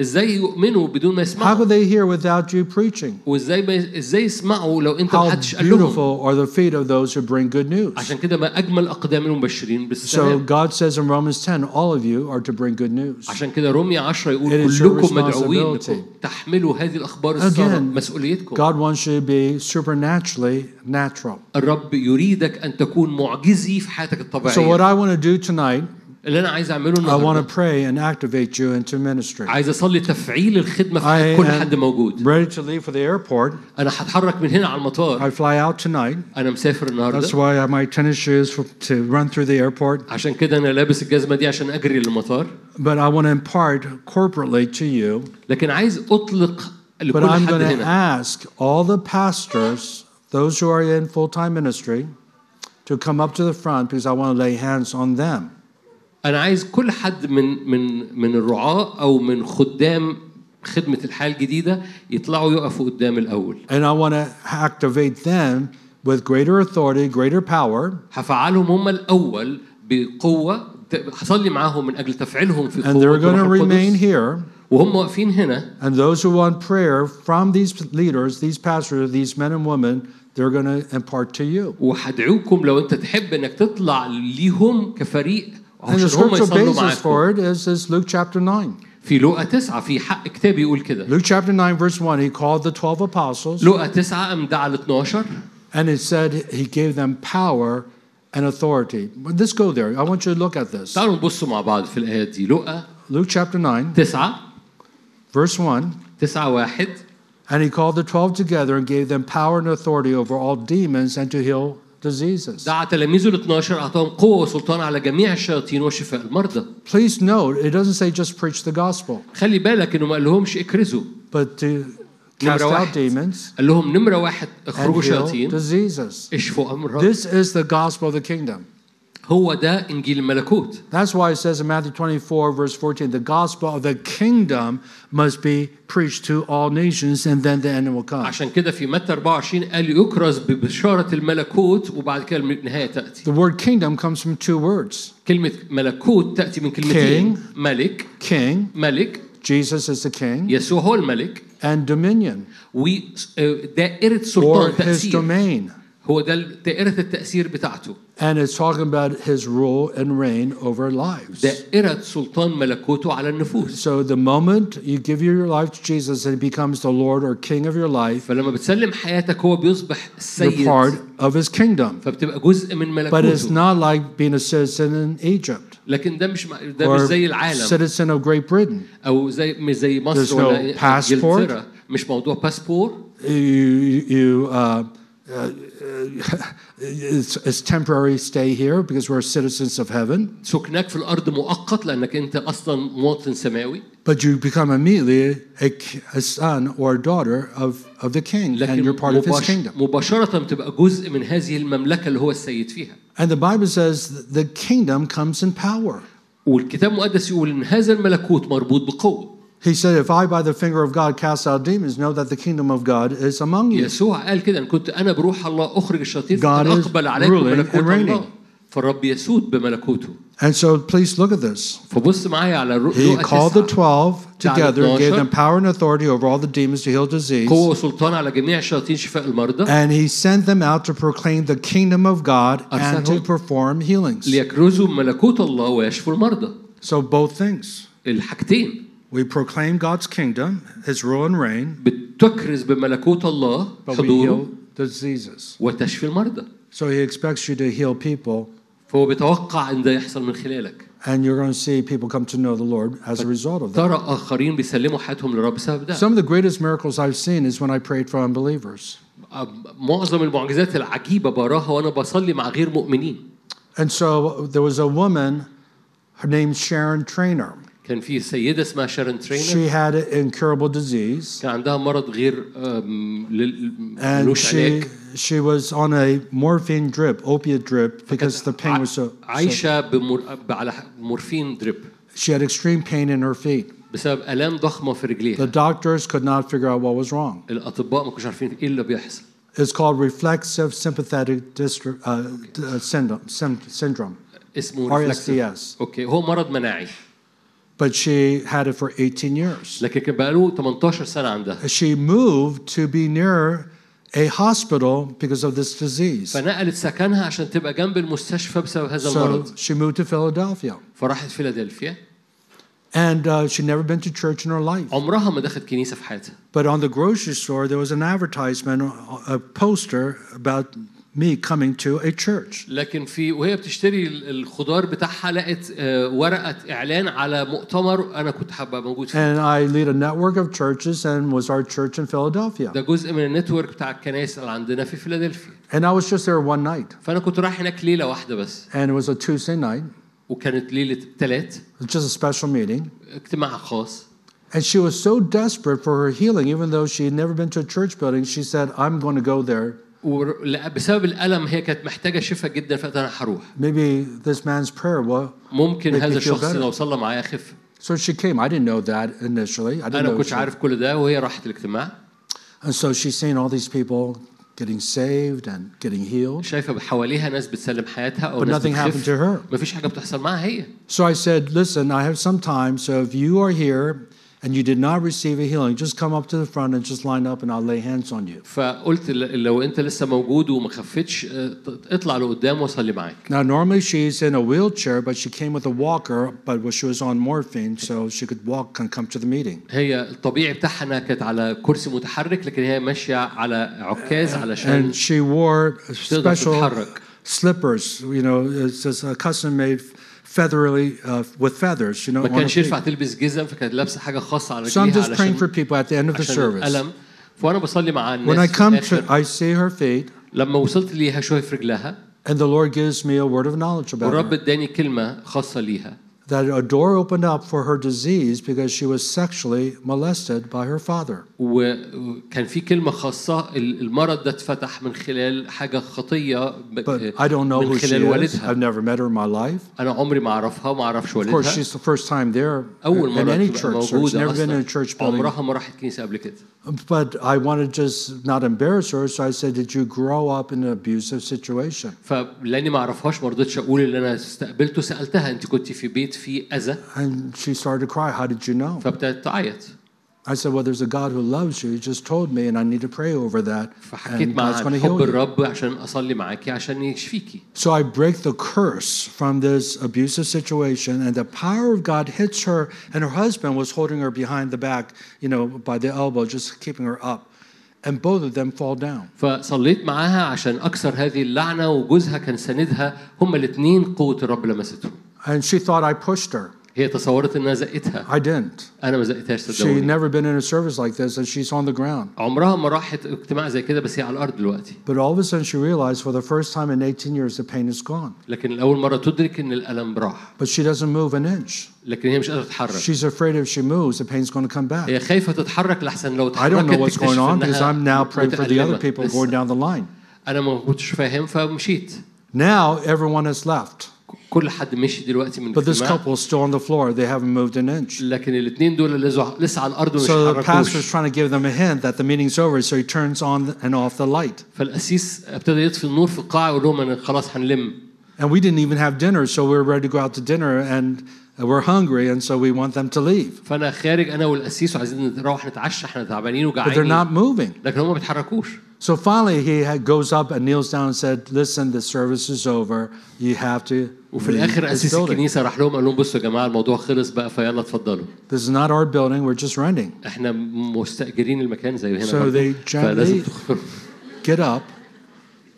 Speaker 1: ازاي يؤمنوا بدون ما
Speaker 2: How
Speaker 1: يسمعوا
Speaker 2: could they hear without you preaching?
Speaker 1: وازاي ما ي- ازاي يسمعوا لو انت ما
Speaker 2: How
Speaker 1: حدش قال لهم
Speaker 2: beautiful are the feet of those who bring good news.
Speaker 1: عشان كده ما اجمل اقدام المبشرين
Speaker 2: So
Speaker 1: بالسلام
Speaker 2: God says in Romans 10, all of you are to bring good news.
Speaker 1: عشان كده رومية 10 يقول
Speaker 2: It is your
Speaker 1: كلكم مدعوين
Speaker 2: responsibility.
Speaker 1: انكم تحملوا هذه الاخبار الساره
Speaker 2: Again,
Speaker 1: مسؤوليتكم
Speaker 2: God wants you to be supernaturally natural.
Speaker 1: الرب يريدك ان تكون معجزي في حياتك
Speaker 2: So, what
Speaker 1: الطبيعيه
Speaker 2: I want to do tonight,
Speaker 1: اللي انا عايز اعمله
Speaker 2: I want
Speaker 1: النهارده
Speaker 2: to pray and activate you into ministry.
Speaker 1: عايز اصلي تفعيل الخدمه في
Speaker 2: I
Speaker 1: حياة كل
Speaker 2: am-
Speaker 1: حد موجود
Speaker 2: Ready to leave for the airport.
Speaker 1: انا هتحرك من هنا على المطار
Speaker 2: I fly out tonight.
Speaker 1: انا مسافر
Speaker 2: That's
Speaker 1: النهارده
Speaker 2: why I have my tennis shoes for, to run through the airport.
Speaker 1: عشان كده انا لابس الجزمه دي عشان اجري للمطار
Speaker 2: But I want to impart corporately to you.
Speaker 1: لكن عايز اطلق
Speaker 2: But
Speaker 1: لكل
Speaker 2: I'm
Speaker 1: حد
Speaker 2: going to
Speaker 1: هنا
Speaker 2: ask all the pastors, those who are in full time ministry, to come up to the front because I want to lay hands on them.
Speaker 1: انا عايز كل حد من من من الرعاه او من خدام خدمه الحياه الجديده يطلعوا يقفوا قدام الاول
Speaker 2: And I want to activate them with greater authority, greater power.
Speaker 1: هفعلهم هم الاول بقوه ت- هصلي معاهم من اجل تفعيلهم في
Speaker 2: And they're
Speaker 1: قوه
Speaker 2: going to
Speaker 1: الروح
Speaker 2: remain
Speaker 1: القدس
Speaker 2: here.
Speaker 1: وهم واقفين هنا
Speaker 2: And those who want prayer from these leaders, these pastors, these men and women, they're going to impart to you.
Speaker 1: وهدعوكم لو انت تحب انك تطلع ليهم كفريق
Speaker 2: And the
Speaker 1: عشان هم
Speaker 2: scriptural
Speaker 1: يصلوا
Speaker 2: basis
Speaker 1: معاكم
Speaker 2: for it is, is Luke chapter 9.
Speaker 1: في لوقا تسعة في حق كتاب يقول كده
Speaker 2: Luke chapter 9, verse 1, he called the 12 apostles
Speaker 1: لوقا 9 امدع ال 12
Speaker 2: and it said he gave them power and authority. But Let's go there. I want you to look at this.
Speaker 1: تعالوا نبصوا مع بعض في الايات دي لوقا
Speaker 2: Luke chapter 9,
Speaker 1: 9
Speaker 2: verse 1,
Speaker 1: 9 1
Speaker 2: and he called the 12 together and gave them power and authority over all demons and to heal diseases.
Speaker 1: دعا تلاميذه ال 12 اعطاهم قوه وسلطان على جميع الشياطين وشفاء المرضى
Speaker 2: Please note, it doesn't say just preach the gospel,
Speaker 1: خلي بالك انه ما قالهمش اكرزوا
Speaker 2: but to cast
Speaker 1: واحد.
Speaker 2: out demons
Speaker 1: قال لهم نمره واحد اخرجوا
Speaker 2: and heal
Speaker 1: شياطين
Speaker 2: diseases.
Speaker 1: اشفوا امراض
Speaker 2: This is the gospel of the kingdom.
Speaker 1: هو ده انجيل الملكوت
Speaker 2: That's why it says in Matthew 24, verse 14, the gospel of the kingdom must be preached to all nations, and then the end will come.
Speaker 1: عشان كده في متى 24 قال يكرز ببشاره الملكوت وبعد كده النهايه تاتي
Speaker 2: The word kingdom comes from two words
Speaker 1: كلمه ملكوت تاتي من كلمتين
Speaker 2: King.
Speaker 1: ملك
Speaker 2: king,
Speaker 1: ملك
Speaker 2: Jesus is the king,
Speaker 1: يسوع هو الملك
Speaker 2: and dominion,
Speaker 1: uh, ودائره
Speaker 2: or
Speaker 1: سلطان
Speaker 2: his
Speaker 1: تاثير
Speaker 2: domain.
Speaker 1: هو ده دائره التاثير بتاعته
Speaker 2: And it's talking about his rule and reign over lives.
Speaker 1: دائره سلطان ملكوته على النفوس
Speaker 2: So the moment you give your life to Jesus and he becomes the Lord or king of your life,
Speaker 1: فلما بتسلم حياتك هو بيصبح
Speaker 2: you're
Speaker 1: السيد
Speaker 2: part of his kingdom.
Speaker 1: فبتبقى جزء من
Speaker 2: But it's
Speaker 1: ملكوته
Speaker 2: not like being a citizen in Egypt
Speaker 1: لكن ده مش ده مش
Speaker 2: or
Speaker 1: زي العالم
Speaker 2: citizen of Great Britain.
Speaker 1: او زي مش زي
Speaker 2: There's
Speaker 1: مصر
Speaker 2: no
Speaker 1: ولا
Speaker 2: passport.
Speaker 1: انجلترا مش موضوع باسبور
Speaker 2: you, you uh, uh, (laughs) it's, it's temporary stay here because we're citizens of heaven,
Speaker 1: سكنك في الارض مؤقت لانك انت اصلا مواطن سماوي
Speaker 2: but you become immediately a, k- a son or a daughter of, of the king, and
Speaker 1: لكن
Speaker 2: you're part of his
Speaker 1: مباش-
Speaker 2: kingdom.
Speaker 1: مباشره بتبقى جزء من هذه المملكه اللي هو السيد فيها
Speaker 2: And the Bible says the kingdom comes in power.
Speaker 1: والكتاب المقدس يقول ان هذا الملكوت مربوط بقوه
Speaker 2: He said, If I by the finger of God cast out demons, know that the kingdom of God is among you.
Speaker 1: يسوع قال كده ان كنت انا بروح الله اخرج الشياطين
Speaker 2: God
Speaker 1: فقد
Speaker 2: is
Speaker 1: اقبل عليكم
Speaker 2: ruling
Speaker 1: ملكوت
Speaker 2: and reigning.
Speaker 1: الله فالرب يسود بملكوته
Speaker 2: And so please look at this.
Speaker 1: فبص معايا على الرؤ-
Speaker 2: He
Speaker 1: لقا
Speaker 2: called the
Speaker 1: تسعة
Speaker 2: 12 together and gave
Speaker 1: Daniel
Speaker 2: them power and authority over all the demons to heal disease.
Speaker 1: قوة وسلطان على جميع شياطين شفاء المرضى
Speaker 2: And he sent them out to proclaim the kingdom of God and to
Speaker 1: أرسلهم.
Speaker 2: perform healings.
Speaker 1: ليكرزوا ملكوت الله ويشفوا المرضى
Speaker 2: So, both things.
Speaker 1: الحاجتين
Speaker 2: We proclaim God's kingdom, his rule and reign,
Speaker 1: بتكرز بملكوت الله
Speaker 2: but we heal
Speaker 1: حضوره
Speaker 2: diseases.
Speaker 1: وتشفي المرضى
Speaker 2: So, he expects you to heal people,
Speaker 1: فهو بيتوقع ان ده يحصل من خلالك
Speaker 2: and you're going to see people come to know the Lord as a result of that.
Speaker 1: ترى اخرين بيسلموا حياتهم للرب بسبب ده
Speaker 2: Some of the greatest miracles I've seen is when I prayed for unbelievers.
Speaker 1: معظم المعجزات العجيبة براها وأنا بصلي مع غير مؤمنين
Speaker 2: And so there was a woman, her name's Sharon Trainer.
Speaker 1: كان في سيدة اسمها شارون ترينر
Speaker 2: She had an incurable disease,
Speaker 1: كان عندها مرض غير آم، لل-
Speaker 2: and
Speaker 1: ملوش
Speaker 2: she
Speaker 1: علاج
Speaker 2: she was on a morphine drip, opiate drip, because the pain was so. so
Speaker 1: عايشة بمر... على مورفين دريب
Speaker 2: she had extreme pain in her feet.
Speaker 1: بسبب آلام ضخمة في
Speaker 2: The
Speaker 1: رجليها
Speaker 2: doctors could not figure out what was wrong.
Speaker 1: الأطباء ما كانوش عارفين إيه اللي بيحصل
Speaker 2: It's called reflexive sympathetic distri- uh, d- uh, syndrome, sym- syndrome,
Speaker 1: اسمه reflexive.
Speaker 2: RSDS.
Speaker 1: اوكي هو مرض مناعي
Speaker 2: But she had it for 18 years.
Speaker 1: لكن كان بقاله 18 سنة عندها
Speaker 2: She moved to be near a hospital because of this disease.
Speaker 1: فنقلت سكنها عشان تبقى جنب المستشفى بسبب هذا
Speaker 2: So
Speaker 1: المرض
Speaker 2: she moved to Philadelphia.
Speaker 1: فراحت فيلادلفيا
Speaker 2: And uh, she'd never been to church in her life.
Speaker 1: عمرها ما دخلت كنيسة في حياتها
Speaker 2: But on the grocery store, there was an advertisement, a- a poster about me coming to a church.
Speaker 1: لكن في وهي بتشتري ال- الخضار بتاعها لقت آه، ورقة إعلان على مؤتمر أنا كنت حابة موجود فيه
Speaker 2: And I lead a network of churches and was our church in Philadelphia.
Speaker 1: ده جزء من النتورك بتاع الكنائس اللي عندنا في فيلادلفيا
Speaker 2: And I was just there one night.
Speaker 1: فأنا كنت رايح هناك ليلة واحدة بس
Speaker 2: And it was a Tuesday night.
Speaker 1: وكانت ليلة ثلاث
Speaker 2: It was just a special meeting.
Speaker 1: اجتماع خاص
Speaker 2: And she was so desperate for her healing, even though she had never been to a church building, she said, I'm going to go there.
Speaker 1: وبسبب الألم هي كانت محتاجة شفاء جدا فأنا هروح
Speaker 2: Maybe this man's prayer will.
Speaker 1: ممكن
Speaker 2: Make me
Speaker 1: هذا
Speaker 2: feel
Speaker 1: الشخص
Speaker 2: better.
Speaker 1: لو صلى معايا خف
Speaker 2: So she came. I didn't know that initially. I didn't
Speaker 1: انا ما
Speaker 2: know.
Speaker 1: كنتش
Speaker 2: she-
Speaker 1: عارف كل ده وهي راحت الاجتماع
Speaker 2: And so she's seeing all these people getting saved and getting healed.
Speaker 1: شايفه حواليها ناس بتسلم حياتها او
Speaker 2: But
Speaker 1: ناس
Speaker 2: nothing happened to
Speaker 1: بتخف
Speaker 2: her.
Speaker 1: مفيش حاجه بتحصل معاها هي
Speaker 2: So I said, Listen, I have some time. So if you are here and you did not receive a healing, just come up to the front and just line up and I'll lay hands on you.
Speaker 1: فقلت ل- لو انت لسه موجود وما خفتش اه، ت- اطلع لقدام واصلي معاك
Speaker 2: Now, normally she's in a wheelchair, but she came with a walker, but well, she was on morphine, so she could walk and come to the meeting.
Speaker 1: هي الطبيعي بتاعها انها كانت على كرسي متحرك لكن هي ماشيه على عكاز علشان
Speaker 2: آه، And she wore
Speaker 1: تقدر
Speaker 2: special
Speaker 1: تتحرك
Speaker 2: slippers, you know, it's just a custom made feathery, uh, with feathers, you know.
Speaker 1: ما
Speaker 2: on her
Speaker 1: كانش ينفع
Speaker 2: feet.
Speaker 1: تلبس جزم فكانت لابسه حاجه خاصه على
Speaker 2: So I'm
Speaker 1: رجليها
Speaker 2: just praying for
Speaker 1: علشان
Speaker 2: people at the end of the
Speaker 1: عشان
Speaker 2: service.
Speaker 1: الالم فانا بصلي مع
Speaker 2: When I
Speaker 1: الناس في
Speaker 2: come to,
Speaker 1: الآخر.
Speaker 2: I see her feet,
Speaker 1: لما وصلت ليها شويه في رجلها
Speaker 2: and the Lord gives me a word of knowledge about
Speaker 1: والرب
Speaker 2: her.
Speaker 1: اداني كلمه خاصه ليها
Speaker 2: That a door opened up for her disease because she was sexually molested by her father.
Speaker 1: وكان في كلمه خاصه ال- المرض ده اتفتح من خلال حاجه خطيه ب-
Speaker 2: But I don't know
Speaker 1: من
Speaker 2: who she
Speaker 1: خلال
Speaker 2: is.
Speaker 1: والدها
Speaker 2: I've never met her in my life.
Speaker 1: انا عمري ما اعرفها وما اعرفش
Speaker 2: Of course,
Speaker 1: والدها
Speaker 2: she's the first time there
Speaker 1: اول
Speaker 2: in
Speaker 1: مره
Speaker 2: any
Speaker 1: تبقى
Speaker 2: church. So she's
Speaker 1: موجوده
Speaker 2: never been in a
Speaker 1: اصلا
Speaker 2: church building.
Speaker 1: عمرها ما راحت كنيسه قبل كده
Speaker 2: But I wanted to just not embarrass her, so I said, Did you grow up in an abusive situation?
Speaker 1: فلاني ما اعرفهاش ما رضيتش اقول اللي انا استقبلته سالتها انت كنت في بيت فيه اذى
Speaker 2: And she started to cry. How did you know?
Speaker 1: فابتدت تعيط
Speaker 2: I said, Well, there's a God who loves you. He just told me, and I need to pray over that.
Speaker 1: فحكيت
Speaker 2: And
Speaker 1: مع
Speaker 2: God's going to heal
Speaker 1: حب
Speaker 2: you.
Speaker 1: الرب عشان اصلي معاكي عشان يشفيكي
Speaker 2: So I break the curse from this abusive situation, and the power of God hits her, and her husband was holding her behind the back, you know, by the elbow, just keeping her up. And both of them fall down.
Speaker 1: فصليت معاها عشان اكسر هذه اللعنه وجوزها كان ساندها هما الاثنين قوه الرب لمستهم
Speaker 2: And she thought I pushed her.
Speaker 1: هي تصورت انها زقتها
Speaker 2: I didn't.
Speaker 1: انا ما زقتهاش
Speaker 2: She'd
Speaker 1: صدقوني
Speaker 2: never been in a service like this, and she's on the ground.
Speaker 1: عمرها ما راحت اجتماع زي كده بس هي على الارض دلوقتي
Speaker 2: But all of a sudden, she realized for the first time in 18 years, the pain is gone.
Speaker 1: لكن الاول مره تدرك ان الالم راح
Speaker 2: But she doesn't move an inch.
Speaker 1: لكن هي مش قادره تتحرك
Speaker 2: She's afraid if she moves, the pain's going to come back.
Speaker 1: هي خايفه تتحرك لحسن لو
Speaker 2: I (laughs) don't know
Speaker 1: اتحركت
Speaker 2: what's
Speaker 1: تكتشف
Speaker 2: going on because I'm now
Speaker 1: انها
Speaker 2: praying for the other
Speaker 1: متألمة.
Speaker 2: people going
Speaker 1: لسه.
Speaker 2: down the line.
Speaker 1: انا ما كنتش فاهم فمشيت
Speaker 2: Now everyone has left,
Speaker 1: كل حد مشي دلوقتي من
Speaker 2: but this
Speaker 1: الاجتماع
Speaker 2: couple is still on the floor. They haven't moved an inch.
Speaker 1: لكن الاثنين دول لسه لسه على الارض ومش
Speaker 2: So the pastor's
Speaker 1: اتحركوش
Speaker 2: trying to give them a hint that the meeting's over, so he turns on and off the light.
Speaker 1: فالقسيس ابتدى يطفي النور في القاعه ويقول لهم أنا خلاص هنلم
Speaker 2: And we didn't even have dinner, so we were ready to go out to dinner, and we're hungry, and so we want them to leave.
Speaker 1: فانا خارج انا والقسيس وعايزين نروح نتعشى احنا تعبانين
Speaker 2: But they're
Speaker 1: وجعانين
Speaker 2: not moving.
Speaker 1: لكن هم ما بيتحركوش
Speaker 2: So finally, he had- goes up and kneels down and said, "Listen, the service is over. You have to
Speaker 1: وفي
Speaker 2: leave
Speaker 1: الاخر
Speaker 2: this
Speaker 1: قسيس
Speaker 2: building.
Speaker 1: الكنيسه راح لهم قال لهم بصوا يا جماعه الموضوع خلص بقى فيلا اتفضلوا
Speaker 2: This is not our building. We're just renting.
Speaker 1: احنا مستاجرين المكان زي هنا
Speaker 2: So
Speaker 1: برضه.
Speaker 2: they gently-
Speaker 1: فلازم تخ-
Speaker 2: Get up."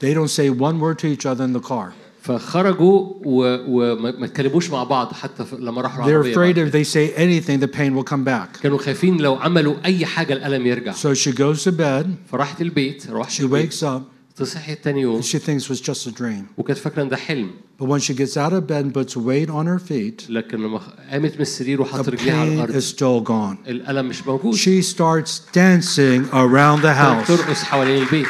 Speaker 2: They don't say one word to each other in the car.
Speaker 1: فخرجوا و- وما ما اتكلموش مع بعض حتى ف- لما راحوا
Speaker 2: They're
Speaker 1: العربية
Speaker 2: afraid
Speaker 1: بعد.
Speaker 2: if they say anything, the pain will come back.
Speaker 1: كانوا خايفين لو عملوا أي حاجة الألم يرجع
Speaker 2: So she goes to bed.
Speaker 1: فراحت البيت راحت
Speaker 2: She
Speaker 1: البيت
Speaker 2: wakes up
Speaker 1: تصحيت تاني يوم
Speaker 2: and she thinks it was just a dream.
Speaker 1: وكانت فاكرة إن ده حلم
Speaker 2: But when she gets out of bed and puts weight on her feet,
Speaker 1: لكن لما خ- قامت من السرير
Speaker 2: the
Speaker 1: وحط رجليها على
Speaker 2: pain
Speaker 1: الأرض
Speaker 2: is still gone.
Speaker 1: الألم مش موجود
Speaker 2: She starts dancing around the
Speaker 1: كانت
Speaker 2: house.
Speaker 1: ترقص حوالين البيت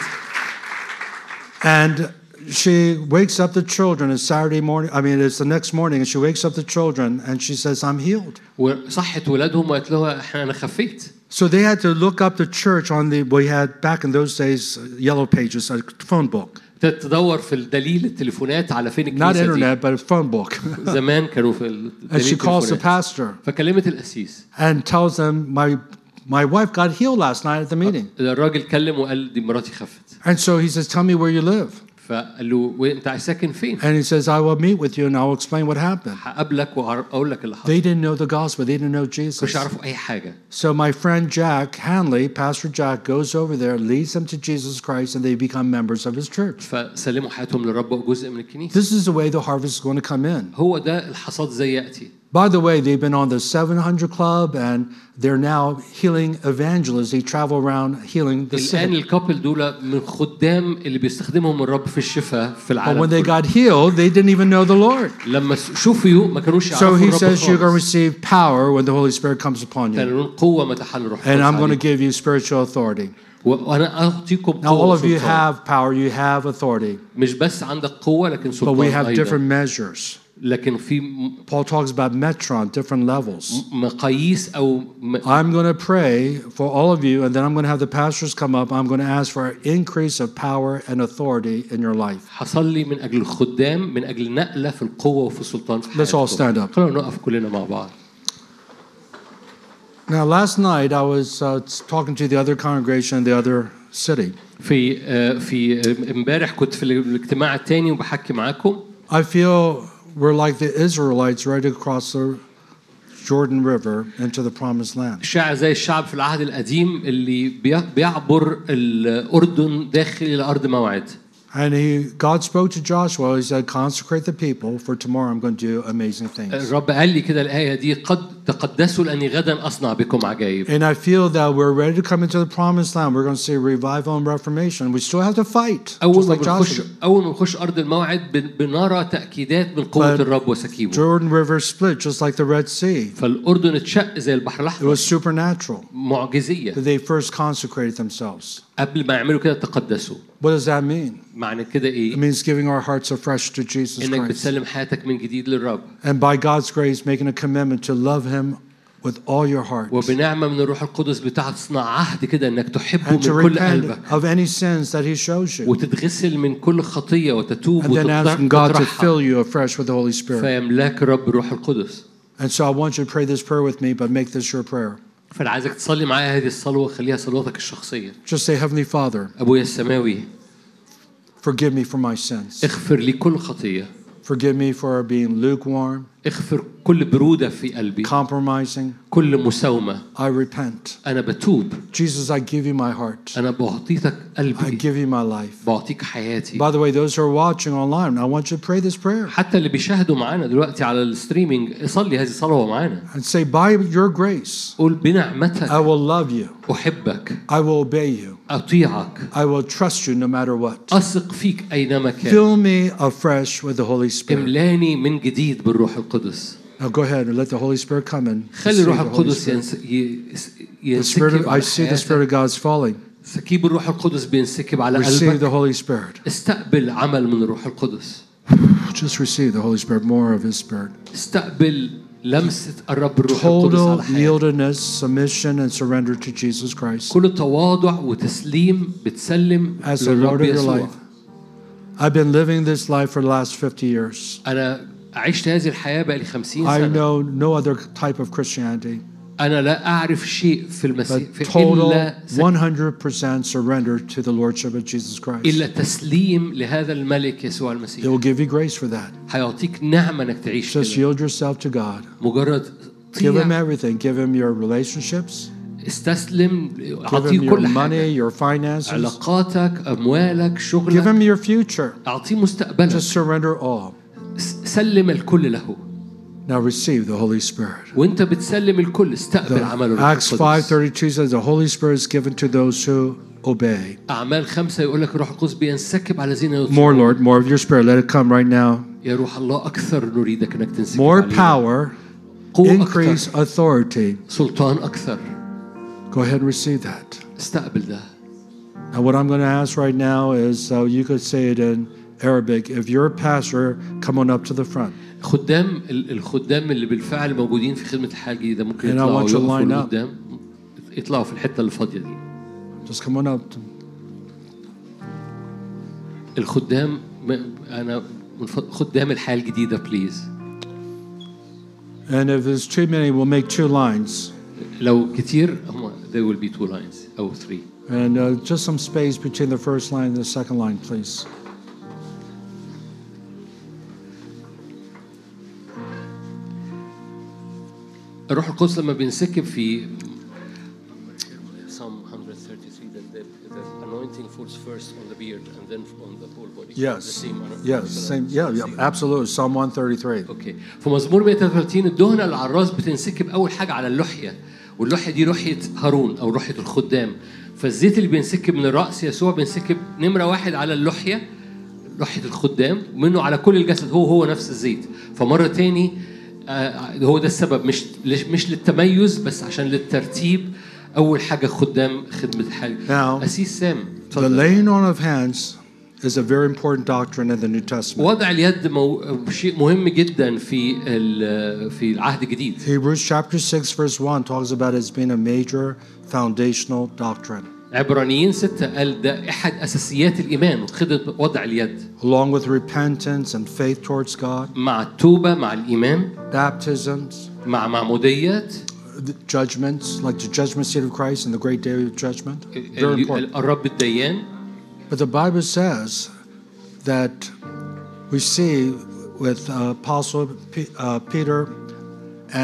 Speaker 2: And she wakes up the children. It's Saturday morning. I mean, it's the next morning. And she wakes up the children and she says, I'm healed.
Speaker 1: وصحت ولادهم وقالت لها احنا انا خفيت
Speaker 2: So they had to look up the church on the, we had back in those days, uh, yellow pages, a phone book.
Speaker 1: ابتدت تدور في الدليل التليفونات على فين
Speaker 2: Not
Speaker 1: الكنيسه دي
Speaker 2: internet, but a phone book. (laughs)
Speaker 1: زمان كانوا في
Speaker 2: and
Speaker 1: الدليل
Speaker 2: she calls the
Speaker 1: التليفونات
Speaker 2: pastor
Speaker 1: فكلمت القسيس
Speaker 2: and tells him, my, my wife got healed last night at the meeting.
Speaker 1: Uh, الراجل كلم وقال دي مراتي خفت
Speaker 2: And so he says, Tell me where you live.
Speaker 1: فقال له وانت ساكن فين؟
Speaker 2: And he says, I will meet with you and I will explain what happened.
Speaker 1: هقابلك واقول لك اللي حصل
Speaker 2: They didn't know the gospel, they didn't know
Speaker 1: مش
Speaker 2: Jesus.
Speaker 1: يعرفوا اي حاجه
Speaker 2: So my friend Jack Hanley, Pastor Jack, goes over there, leads them to Jesus Christ, and they become members of his church.
Speaker 1: فسلموا حياتهم للرب وبقوا جزء من الكنيسه
Speaker 2: This is the way the harvest is going to come in.
Speaker 1: هو ده الحصاد زي ياتي
Speaker 2: By the way, they've been on the 700 Club, and they're now healing evangelists. They travel around healing the
Speaker 1: الان
Speaker 2: sick.
Speaker 1: الكابل دول من خدام اللي بيستخدمهم الرب في الشفاء في
Speaker 2: But when
Speaker 1: العالم
Speaker 2: they
Speaker 1: كله.
Speaker 2: got healed, they didn't even know the Lord.
Speaker 1: لما شفيوا ما كانوش
Speaker 2: So
Speaker 1: يعرفوا
Speaker 2: he
Speaker 1: الرب
Speaker 2: says, You're going to
Speaker 1: خالص
Speaker 2: receive power when the Holy Spirit comes upon you,
Speaker 1: تنالون قوة ما تحل روح
Speaker 2: and
Speaker 1: القدس
Speaker 2: I'm going to
Speaker 1: عليكم.
Speaker 2: give you spiritual authority.
Speaker 1: و- وأنا أعطيكم
Speaker 2: Now,
Speaker 1: قوة
Speaker 2: all of you
Speaker 1: وسلطان.
Speaker 2: have power, you have authority,
Speaker 1: مش بس عندك قوة لكن
Speaker 2: but
Speaker 1: سلطان
Speaker 2: we have
Speaker 1: أيضا
Speaker 2: different measures.
Speaker 1: لكن في م-
Speaker 2: Paul talks about metron, different levels.
Speaker 1: مقاييس أو م-
Speaker 2: I'm going to pray for all of you, and then I'm going to have the pastors come up. I'm going to ask for an increase of power and authority in your life.
Speaker 1: حصل لي من أجل الخدام من أجل نقلة في القوة وفي السلطان في
Speaker 2: Let's all
Speaker 1: حياتكم.
Speaker 2: stand up.
Speaker 1: خلونا نقف كلنا مع بعض
Speaker 2: Now, last night I was uh, talking to the other congregation in the other city.
Speaker 1: في آه، في آه، امبارح كنت في الاجتماع التاني وبحكي معاكم
Speaker 2: I feel we're like the Israelites ready to cross the Jordan River into the promised land.
Speaker 1: شاعر زي الشعب في العهد القديم اللي بي- بيعبر الأردن داخل إلى أرض موعد
Speaker 2: And he, God spoke to Joshua. He said, Consecrate the people, for tomorrow I'm going to do amazing things.
Speaker 1: الرب قال لي كده الآية دي قد تقدسوا لأني غدا أصنع بكم عجائب
Speaker 2: And I feel that we're ready to come into the promised land. We're going to see revival and reformation. We still have to fight,
Speaker 1: أول
Speaker 2: just
Speaker 1: ما
Speaker 2: like
Speaker 1: بنخش
Speaker 2: Joshua.
Speaker 1: أول ما بنخش أرض الموعد بن- بنرى تأكيدات من قوة
Speaker 2: But-
Speaker 1: الرب وسكيبه
Speaker 2: Jordan River split, just like the Red Sea.
Speaker 1: فالأردن اتشق زي البحر
Speaker 2: It
Speaker 1: الأحمر
Speaker 2: was supernatural
Speaker 1: معجزية
Speaker 2: that they first consecrated themselves.
Speaker 1: قبل ما يعملوا كده تقدسوا
Speaker 2: What does that mean?
Speaker 1: معنى كده
Speaker 2: It
Speaker 1: إيه؟
Speaker 2: means giving our hearts afresh to Jesus
Speaker 1: إنك
Speaker 2: Christ.
Speaker 1: بتسلم حياتك من جديد للرب
Speaker 2: And by God's grace, making a commitment to love Him with all your heart
Speaker 1: وبنعمة من الروح القدس بتاعه تصنع عهد كده إنك تحبه
Speaker 2: and to
Speaker 1: من كل
Speaker 2: repent
Speaker 1: قلبك
Speaker 2: of any sins that He shows you.
Speaker 1: وتتغسل من كل خطية وتتوب
Speaker 2: And then asking God to
Speaker 1: وتطرحها
Speaker 2: fill you afresh with the Holy Spirit.
Speaker 1: فيملاك الرب الروح القدس
Speaker 2: And so I want you to pray this prayer with me, but make this your prayer.
Speaker 1: فانا عايزك تصلي معايا هذه الصلوه خليها صلواتك الشخصيه
Speaker 2: Just say, Heavenly Father,
Speaker 1: ابويا السماوي
Speaker 2: forgive me for my sins.
Speaker 1: اغفر لي كل خطيه
Speaker 2: Forgive me for being lukewarm,
Speaker 1: اغفر كل بروده في قلبي
Speaker 2: compromising.
Speaker 1: كل مساومه
Speaker 2: I repent.
Speaker 1: انا بتوب
Speaker 2: Jesus, I give you my heart.
Speaker 1: انا بعطيتك
Speaker 2: I
Speaker 1: قلبي
Speaker 2: give you my life.
Speaker 1: بعطيك حياتي
Speaker 2: By the way, those who are watching online, I want you to pray this prayer
Speaker 1: حتى اللي بيشاهدوا معانا دلوقتي على الستريمينج صلي هذه الصلوه معانا
Speaker 2: and say, By your grace,
Speaker 1: قول
Speaker 2: I
Speaker 1: بنعمتك
Speaker 2: will love you.
Speaker 1: احبك
Speaker 2: I will obey you.
Speaker 1: اطيعك
Speaker 2: I will trust you no matter what.
Speaker 1: اثق فيك اينما كان
Speaker 2: Fill me afresh with the Holy Spirit.
Speaker 1: املاني من جديد بالروح القدس
Speaker 2: Now go ahead and let the Holy Spirit come in.
Speaker 1: خلي الروح
Speaker 2: the Holy
Speaker 1: القدس
Speaker 2: Spirit.
Speaker 1: ينس... يس-
Speaker 2: The Spirit
Speaker 1: ينسكب
Speaker 2: of, I
Speaker 1: على
Speaker 2: see the
Speaker 1: حياتك
Speaker 2: Spirit of God's falling.
Speaker 1: سكيب الروح القدس بينسكب على
Speaker 2: Receive
Speaker 1: قلبك
Speaker 2: the Holy Spirit.
Speaker 1: استقبل عمل من الروح القدس
Speaker 2: Just receive the Holy Spirit, more of His Spirit.
Speaker 1: استقبل لمسة الرب الروح القدس
Speaker 2: Total
Speaker 1: على حياتك
Speaker 2: yieldedness, submission, and surrender to Jesus Christ
Speaker 1: كل تواضع وتسليم بتسلم
Speaker 2: as the
Speaker 1: للرب
Speaker 2: Lord of your
Speaker 1: يسوع
Speaker 2: life. I've been living this life for the last 50 years.
Speaker 1: أنا عشت هذه الحياة بقالي 50
Speaker 2: I
Speaker 1: سنة
Speaker 2: know no other type of Christianity,
Speaker 1: أنا لا أعرف شيء في المسيح
Speaker 2: but
Speaker 1: في
Speaker 2: total
Speaker 1: إلا سك-
Speaker 2: 100% surrender to the Lordship of Jesus Christ.
Speaker 1: إلا تسليم لهذا الملك يسوع
Speaker 2: He
Speaker 1: المسيح
Speaker 2: will give you grace for that.
Speaker 1: هيعطيك نعمة إنك تعيش
Speaker 2: Just
Speaker 1: كده
Speaker 2: yield yourself to God.
Speaker 1: مجرد
Speaker 2: Give Him
Speaker 1: طيع
Speaker 2: everything. Give Him your relationships.
Speaker 1: استسلم
Speaker 2: Give him
Speaker 1: اعطيه
Speaker 2: your
Speaker 1: كل حاجه
Speaker 2: money, your finances.
Speaker 1: علاقاتك اموالك
Speaker 2: Give
Speaker 1: شغلك
Speaker 2: him your future.
Speaker 1: اعطيه مستقبلك
Speaker 2: Just surrender all.
Speaker 1: س- سلم الكل له
Speaker 2: Now receive the Holy Spirit.
Speaker 1: وانت بتسلم الكل استقبل عمل الروح
Speaker 2: Acts
Speaker 1: القدس
Speaker 2: 5:32 says the Holy Spirit is given to those who obey.
Speaker 1: اعمال خمسة يقول لك الروح القدس بينسكب على الذين يطيعون
Speaker 2: More, Lord, more of your Spirit. Let it come right now.
Speaker 1: يا روح الله اكثر نريدك انك تنسكب
Speaker 2: More
Speaker 1: علينا.
Speaker 2: power,
Speaker 1: قوة
Speaker 2: increase
Speaker 1: اكثر
Speaker 2: authority.
Speaker 1: سلطان اكثر
Speaker 2: Go ahead and receive that.
Speaker 1: استقبل ده
Speaker 2: Now, what I'm going to ask right now is uh, you could say it in Arabic. If you're a pastor, come on up to the front.
Speaker 1: خدام ال- الخدام اللي بالفعل موجودين في خدمة الحياة الجديدة ممكن
Speaker 2: And I
Speaker 1: يطلعوا
Speaker 2: want you to
Speaker 1: يقفوا
Speaker 2: line up.
Speaker 1: لقدام يطلعوا في الحتة الفاضية دي
Speaker 2: Just come on up.
Speaker 1: الخدام م- انا من فض- خدام الحياة الجديدة بليز
Speaker 2: And if it's too many, we'll make two lines.
Speaker 1: لو كتير هم they will be two lines او three
Speaker 2: And uh, just some space between the first line and the second line, please.
Speaker 1: الروح القدس لما بينسكب في Psalm 133 that the, the anointing falls first on the beard and then on the whole body. The
Speaker 2: Yes.
Speaker 1: same anointing.
Speaker 2: Yes. Same. Yeah. Yeah. Absolutely. Psalm 133.
Speaker 1: اوكي في مزمور 133 الدهنه اللي على الراس بتنسكب اول حاجه على اللحيه واللحيه دي لحيه هارون او لحيه الخدام فالزيت اللي بينسكب من الراس يسوع بينسكب نمره واحد على اللحيه لحيه الخدام منه على كل الجسد هو هو نفس الزيت فمره تاني آه، هو ده السبب مش ليش- مش للتميز بس عشان للترتيب اول حاجه خدام خدمه الحاجه
Speaker 2: Now-
Speaker 1: اسيس سام
Speaker 2: The
Speaker 1: اتفضل.
Speaker 2: laying on of hands is a very important doctrine in the New Testament.
Speaker 1: وضع اليد مو... شيء مهم جدا في ال... في العهد الجديد
Speaker 2: Hebrews chapter 6, verse 1 talks about it as being a major foundational doctrine,
Speaker 1: عبرانيين ستة قال ده أحد أساسيات الإيمان وخدمة وضع اليد
Speaker 2: along with repentance and faith towards God,
Speaker 1: مع التوبة مع الإيمان
Speaker 2: baptisms,
Speaker 1: مع معموديات
Speaker 2: the judgments, like the judgment seat of Christ and the great day of judgment. Very
Speaker 1: ال-
Speaker 2: important.
Speaker 1: ال- الرب الديان
Speaker 2: But the Bible says that we see with uh, Apostle P- uh, Peter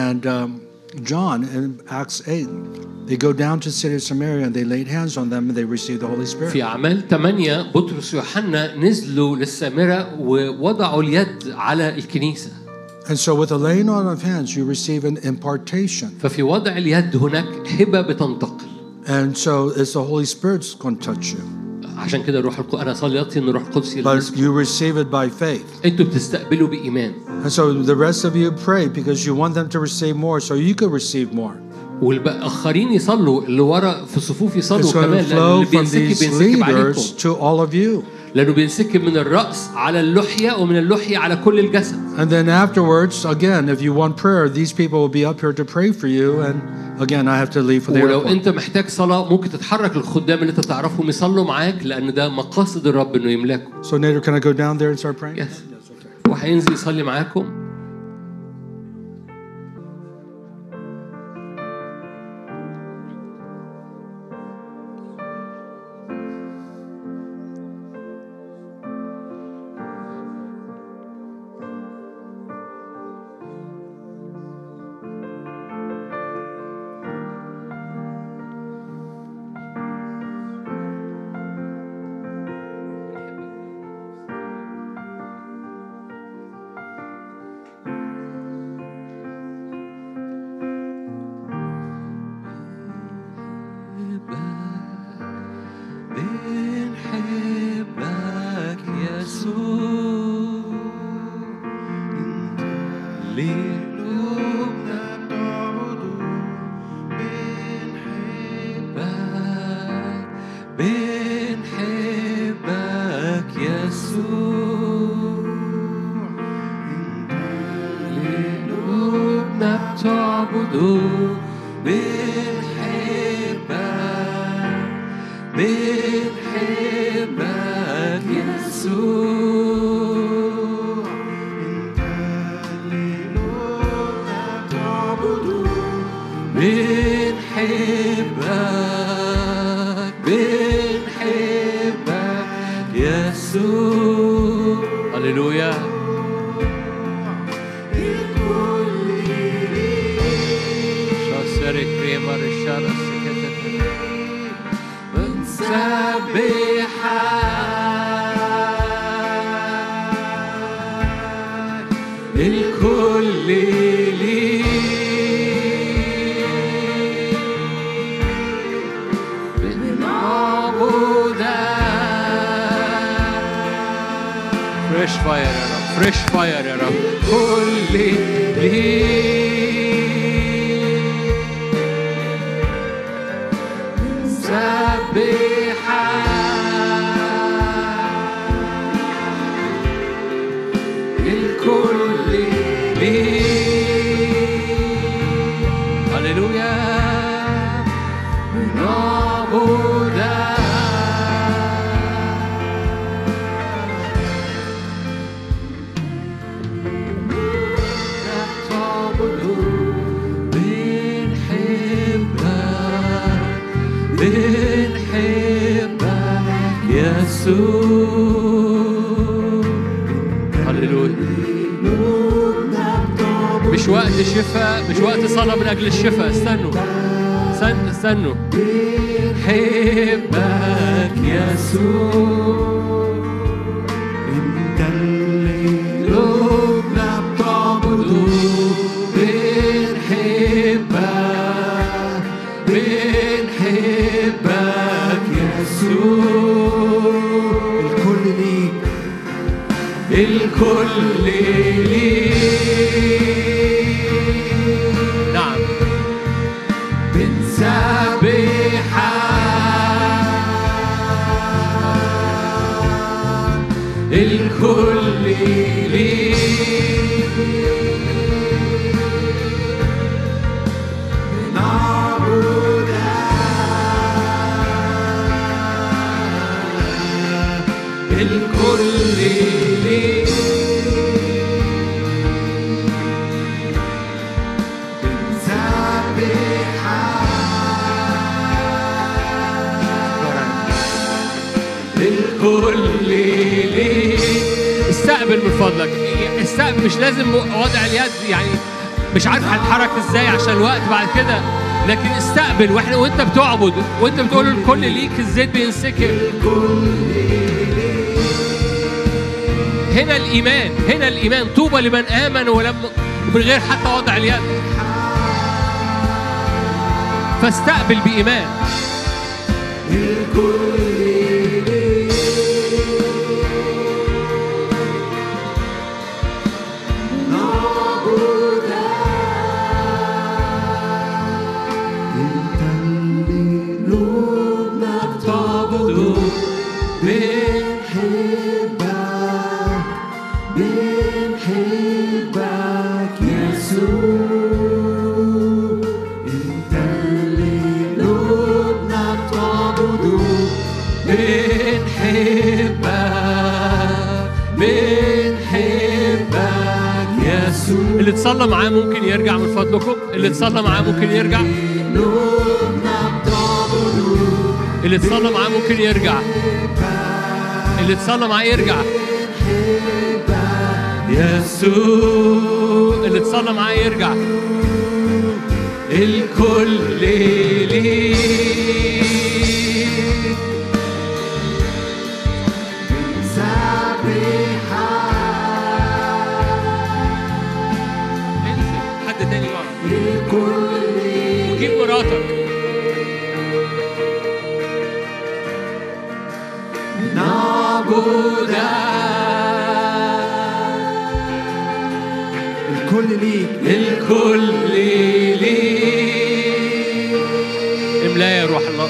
Speaker 2: and um, John in Acts 8, they go down to the city of Samaria and they laid hands on them and they received the Holy
Speaker 1: في
Speaker 2: Spirit.
Speaker 1: أعمال 8 بطرس ويوحنا نزلوا للسامرة ووضعوا اليد على الكنيسة
Speaker 2: And so, with the laying on of hands, you receive an impartation.
Speaker 1: ففي وضع اليد هناك هبة بتنتقل
Speaker 2: And so, it's the Holy Spirit's going to touch you.
Speaker 1: عشان كده الروح القدس أنا صلي أطي إن الروح القدس
Speaker 2: But
Speaker 1: يلمسكم
Speaker 2: you receive it by faith.
Speaker 1: أنتوا بتستقبلوا بإيمان
Speaker 2: And so, the rest of you pray because you want them to receive more so you could receive more.
Speaker 1: والآخرين يصلوا اللي ورا في الصفوف
Speaker 2: It's
Speaker 1: يصلوا
Speaker 2: going
Speaker 1: كمان
Speaker 2: to
Speaker 1: لأن اللي
Speaker 2: flow from
Speaker 1: بينسكب
Speaker 2: these
Speaker 1: بينسكب عليكم
Speaker 2: leaders to all of you.
Speaker 1: لانه بينسكب من الراس على اللحيه ومن اللحيه على كل الجسد
Speaker 2: And then afterwards, again, if you want prayer, these people will be up here to pray for you. And again, I have to leave for the
Speaker 1: ولو
Speaker 2: airport.
Speaker 1: انت محتاج صلاه ممكن تتحرك للخدام اللي انت تعرفهم يصلوا معاك لان ده مقاصد الرب انه يملاكوا
Speaker 2: So, Nader, can I go down there and start praying?
Speaker 1: يس هو هينزل يصلي معاكم
Speaker 3: بنحبك يسوع ليه قلوبنا تعبده بنحبك بنحبك يسوع قلوبنا بتعبده بنحبك بنحبك يسوع انت اللي قلوبنا تعبده بنحبك بنحبك يسوع
Speaker 1: هللويا
Speaker 3: الكل ليك
Speaker 1: شاسري كريما رشارة سكت أسبحك الكل لي بنعبدك
Speaker 3: فريش فاير يا رب فريش فاير يا رب
Speaker 1: كل لي سبحك الكل لي
Speaker 3: هللويا
Speaker 1: نعبدك بنحبك يسوع
Speaker 3: هللويا مش وقت شفاء مش وقت صلاة من أجل الشفاء استنوا استنوا استنوا
Speaker 1: بنحبك يسوع انت اللي قلوبنا بتعبده بنحبك بنحبك يسوع الكل ليك الكل ليك
Speaker 3: نعم
Speaker 1: بنسبحك الكل ليك بنعبدك الكل ليك الكل ليك
Speaker 3: استقبل من فضلك استقبل مش لازم وضع اليد يعني مش عارف هنتحرك ازاي عشان الوقت بعد كده لكن استقبل واحنا وانت بتعبد وانت بتقول الكل ليك الزيت بينسكب هنا الايمان هنا الايمان طوبى لمن امن ولم من غير حتى وضع اليد فاستقبل بايمان
Speaker 1: انت اللي قلوبنا بتعبده بنحبك بنحبك يسوع انت اللي قلوبنا بتعبده بنحبك بنحبك يسوع
Speaker 3: اللي اتصلى معاه ممكن يرجع من فضلكم اللي اتصلى معاه ممكن يرجع اللي اتصلى معاه ممكن يرجع اللي اتصلى معاه يرجع
Speaker 1: يسوع
Speaker 3: اللي اتصلى معاه يرجع
Speaker 1: الكل ليك
Speaker 3: انزل حد تاني يقعد وجيب مراتك
Speaker 1: الكل ليك الكل ليك
Speaker 3: املاه يا روح الله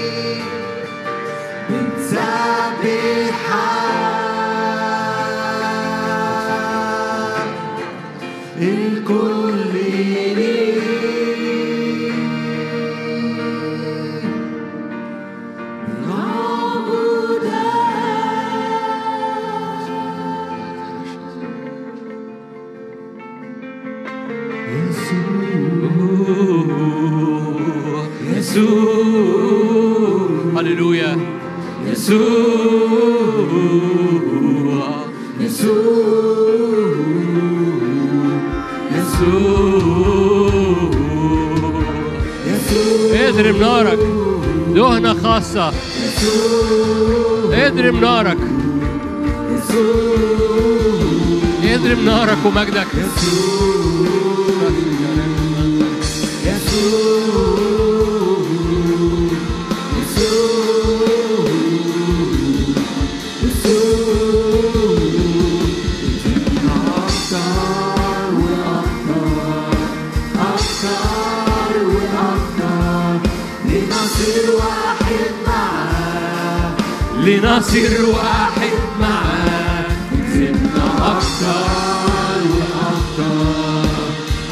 Speaker 1: سبحان الكل ليك نعبدك يسوع
Speaker 3: هللويا
Speaker 1: يسوع يسوع يسوع يسوع
Speaker 3: اضرب نارك
Speaker 1: دهنة خاصة اضرم نارك اضرب نارك ومجدك
Speaker 3: لنصير واحد معاك زدنا أكتر وأكتر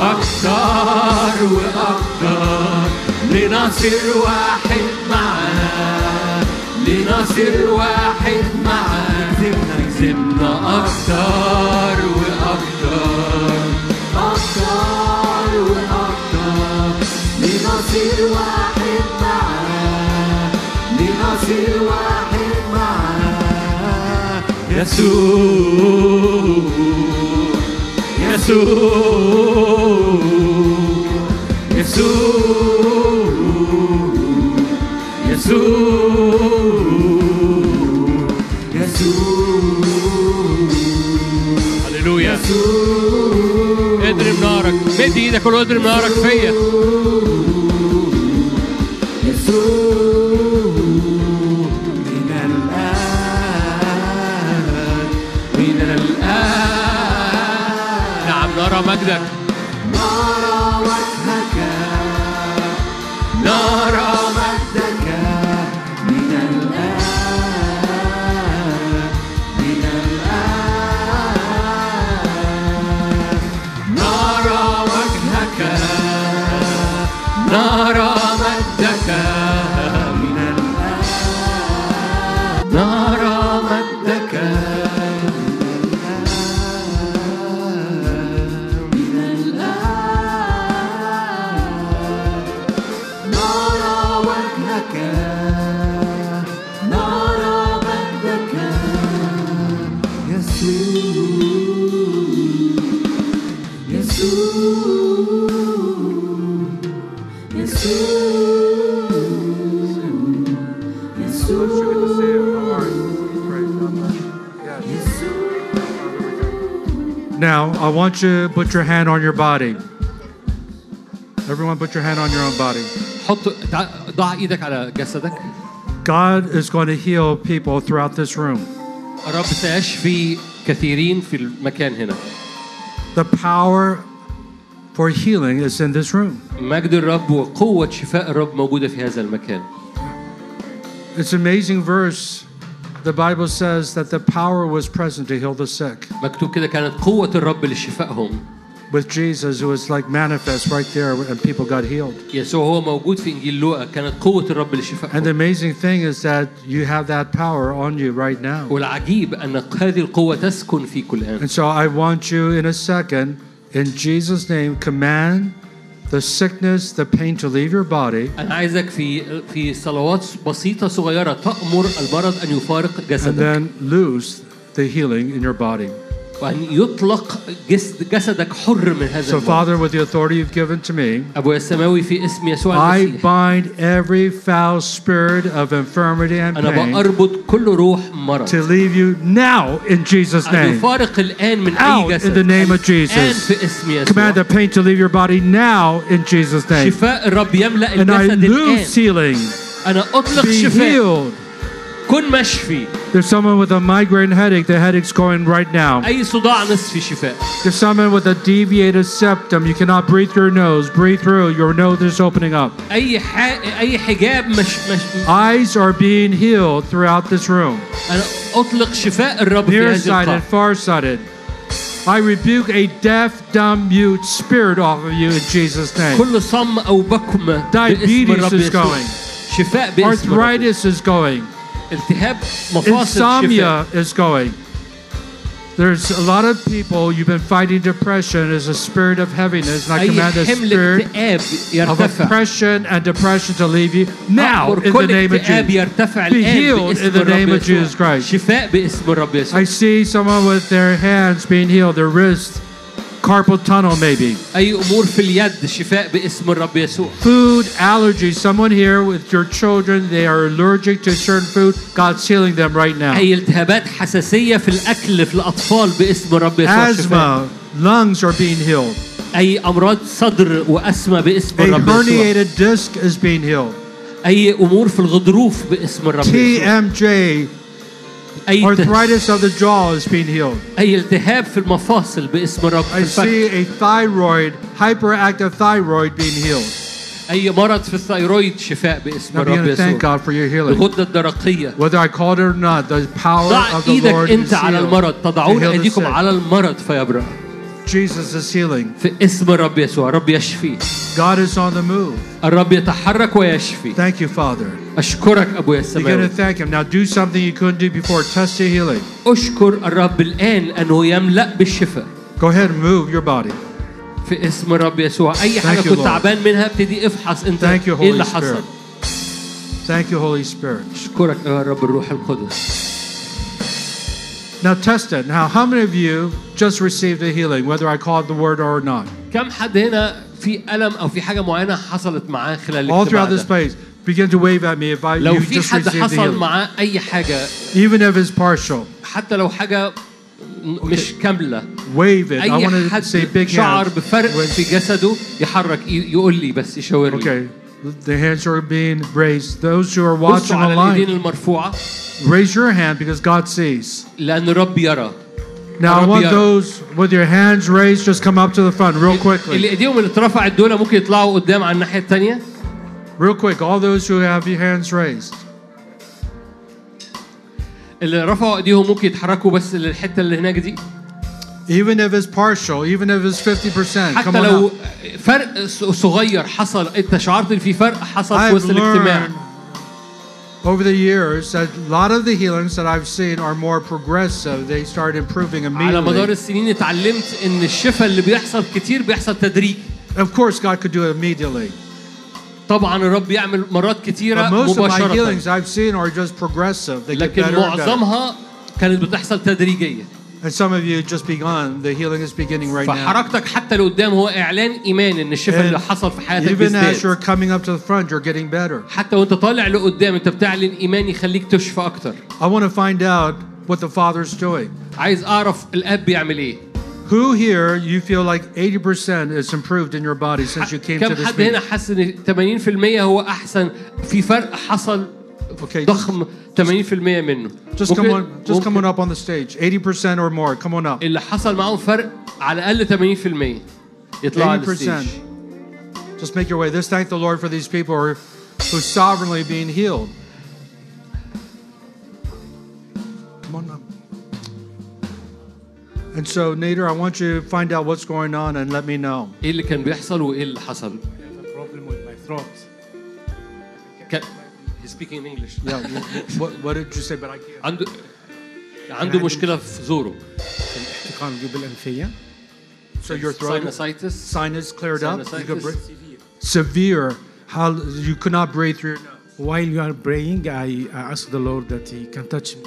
Speaker 3: أكتر وأكتر لنصير واحد معاك لنصير واحد معاك زدنا زدنا أكتر وأكتر أكتر وأكتر لنصير واحد معاك لنصير واحد معاك يسوع يسوع يسوع يسوع يسوع
Speaker 1: هللويا اضرب نارك مد ايدك وقول اضرب نارك فيا
Speaker 3: يسوع من الآن من آه. الآن
Speaker 1: نعم نرى مجدك
Speaker 3: نرى وجهك نرى مجدك من الآن من الآن نرى وجهك نرى مجدك من الآن نرى مجدك من الآن نرى وجهك نرى مجدك يسوع يسوع يسوع
Speaker 2: Now, I want you to put your hand on your body. Everyone, put your hand on your own body.
Speaker 1: حط تع- ضع ايدك على جسدك
Speaker 2: God is going to heal people throughout this room.
Speaker 1: الرب سيشفي كثيرين في المكان هنا
Speaker 2: The power for healing is in this room.
Speaker 1: مجد الرب وقوة شفاء الرب موجودة في هذا المكان
Speaker 2: It's an amazing verse. The Bible says that the power was present to heal the sick.
Speaker 1: مكتوب كده كانت قوة الرب لشفائهم
Speaker 2: With Jesus, it was like manifest right there, and people got healed.
Speaker 1: يسوع هو موجود في انجيل لوقا كانت قوة الرب
Speaker 2: And the
Speaker 1: لشفائهم
Speaker 2: amazing thing is that you have that power on you right now.
Speaker 1: والعجيب ان هذه القوة تسكن فيك الان
Speaker 2: And so I want you in a second, in Jesus' name, command the sickness, the pain to leave your body.
Speaker 1: انا عايزك في في صلوات بسيطة صغيرة تأمر المرض ان يفارق
Speaker 2: and
Speaker 1: جسدك
Speaker 2: then lose the healing in your body.
Speaker 1: وان يطلق جسد جسدك حر من هذا
Speaker 2: So,
Speaker 1: المرض
Speaker 2: Father, with the authority you've given to me,
Speaker 1: ابويا السماوي في اسم يسوع
Speaker 2: I
Speaker 1: المسيح
Speaker 2: bind every foul spirit of infirmity and
Speaker 1: انا
Speaker 2: pain
Speaker 1: بأربط كل روح
Speaker 2: to
Speaker 1: مرض
Speaker 2: leave you now in Jesus'
Speaker 1: أن
Speaker 2: name.
Speaker 1: يفارق الآن من
Speaker 2: Out
Speaker 1: أي
Speaker 2: in
Speaker 1: جسد
Speaker 2: the name of
Speaker 1: الآن
Speaker 2: Jesus.
Speaker 1: في اسم يسوع
Speaker 2: Command the pain to leave your body now in Jesus' name.
Speaker 1: شفاء الرب يملأ
Speaker 2: And I
Speaker 1: الجسد الآن
Speaker 2: lose healing.
Speaker 1: أنا أطلق
Speaker 2: Be
Speaker 1: شفاء
Speaker 2: healed.
Speaker 1: كن مشفي
Speaker 2: There's someone with a migraine headache. The headache's going right now.
Speaker 1: أي صداع نصفي شفاء
Speaker 2: There's someone with a deviated septum. You cannot breathe through your nose. Breathe through. Your nose is opening up.
Speaker 1: أي ح... أي حجاب مش... مش
Speaker 2: Eyes are being healed throughout this room.
Speaker 1: أنا أطلق شفاء الرب في هذه القاعة
Speaker 2: Nearsighted, farsighted. I rebuke a deaf, dumb, mute spirit off of you in Jesus' name.
Speaker 1: كل صم أو بكم باسم
Speaker 2: Diabetes
Speaker 1: الرب
Speaker 2: is
Speaker 1: يسوع
Speaker 2: going.
Speaker 1: شفاء باسم الرب
Speaker 2: Arthritis is going.
Speaker 1: التهاب مفاصل شفاء
Speaker 2: Insomnia is going. There's a lot of people you've been fighting depression as a spirit of heaviness, and I
Speaker 1: أي
Speaker 2: command the
Speaker 1: حمل
Speaker 2: spirit
Speaker 1: اكتئاب
Speaker 2: of
Speaker 1: يرتفع
Speaker 2: oppression and depression to leave you now
Speaker 1: أأمر
Speaker 2: in the
Speaker 1: كل
Speaker 2: name of
Speaker 1: اكتئاب
Speaker 2: Jesus.
Speaker 1: يرتفع
Speaker 2: Be
Speaker 1: الآن
Speaker 2: healed in
Speaker 1: باسم
Speaker 2: the name
Speaker 1: الرب
Speaker 2: of Jesus
Speaker 1: يسوع
Speaker 2: Christ.
Speaker 1: شفاء باسم الرب يسوع
Speaker 2: I see someone with their hands being healed, their wrists, carpal tunnel, maybe.
Speaker 1: أي أمور في اليد شفاء باسم الرب يسوع
Speaker 2: Food allergies. Someone here with your children, they are allergic to certain food. God's healing them right now.
Speaker 1: أي التهابات حساسية في الأكل في الأطفال باسم الرب يسوع شفاء
Speaker 2: Asthma, lungs are being healed.
Speaker 1: أي أمراض صدر وأسمى باسم
Speaker 2: A
Speaker 1: الرب يسوع
Speaker 2: herniated disc is being healed.
Speaker 1: أي أمور في الغضروف باسم الرب يسوع
Speaker 2: TMJ,
Speaker 1: أي الت-
Speaker 2: arthritis of the jaw is being healed.
Speaker 1: أي التهاب في المفاصل باسم الرب في
Speaker 2: I
Speaker 1: الفك
Speaker 2: see a thyroid, hyperactive thyroid being healed.
Speaker 1: أي مرض في الثيرويد شفاء باسم
Speaker 2: Now begin
Speaker 1: الرب
Speaker 2: to thank
Speaker 1: يسوع
Speaker 2: God for your healing.
Speaker 1: الغدة الدرقية
Speaker 2: Whether I called it or not, the power
Speaker 1: ضع
Speaker 2: of the
Speaker 1: ايدك
Speaker 2: Lord is
Speaker 1: انت على
Speaker 2: healed.
Speaker 1: المرض تضعون
Speaker 2: To heal the
Speaker 1: ايديكم
Speaker 2: sick.
Speaker 1: على المرض فيبرأ
Speaker 2: Jesus is healing.
Speaker 1: في اسم الرب يسوع الرب يشفي
Speaker 2: God is on the move.
Speaker 1: الرب يتحرك ويشفي
Speaker 2: Thank you, Father.
Speaker 1: اشكرك ابويا
Speaker 2: Begin to
Speaker 1: السماوي
Speaker 2: thank Him. Now do something you couldn't do before. Test your healing.
Speaker 1: اشكر الرب الان انه يملا بالشفاء
Speaker 2: Go ahead and move your body.
Speaker 1: في اسم الرب يسوع اي
Speaker 2: Thank
Speaker 1: حاجه
Speaker 2: you, Lord.
Speaker 1: كنت تعبان منها ابتدي افحص انت
Speaker 2: Thank you,
Speaker 1: ايه اللي
Speaker 2: Holy
Speaker 1: حصل
Speaker 2: Spirit. Thank you, Holy Spirit.
Speaker 1: اشكرك يا رب الروح القدس
Speaker 2: Now test it. Now, how many of you just received a healing, whether I called the word or not?
Speaker 1: كم حد هنا في الم او في حاجه معينه حصلت معاه خلال
Speaker 2: All throughout
Speaker 1: الاجتماع ده
Speaker 2: this place, begin to wave at me if I
Speaker 1: لو
Speaker 2: you
Speaker 1: في
Speaker 2: just
Speaker 1: حد
Speaker 2: received the
Speaker 1: حصل
Speaker 2: healing,
Speaker 1: معاه اي حاجه
Speaker 2: even if it's partial.
Speaker 1: حتى لو حاجه مش كامله
Speaker 2: Wave it. I
Speaker 1: اي
Speaker 2: want
Speaker 1: حد
Speaker 2: to say big
Speaker 1: شعر
Speaker 2: hands.
Speaker 1: بفرق في جسده يحرك ي- يقول لي بس يشاور لي
Speaker 2: Okay, the hands are being raised. Those who are
Speaker 1: بصوا
Speaker 2: watching
Speaker 1: على
Speaker 2: online,
Speaker 1: الايدين المرفوعه
Speaker 2: raise your hand because God sees.
Speaker 1: لان الرب يرى
Speaker 2: Now, I
Speaker 1: الرب
Speaker 2: want
Speaker 1: يرى.
Speaker 2: those with your hands raised just come up to the front real
Speaker 1: اللي
Speaker 2: quickly.
Speaker 1: ايديهم اللي اترفعت دول ممكن يطلعوا قدام على الناحيه الثانيه
Speaker 2: Real quick, all those who have your hands raised.
Speaker 1: اللي رفعوا ايديهم ممكن يتحركوا بس للحته اللي هناك دي
Speaker 2: Even if it's partial, even if it's 50%, come
Speaker 1: حتى
Speaker 2: on
Speaker 1: لو
Speaker 2: up.
Speaker 1: فرق ص- صغير حصل انت شعرت ان في فرق حصل في
Speaker 2: I've
Speaker 1: وسط الاجتماع
Speaker 2: learned over the years that a lot of the healings that I've seen are more progressive. They start improving
Speaker 1: على مدار
Speaker 2: immediately.
Speaker 1: السنين اتعلمت ان الشفاء اللي بيحصل كتير بيحصل تدريج
Speaker 2: Of course, God could do it immediately.
Speaker 1: طبعا الرب يعمل مرات كتيره
Speaker 2: But most of my
Speaker 1: مباشره
Speaker 2: healings I've seen are just progressive. They get
Speaker 1: لكن
Speaker 2: better and better.
Speaker 1: معظمها كانت بتحصل تدريجيا
Speaker 2: And some of you just begun. The healing is beginning right now.
Speaker 1: فحركتك حتى لقدام هو اعلان ايمان ان الشفاء
Speaker 2: And
Speaker 1: اللي حصل في حياتك
Speaker 2: Even as you're
Speaker 1: بيزداد
Speaker 2: coming up to the front, you're getting better.
Speaker 1: حتى وانت طالع لقدام انت بتعلن ايمان يخليك تشفى اكتر
Speaker 2: I want to find out what the Father's doing.
Speaker 1: عايز اعرف الاب بيعمل ايه
Speaker 2: Who here you feel like 80% is improved in your body since you came to
Speaker 1: كم
Speaker 2: this
Speaker 1: حد هنا
Speaker 2: meeting?
Speaker 1: حس ان 80% هو احسن في فرق حصل
Speaker 2: Okay, just,
Speaker 1: ضخم 80% منه
Speaker 2: just come
Speaker 1: ممكن-
Speaker 2: on, just come
Speaker 1: ممكن
Speaker 2: on up on the stage. 80% or more. Come on up.
Speaker 1: اللي حصل معاهم فرق على الاقل 80% يطلعوا على الستيج
Speaker 2: 80%. Just make your way. Let's thank the Lord for these people who are who's sovereignly being healed. Come on up. And so, Nader, I want you to find out what's going on and let me know.
Speaker 1: ايه اللي كان بيحصل وايه اللي حصل
Speaker 4: have a problem with my throat.
Speaker 1: كان He's speaking in English.
Speaker 2: Yeah. wh- what, what did you say? But I can't.
Speaker 1: عنده عنده مشكله في زوره
Speaker 4: احتقان جيوب الانفيه
Speaker 2: So your throat
Speaker 1: ساينسايتس
Speaker 2: sinus cleared up. You
Speaker 1: Sinusitis.
Speaker 2: could breathe. severe. How you could not breathe through your nose.
Speaker 4: While you are praying, I, I ask the Lord that He can touch me.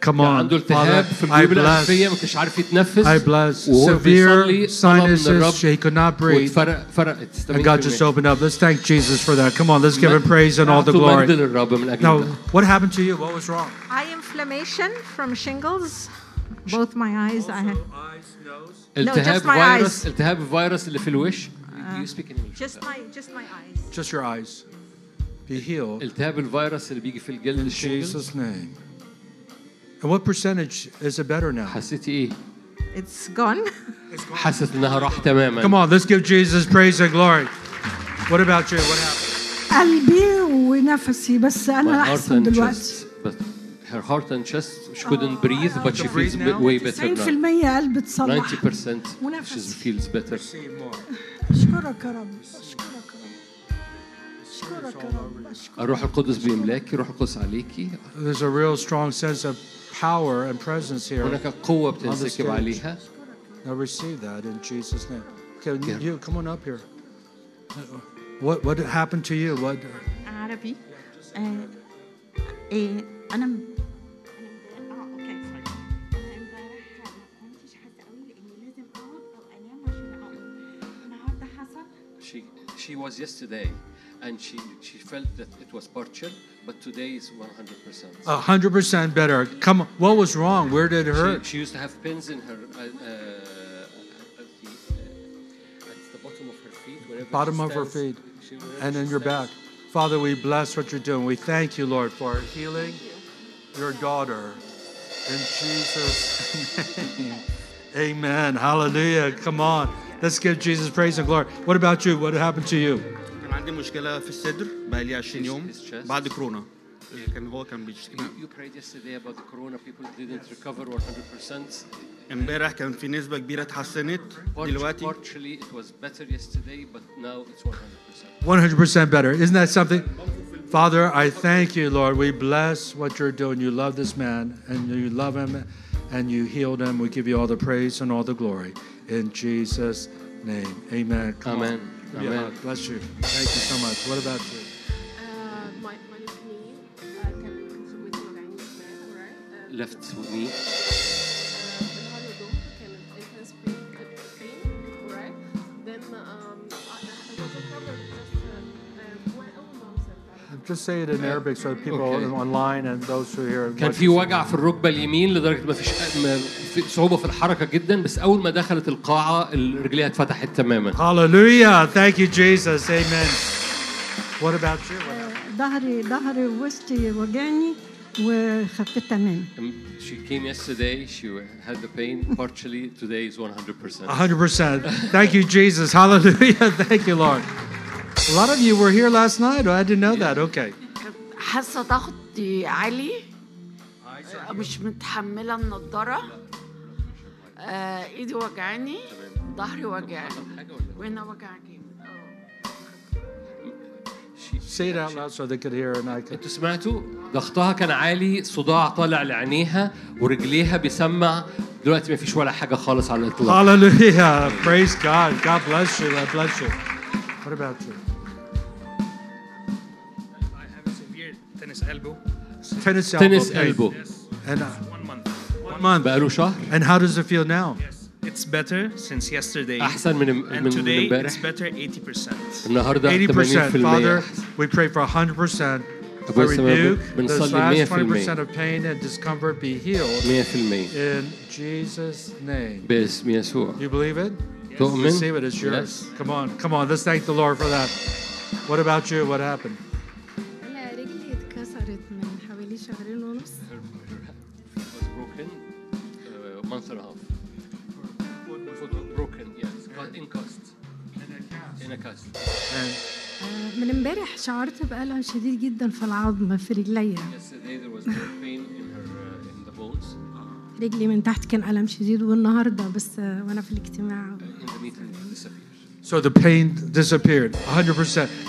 Speaker 2: Come on,
Speaker 1: عنده التهاب
Speaker 2: Father.
Speaker 1: في
Speaker 2: I
Speaker 1: الجيوب الانفيه
Speaker 2: bless.
Speaker 1: ما كانش عارف
Speaker 2: I
Speaker 1: يتنفس
Speaker 2: bless.
Speaker 1: وهو بيصلي
Speaker 2: Severe
Speaker 1: طلب من الرب
Speaker 2: sinuses. He could not breathe.
Speaker 1: واتفرق فرقت
Speaker 2: And God
Speaker 1: 80%.
Speaker 2: just opened up. Let's thank Jesus for that. Come on, let's give him praise and all the
Speaker 1: أعطوا مجد
Speaker 2: glory.
Speaker 1: للرب من اجل
Speaker 2: Now,
Speaker 1: ده.
Speaker 2: what happened to you? What was wrong?
Speaker 5: Eye inflammation from shingles. Both my eyes. I had
Speaker 2: eyes, nose.
Speaker 1: التهاب
Speaker 5: just my
Speaker 1: فيروس
Speaker 5: eyes. Uh,
Speaker 1: التهاب فيروس اللي في الوش You speak in English.
Speaker 5: just my just my eyes.
Speaker 2: Just your eyes. Be healed.
Speaker 1: التهاب الفيروس اللي بيجي في الجلد
Speaker 2: In
Speaker 1: الشنجل
Speaker 2: Jesus' name. And what percentage is it better now?
Speaker 1: حسيتي ايه؟
Speaker 5: It's gone.
Speaker 1: حاسس انها راح تماما
Speaker 2: Come on, let's give Jesus praise and glory. What about you? What happened?
Speaker 6: (laughs) قلبي ونفسي بس انا
Speaker 1: My heart
Speaker 6: احسن
Speaker 1: and
Speaker 6: دلوقتي
Speaker 1: chest, but her heart and chest she couldn't breathe but she feels
Speaker 2: breathe
Speaker 1: b-
Speaker 2: now.
Speaker 1: way
Speaker 6: 90%
Speaker 1: better now
Speaker 6: قلبي اتصلح
Speaker 1: 90% she
Speaker 6: ونفسي.
Speaker 1: feels better
Speaker 2: See more.
Speaker 6: اشكرك يا رب اشكرك يا رب اشكرك يا رب اشكرك
Speaker 1: الروح القدس بيملاكي الروح القدس عليكي
Speaker 2: There's a real strong sense of power and presence here.
Speaker 1: هناك قوة بتنسكب
Speaker 2: Understood.
Speaker 1: عليها
Speaker 2: Now receive that in Jesus' name. Okay,
Speaker 1: Yeah.
Speaker 2: you come on up here. What what happened to you? What?
Speaker 5: عربي. آه، إيه، أنا م- أنا امبارح- آه، أوكي، sorry. أنا امبارح ما كنتش حاسة قوي لأني لازم أقعد أو
Speaker 7: was yesterday, and she she felt that it was partial, but today is 100 percent.
Speaker 2: A hundred percent better. Come on, what was wrong? Where did it
Speaker 7: She,
Speaker 2: hurt?
Speaker 7: she used to have pins in her uh, uh, at, the, uh, at the bottom of her feet. Wherever she
Speaker 2: Bottom of her
Speaker 7: stands.
Speaker 2: feet
Speaker 7: She- wherever
Speaker 2: and in
Speaker 7: she
Speaker 2: your back.
Speaker 7: stands.
Speaker 2: Father, we bless what you're doing. We thank you, Lord, for healing your daughter. In Jesus' name. (laughs) Amen. Hallelujah. Come on. Let's give Jesus praise and glory. What about you? What happened to you?
Speaker 8: كان عندي مشكله في الصدر بقى لي 20 يوم
Speaker 7: His- his chest.
Speaker 8: بعد كورونا كان هو كان بيشتكي
Speaker 7: You, you prayed yesterday about the corona. People didn't recover 100 percent.
Speaker 8: امبارح كان في نسبه كبيره اتحسنت دلوقتي
Speaker 7: Partially, it was better yesterday, but now it's 100 percent.
Speaker 2: 100% better. Isn't that something? Father, I thank you, Lord. We bless what you're doing. You love this man and you love him and you healed him. We give you all the praise and all the glory. In Jesus' name. Amen. Come
Speaker 1: Amen.
Speaker 2: on. Give me a
Speaker 1: Amen.
Speaker 2: hug. Bless you. Thank you so much. What about you?
Speaker 9: Uh, my, my left knee uh, كان كنت
Speaker 1: left
Speaker 9: سويت وجعاني شمال right Uh,
Speaker 1: knee
Speaker 9: بالنهار والظهر كانت intense pain pain uh, right then um, I, I was recovered just uh, uh, one hour now sometimes.
Speaker 2: Just say it in Arabic so that people
Speaker 1: Okay.
Speaker 2: online and those who hear.
Speaker 1: كان في وجع في الركبه اليمين لدرجه ما فيش ما- في صعوبه في الحركه جدا بس اول ما دخلت القاعه رجليها اتفتحت تماما
Speaker 2: Hallelujah. Thank you, Jesus. Amen. What about you? What happened?
Speaker 10: ظهري ظهري ووسطي وجعني وخفيت تمام
Speaker 1: She came yesterday, she had the pain partially, today is 100%.
Speaker 2: أه. 100%. Thank you, Jesus. Hallelujah. (laughs) Thank you, Lord. A lot of you were here last night. I didn't know that. Okay.
Speaker 11: حاسه ضغطي عالي آه، مش متحمله النضاره آه، ايدي وجعاني ظهري وجعني إيه؟ وهنا وجعني
Speaker 2: Say it out loud so they could hear and I could.
Speaker 1: انتوا سمعتوا؟ ضغطها كان عالي، صداع طالع لعينيها ورجليها بيسمع، دلوقتي مفيش ولا حاجة خالص على الإطلاق.
Speaker 2: (laughs) Hallelujah. Praise God. God bless you. God bless you. What about you?
Speaker 12: I have a severe tennis elbow.
Speaker 2: Tennis elbow.
Speaker 1: تنس
Speaker 2: pain.
Speaker 1: قلبه
Speaker 2: And, uh,
Speaker 12: One month.
Speaker 2: one month.
Speaker 1: بقاله شهر
Speaker 2: And how does it feel now?
Speaker 12: It's better since yesterday.
Speaker 1: أحسن من من
Speaker 12: And
Speaker 1: من
Speaker 12: today it's
Speaker 1: امبارح.
Speaker 12: better 80%.
Speaker 1: النهارده
Speaker 2: 80%.
Speaker 1: 80%
Speaker 2: Father,
Speaker 1: أحسن.
Speaker 2: we pray for 100%.
Speaker 1: أبويا
Speaker 2: I
Speaker 1: السماوي
Speaker 2: rebuke
Speaker 1: بنصلي
Speaker 2: this last
Speaker 1: 100%.
Speaker 2: 20% of pain and discomfort be healed
Speaker 1: 100%
Speaker 2: in Jesus' name.
Speaker 1: باسم يسوع.
Speaker 2: You believe it?
Speaker 1: تؤمن؟
Speaker 2: Receive it. It's yours.
Speaker 1: Yes.
Speaker 2: Come on, come on. Let's thank the Lord for that. What about you? What happened?
Speaker 10: انا رجلي اتكسرت من حوالي شهرين ونص
Speaker 1: Her, her foot was broken uh, month and a half. Her foot was broken, yes, cut in cast. In a cast.
Speaker 2: And
Speaker 10: آه، من امبارح شعرت بألم شديد جدا في العظم في رجليا
Speaker 7: Yesterday there was more pain in her uh, in the bones
Speaker 10: رجلي من تحت كان ألم شديد والنهارده بس آه، وانا في الاجتماع
Speaker 7: in the meeting it disappeared.
Speaker 2: so the pain disappeared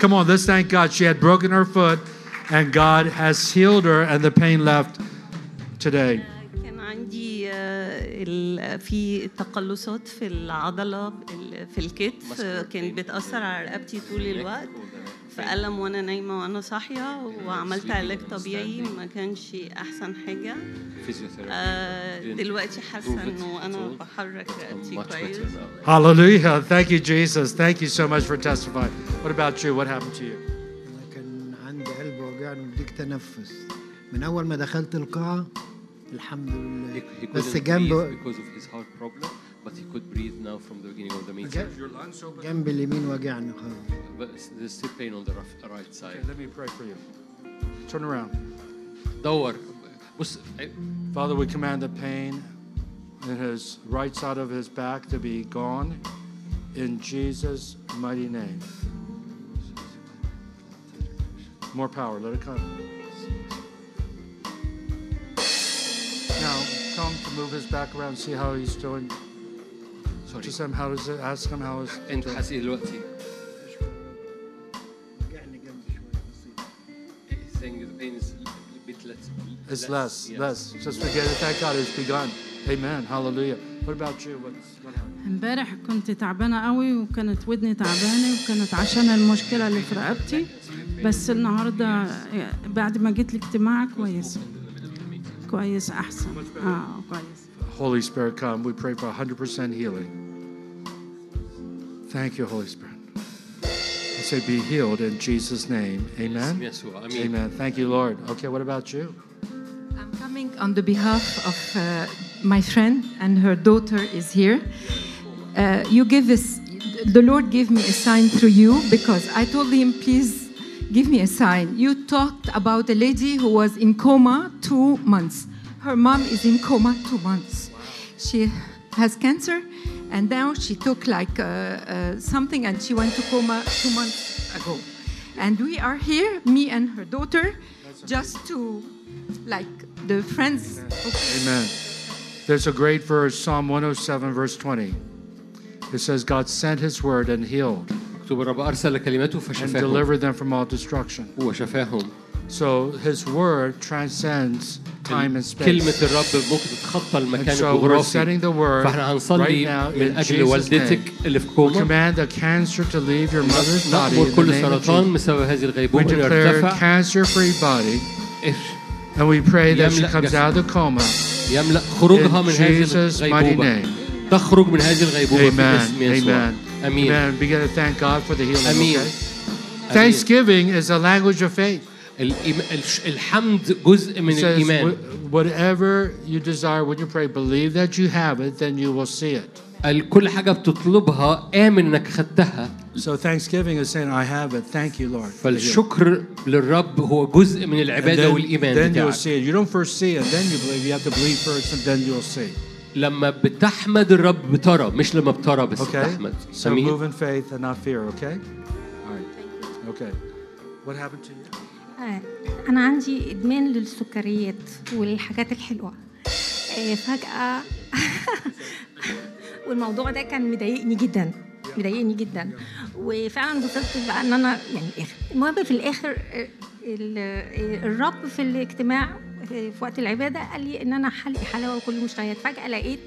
Speaker 2: 100%. Come on, let's thank God. She had broken her foot, and God has healed her, and the pain left today.
Speaker 13: كان عندي آه، ال- في تقلصات في العضلة ال- في الكتف آه، كانت بتأثر على رقبتي طول الوقت في ألم وأنا نايمة وأنا صاحية وعملت علاج طبيعي ما كانش أحسن حاجة آه،
Speaker 1: Physiotherapy.
Speaker 13: دلوقتي حاسة
Speaker 1: Prove it.
Speaker 13: إنه أنا
Speaker 1: It's all-
Speaker 13: بحرك رقبتي
Speaker 1: much better
Speaker 13: كويس
Speaker 1: now.
Speaker 2: Hallelujah. Thank you, Jesus. Thank you so much for testifying. What about you? What happened to you?
Speaker 14: أنا كان عندي قلب وجعني وبديك تنفس من أول ما دخلت القاعة الحمد
Speaker 1: He,
Speaker 14: لله
Speaker 1: he
Speaker 14: بس
Speaker 1: couldn't breathe
Speaker 14: جنب
Speaker 1: because of his heart problem, but he could breathe now from the beginning of the meeting.
Speaker 14: جنب- جنب اليمين وجعني خالص
Speaker 1: But it's- there's still pain on the rough- right side.
Speaker 2: Let me pray for you. Turn around.
Speaker 1: دور بص
Speaker 2: Father, we command the pain in his right side of his back to be gone in Jesus' mighty name. More power, let it come. Now, tell him to move his back around, see how he's doing.
Speaker 1: Sorry.
Speaker 2: Just him, how does it, ask him how his.
Speaker 1: انت حاسس ايه دلوقتي؟
Speaker 14: وجعني جنب شوية بسيط
Speaker 1: He's saying the pain is a little bit less.
Speaker 2: It's less,
Speaker 1: yes.
Speaker 2: less. Just forget it. Thank God it's begun. Amen. Hallelujah. What about you? What's, what happened?
Speaker 15: امبارح كنت تعبانة قوي وكانت ودني تعبانة وكانت عشان المشكلة اللي في رقبتي بس النهاردة آه، بعد ما جيت الاجتماع كويس كويس أحسن اه كويس
Speaker 2: Holy Spirit, come. We pray for 100% healing. Thank you, Holy Spirit. and say, Be healed in Jesus' name. Amen.
Speaker 1: اسم يسوع. آمين.
Speaker 2: Amen. Thank you, Lord. Okay, what about you?
Speaker 16: I'm coming on the behalf of uh, my friend, and her daughter is here. Uh, you give this, the Lord gave me a sign through you because I told him, please give me a sign. You talked about a lady who was in coma two months. Her mom is in coma two months. She has cancer, and now she took like uh, uh, something, and she went to coma two months ago. And we are here, me and her daughter, just to like the friends.
Speaker 2: Amen. There's a great verse, Psalm 107, verse 20. It says, God sent his word and healed
Speaker 1: اكتب الرب ارسل كلمته
Speaker 2: and
Speaker 1: فشفاهم
Speaker 2: delivered them from all destruction.
Speaker 1: وشفاهم
Speaker 2: So his word transcends time and space.
Speaker 1: كلمة الرب ممكن تتخطى
Speaker 2: And
Speaker 1: المكان
Speaker 2: so we're
Speaker 1: الجغرافي
Speaker 2: setting the word
Speaker 1: فاحنا
Speaker 2: right
Speaker 1: هنصلي
Speaker 2: now in
Speaker 1: من أجل
Speaker 2: Jesus'
Speaker 1: والدتك
Speaker 2: name.
Speaker 1: اللي في
Speaker 2: We
Speaker 1: كوما
Speaker 2: command the cancer to leave your mother's body in
Speaker 1: نأمر
Speaker 2: the
Speaker 1: كل
Speaker 2: name of
Speaker 1: سرطان
Speaker 2: Jesus.
Speaker 1: بسبب هذه
Speaker 2: We
Speaker 1: الغيبوبة أن
Speaker 2: declare a
Speaker 1: يرتفع
Speaker 2: cancer-free body, and we pray that she
Speaker 1: يملأ
Speaker 2: comes
Speaker 1: جسدك.
Speaker 2: out of the coma.
Speaker 1: يملأ خروجها
Speaker 2: In
Speaker 1: من هذه
Speaker 2: Jesus' mighty
Speaker 1: الغيبوبة
Speaker 2: name.
Speaker 1: تخرج من هذه الغيبوبة في
Speaker 2: Amen.
Speaker 1: اسم يسوع
Speaker 2: Amen.
Speaker 1: أمين
Speaker 2: Amen. Begin to thank God for the healing.
Speaker 1: أمين.
Speaker 2: okay? Thanksgiving is a language of faith.
Speaker 1: الإيم- الش- الحمد جزء من
Speaker 2: It says,
Speaker 1: الإيمان
Speaker 2: "Wh- Whatever you desire when you pray, believe that you have it, then you will see it.
Speaker 1: ال- كل حاجة بتطلبها آمن إنك خدتها
Speaker 2: So Thanksgiving is saying, I have it. Thank you, Lord. for the healing."
Speaker 1: فالشكر للرب هو جزء من
Speaker 2: And
Speaker 1: العبادة
Speaker 2: then,
Speaker 1: والإيمان
Speaker 2: then you'll
Speaker 1: بتاعك
Speaker 2: see it. You don't first see it, then you believe. You have to believe first, and then you'll see.
Speaker 1: لما بتحمد الرب بترى مش لما بترى بس
Speaker 2: Okay.
Speaker 1: بتحمد
Speaker 2: So
Speaker 1: أمين
Speaker 2: move in faith and not fear. Okay. All right. Okay. What happened to you?
Speaker 17: آه، أنا عندي إدمان للسكريات والحاجات الحلوة آه، فجأة (laughs) والموضوع ده كان مضايقني جدا مضايقني جدا وفعلا وصلت بقى ان انا يعني الاخر المهم في الاخر آه، ال- آه، الرب في الاجتماع آه، في وقت العباده قال لي ان انا حلقي حلاوه وكل مشتهيات فجاه لقيت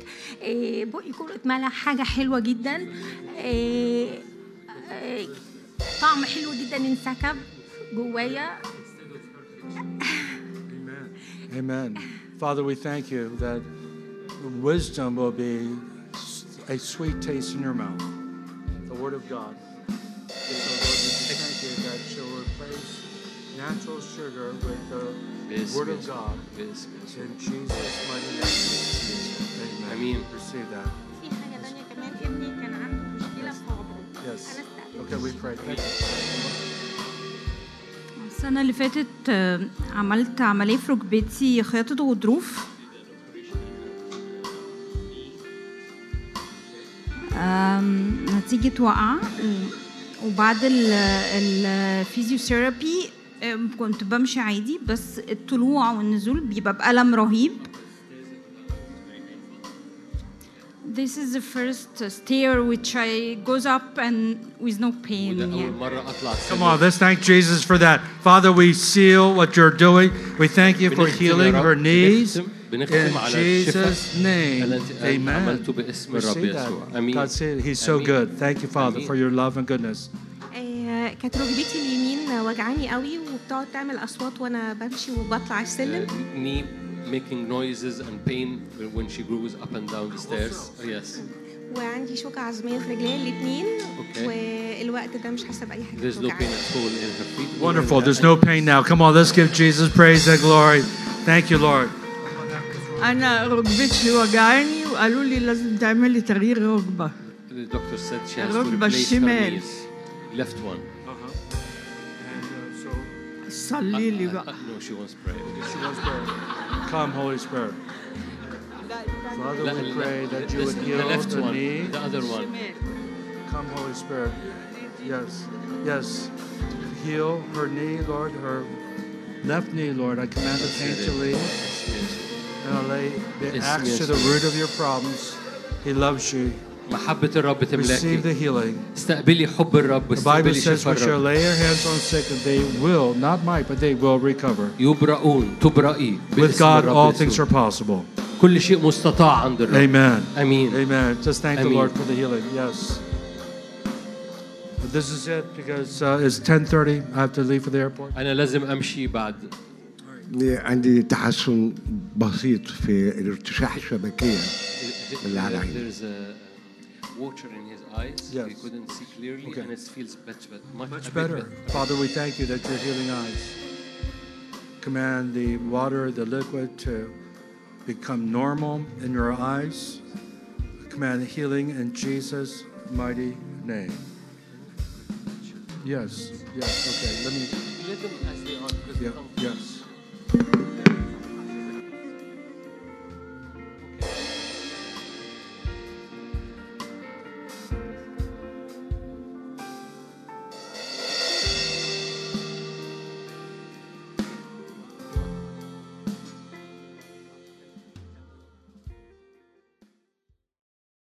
Speaker 17: آه، بقي كله اتملى حاجه حلوه جدا آه، آه، طعم حلو جدا انسكب جوايا
Speaker 2: Amen. Amen. Father, we thank you that wisdom will be a sweet taste in your mouth. The word of God. So Lord, we just thank you that you'll replace natural sugar with the
Speaker 1: Yes,
Speaker 2: word of
Speaker 1: yes,
Speaker 2: God. In Jesus' mighty name. Amen.
Speaker 1: Amen.
Speaker 2: Receive that.
Speaker 17: في حاجه تانية كمان ابني كان عنده مشكله في صوابعه
Speaker 2: Yes. Okay, we pray. Thank
Speaker 18: السنة اللي فاتت آه، عملت عملية في ركبتي خياطة غضروف آم، نتيجة وقعة و- وبعد الفيزيوثيرابي كنت بمشي عادي بس الطلوع والنزول بيبقى بألم رهيب
Speaker 10: This is the first stair which I goes up and with no pain.
Speaker 18: يعني.
Speaker 1: أول مرة أطلع
Speaker 2: Come on, let's thank Jesus for that. Father, we seal what you're doing. We thank you for
Speaker 1: بنختم يا
Speaker 2: healing
Speaker 1: رب.
Speaker 2: her knees.
Speaker 1: بنختم-
Speaker 2: In
Speaker 1: بنختم على
Speaker 2: Jesus'
Speaker 1: الشفاء
Speaker 2: name.
Speaker 1: التي أنت
Speaker 2: Amen.
Speaker 1: عملته باسم
Speaker 2: We
Speaker 1: الرب
Speaker 2: see that.
Speaker 1: يسوع أمين
Speaker 2: God said He's so
Speaker 1: أمين.
Speaker 2: good. Thank you, Father, for your love and goodness.
Speaker 19: آه، كانت ركبتي اليمين وجعاني قوي وبتقعد تعمل اصوات وانا بمشي وبطلع السلم
Speaker 1: knee making noises and pain when she grows up and down the stairs. Oh, Yes.
Speaker 19: وعندي شوكة عظمية في رجليا الاتنين
Speaker 1: Okay.
Speaker 19: والوقت ده مش حاسة بأي حاجة
Speaker 1: There's no
Speaker 19: بتوجعني.
Speaker 1: pain at all in her feet.
Speaker 2: Wonderful. There's no pain now. Come on, let's give Jesus praise and glory. Thank you, Lord.
Speaker 20: انا ركبتي وجعاني وقالوا لي لازم تعملي تغيير ركبه
Speaker 1: The doctor said she has to
Speaker 20: الركبة
Speaker 1: replace her
Speaker 20: الشمال.
Speaker 1: knee. Left one. Uh-huh.
Speaker 20: صلي لي بقى
Speaker 1: Uh, no, she wants prayer.
Speaker 2: She wants prayer. Come, Holy Spirit. Father, we pray that you would
Speaker 1: The
Speaker 2: heal
Speaker 1: left
Speaker 2: the
Speaker 1: one,
Speaker 2: knee.
Speaker 1: the other one.
Speaker 2: Come, Holy Spirit. Yes, yes. Heal her knee, Lord, her left knee, Lord. I command the pain to leave. And I lay the
Speaker 1: Yes,
Speaker 2: axe
Speaker 1: yes,
Speaker 2: to the
Speaker 1: yes.
Speaker 2: root of your problems. He loves you.
Speaker 1: محبة الرب
Speaker 2: Receive the
Speaker 1: تملاكي.
Speaker 2: healing.
Speaker 1: استقبلي حب الرب
Speaker 2: The Bible
Speaker 1: استقبلي
Speaker 2: says,
Speaker 1: شفاء
Speaker 2: we shall
Speaker 1: الرب.
Speaker 2: lay our hands on sick, and they will, not might, but they will recover.
Speaker 1: يبرؤون تبرئي
Speaker 2: With
Speaker 1: باسم
Speaker 2: God,
Speaker 1: الرب
Speaker 2: all
Speaker 1: يسوع.
Speaker 2: things are possible.
Speaker 1: كل شيء مستطاع عند الرب.
Speaker 2: Amen.
Speaker 1: أمين.
Speaker 2: Amen. Just thank the
Speaker 1: أمين.
Speaker 2: Lord for the healing. Yes. But this is it because uh, it's 10:30. I have to leave for the airport.
Speaker 1: أنا لازم أمشي بعد
Speaker 21: عندي تحسن بسيط في الارتشاح الشبكية اللي على عيني
Speaker 1: There's a water in his eyes.
Speaker 2: Yes.
Speaker 1: He couldn't see clearly,
Speaker 2: Okay.
Speaker 1: and it feels much, bet- much, a
Speaker 2: Much
Speaker 1: bit
Speaker 2: better. Father, we thank you that you're healing eyes. Command the water, the liquid to become normal in your eyes. Command healing in Jesus' mighty name. Yes, yes, okay, let me,
Speaker 1: Let them as they are. because they
Speaker 2: yeah,
Speaker 1: come from
Speaker 2: yes.